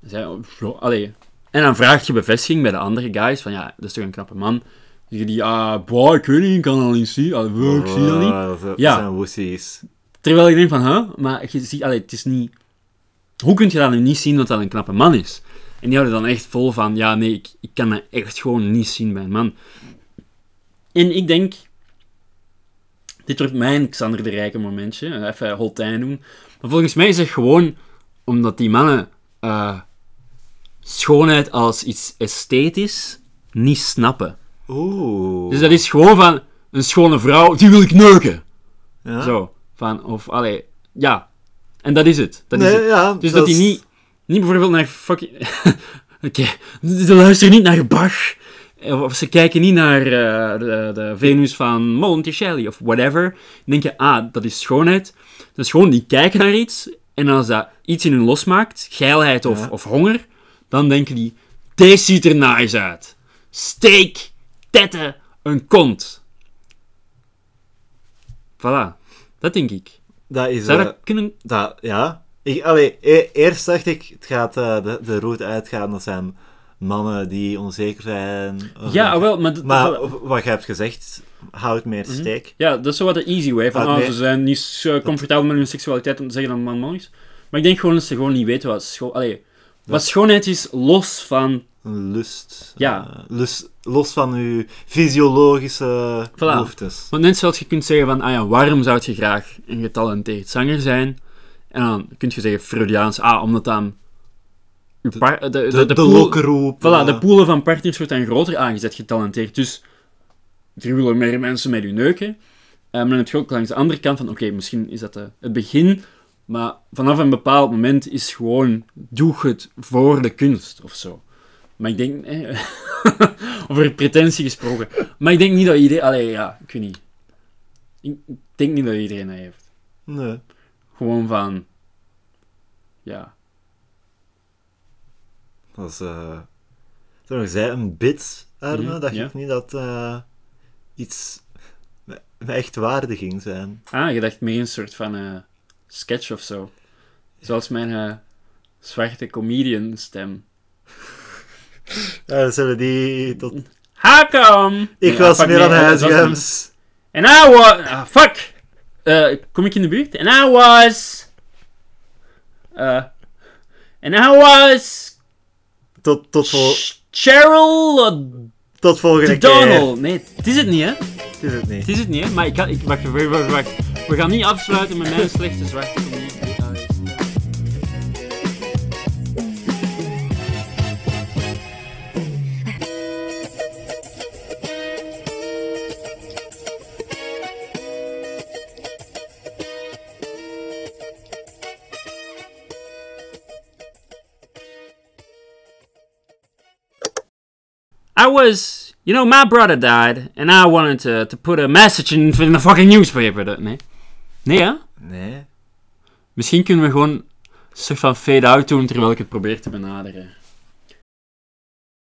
[SPEAKER 2] Dus hij, oh, zo, allee. En dan vraag je bevestiging bij de andere guys, van ja, dat is toch een knappe man. Dan zeggen die, ah, boah, ik weet niet, ik kan dat niet zien, allee, wow, ik zie dat niet.
[SPEAKER 1] Wow, Oh, zo-
[SPEAKER 2] Ja.
[SPEAKER 1] Zijn woesies.
[SPEAKER 2] Terwijl ik denk van, huh, maar je ziet, allee, het is niet, Hoe kun je dan nu niet zien dat dat een knappe man is? En die houden dan echt vol van, ja nee, ik, ik kan dat echt gewoon niet zien bij een man. En ik denk, dit wordt mijn Xander de Rijke momentje, even Holtijn doen. Maar volgens mij is het gewoon omdat die mannen eh, schoonheid als iets esthetisch niet snappen.
[SPEAKER 1] Oeh.
[SPEAKER 2] Dus dat is gewoon van, een schone vrouw, die wil ik neuken.
[SPEAKER 1] Ja.
[SPEAKER 2] eh, Zo, van, of, allee, ja. En dat is het. Dat is
[SPEAKER 1] Nee,
[SPEAKER 2] het.
[SPEAKER 1] ja,
[SPEAKER 2] Dus dat
[SPEAKER 1] is-
[SPEAKER 2] hij niet, niet bijvoorbeeld naar fucking... (laughs) Oké, ze luisteren niet naar Bach. Eh, Of ze kijken niet naar eh, de, de Venus van Monticelli of whatever. Dan denk je, ah, dat is schoonheid. Dat is gewoon, die kijken naar iets. En als dat iets in hun losmaakt, geilheid of,
[SPEAKER 1] Ja.
[SPEAKER 2] of honger, dan denken die, deze ziet er nice uit. Steak, tetten, een kont. Voilà, dat denk ik.
[SPEAKER 1] Dat is...
[SPEAKER 2] Zou
[SPEAKER 1] eh,
[SPEAKER 2] dat kunnen...
[SPEAKER 1] dat, ja. Ik, allee, e- eerst dacht ik, het gaat eh, de, de route uitgaan. Dat zijn mannen die onzeker zijn. Of-
[SPEAKER 2] Ja, ah, wel, maar... dat- Mhm. voilà.
[SPEAKER 1] Maar wat je hebt gezegd, houdt meer steek.
[SPEAKER 2] Ja, dat is zo wat de easy way. Van,
[SPEAKER 1] Ah,
[SPEAKER 2] ah,
[SPEAKER 1] nee.
[SPEAKER 2] ze zijn niet eh, comfortabel met hun seksualiteit om te zeggen dat een man man is. Maar ik denk gewoon dat ze gewoon niet weten wat, scho Allee, wat schoonheid is, los van...
[SPEAKER 1] Een lust.
[SPEAKER 2] Ja.
[SPEAKER 1] eh, lust los van uw fysiologische behoeftes.
[SPEAKER 2] Want net zoals je kunt zeggen van, ah ja, waarom zou je graag een getalenteerd zanger zijn? En dan kun je zeggen, Freudiaans, ah, omdat dan... uw par- de, de,
[SPEAKER 1] De, de,
[SPEAKER 2] pool-
[SPEAKER 1] lokroep.
[SPEAKER 2] Voilà,
[SPEAKER 1] eh,
[SPEAKER 2] de poelen van partners wordt dan groter aangezet, getalenteerd. Dus er willen meer mensen met u neuken. Eh, maar dan heb je ook langs de andere kant van, oké, misschien is dat de- het begin. Maar vanaf een bepaald moment is gewoon, doe het voor de kunst of zo. Maar ik denk, (laughs) eh, over pretentie gesproken. Maar ik denk niet dat iedereen, allee, ja, ik weet niet. Ik ik denk niet dat iedereen dat heeft.
[SPEAKER 1] Nee.
[SPEAKER 2] Gewoon van, ja.
[SPEAKER 1] Dat is, eh toen ik zei, een bit, Arne,
[SPEAKER 2] Mhm,
[SPEAKER 1] dacht
[SPEAKER 2] ja.
[SPEAKER 1] ik niet dat eh, iets me- me echt waarde ging zijn.
[SPEAKER 2] Ah, je dacht meer een soort van eh, sketch of zo. Zoals mijn eh, zwarte comedian stem.
[SPEAKER 1] Eh, zullen die tot...
[SPEAKER 2] How come?
[SPEAKER 1] Ik
[SPEAKER 2] Ja,
[SPEAKER 1] was
[SPEAKER 2] fuck,
[SPEAKER 1] meer
[SPEAKER 2] nee,
[SPEAKER 1] aan
[SPEAKER 2] dat was niet.
[SPEAKER 1] huisgems.
[SPEAKER 2] En I was... ah, fuck! Eh, kom ik in de buurt? En I was... eh, En I was...
[SPEAKER 1] Tot, tot, vol-
[SPEAKER 2] Cheryl eh,
[SPEAKER 1] tot volgende keer.
[SPEAKER 2] Donald. Nee, het is het niet, hè?
[SPEAKER 1] Het is het niet.
[SPEAKER 2] Het is het niet, hè? Maar ik kan... Ik, wacht, wacht, wacht, wacht. We gaan niet afsluiten met mijn slechte zwarte comedian eh, stem. I was, you know, my brother died, and I wanted to, to put a message in, in the fucking newspaper. Dat- Nee. Nee, hè?
[SPEAKER 1] Nee.
[SPEAKER 2] Misschien kunnen we gewoon een soort van fade-out doen terwijl ik het probeer te benaderen.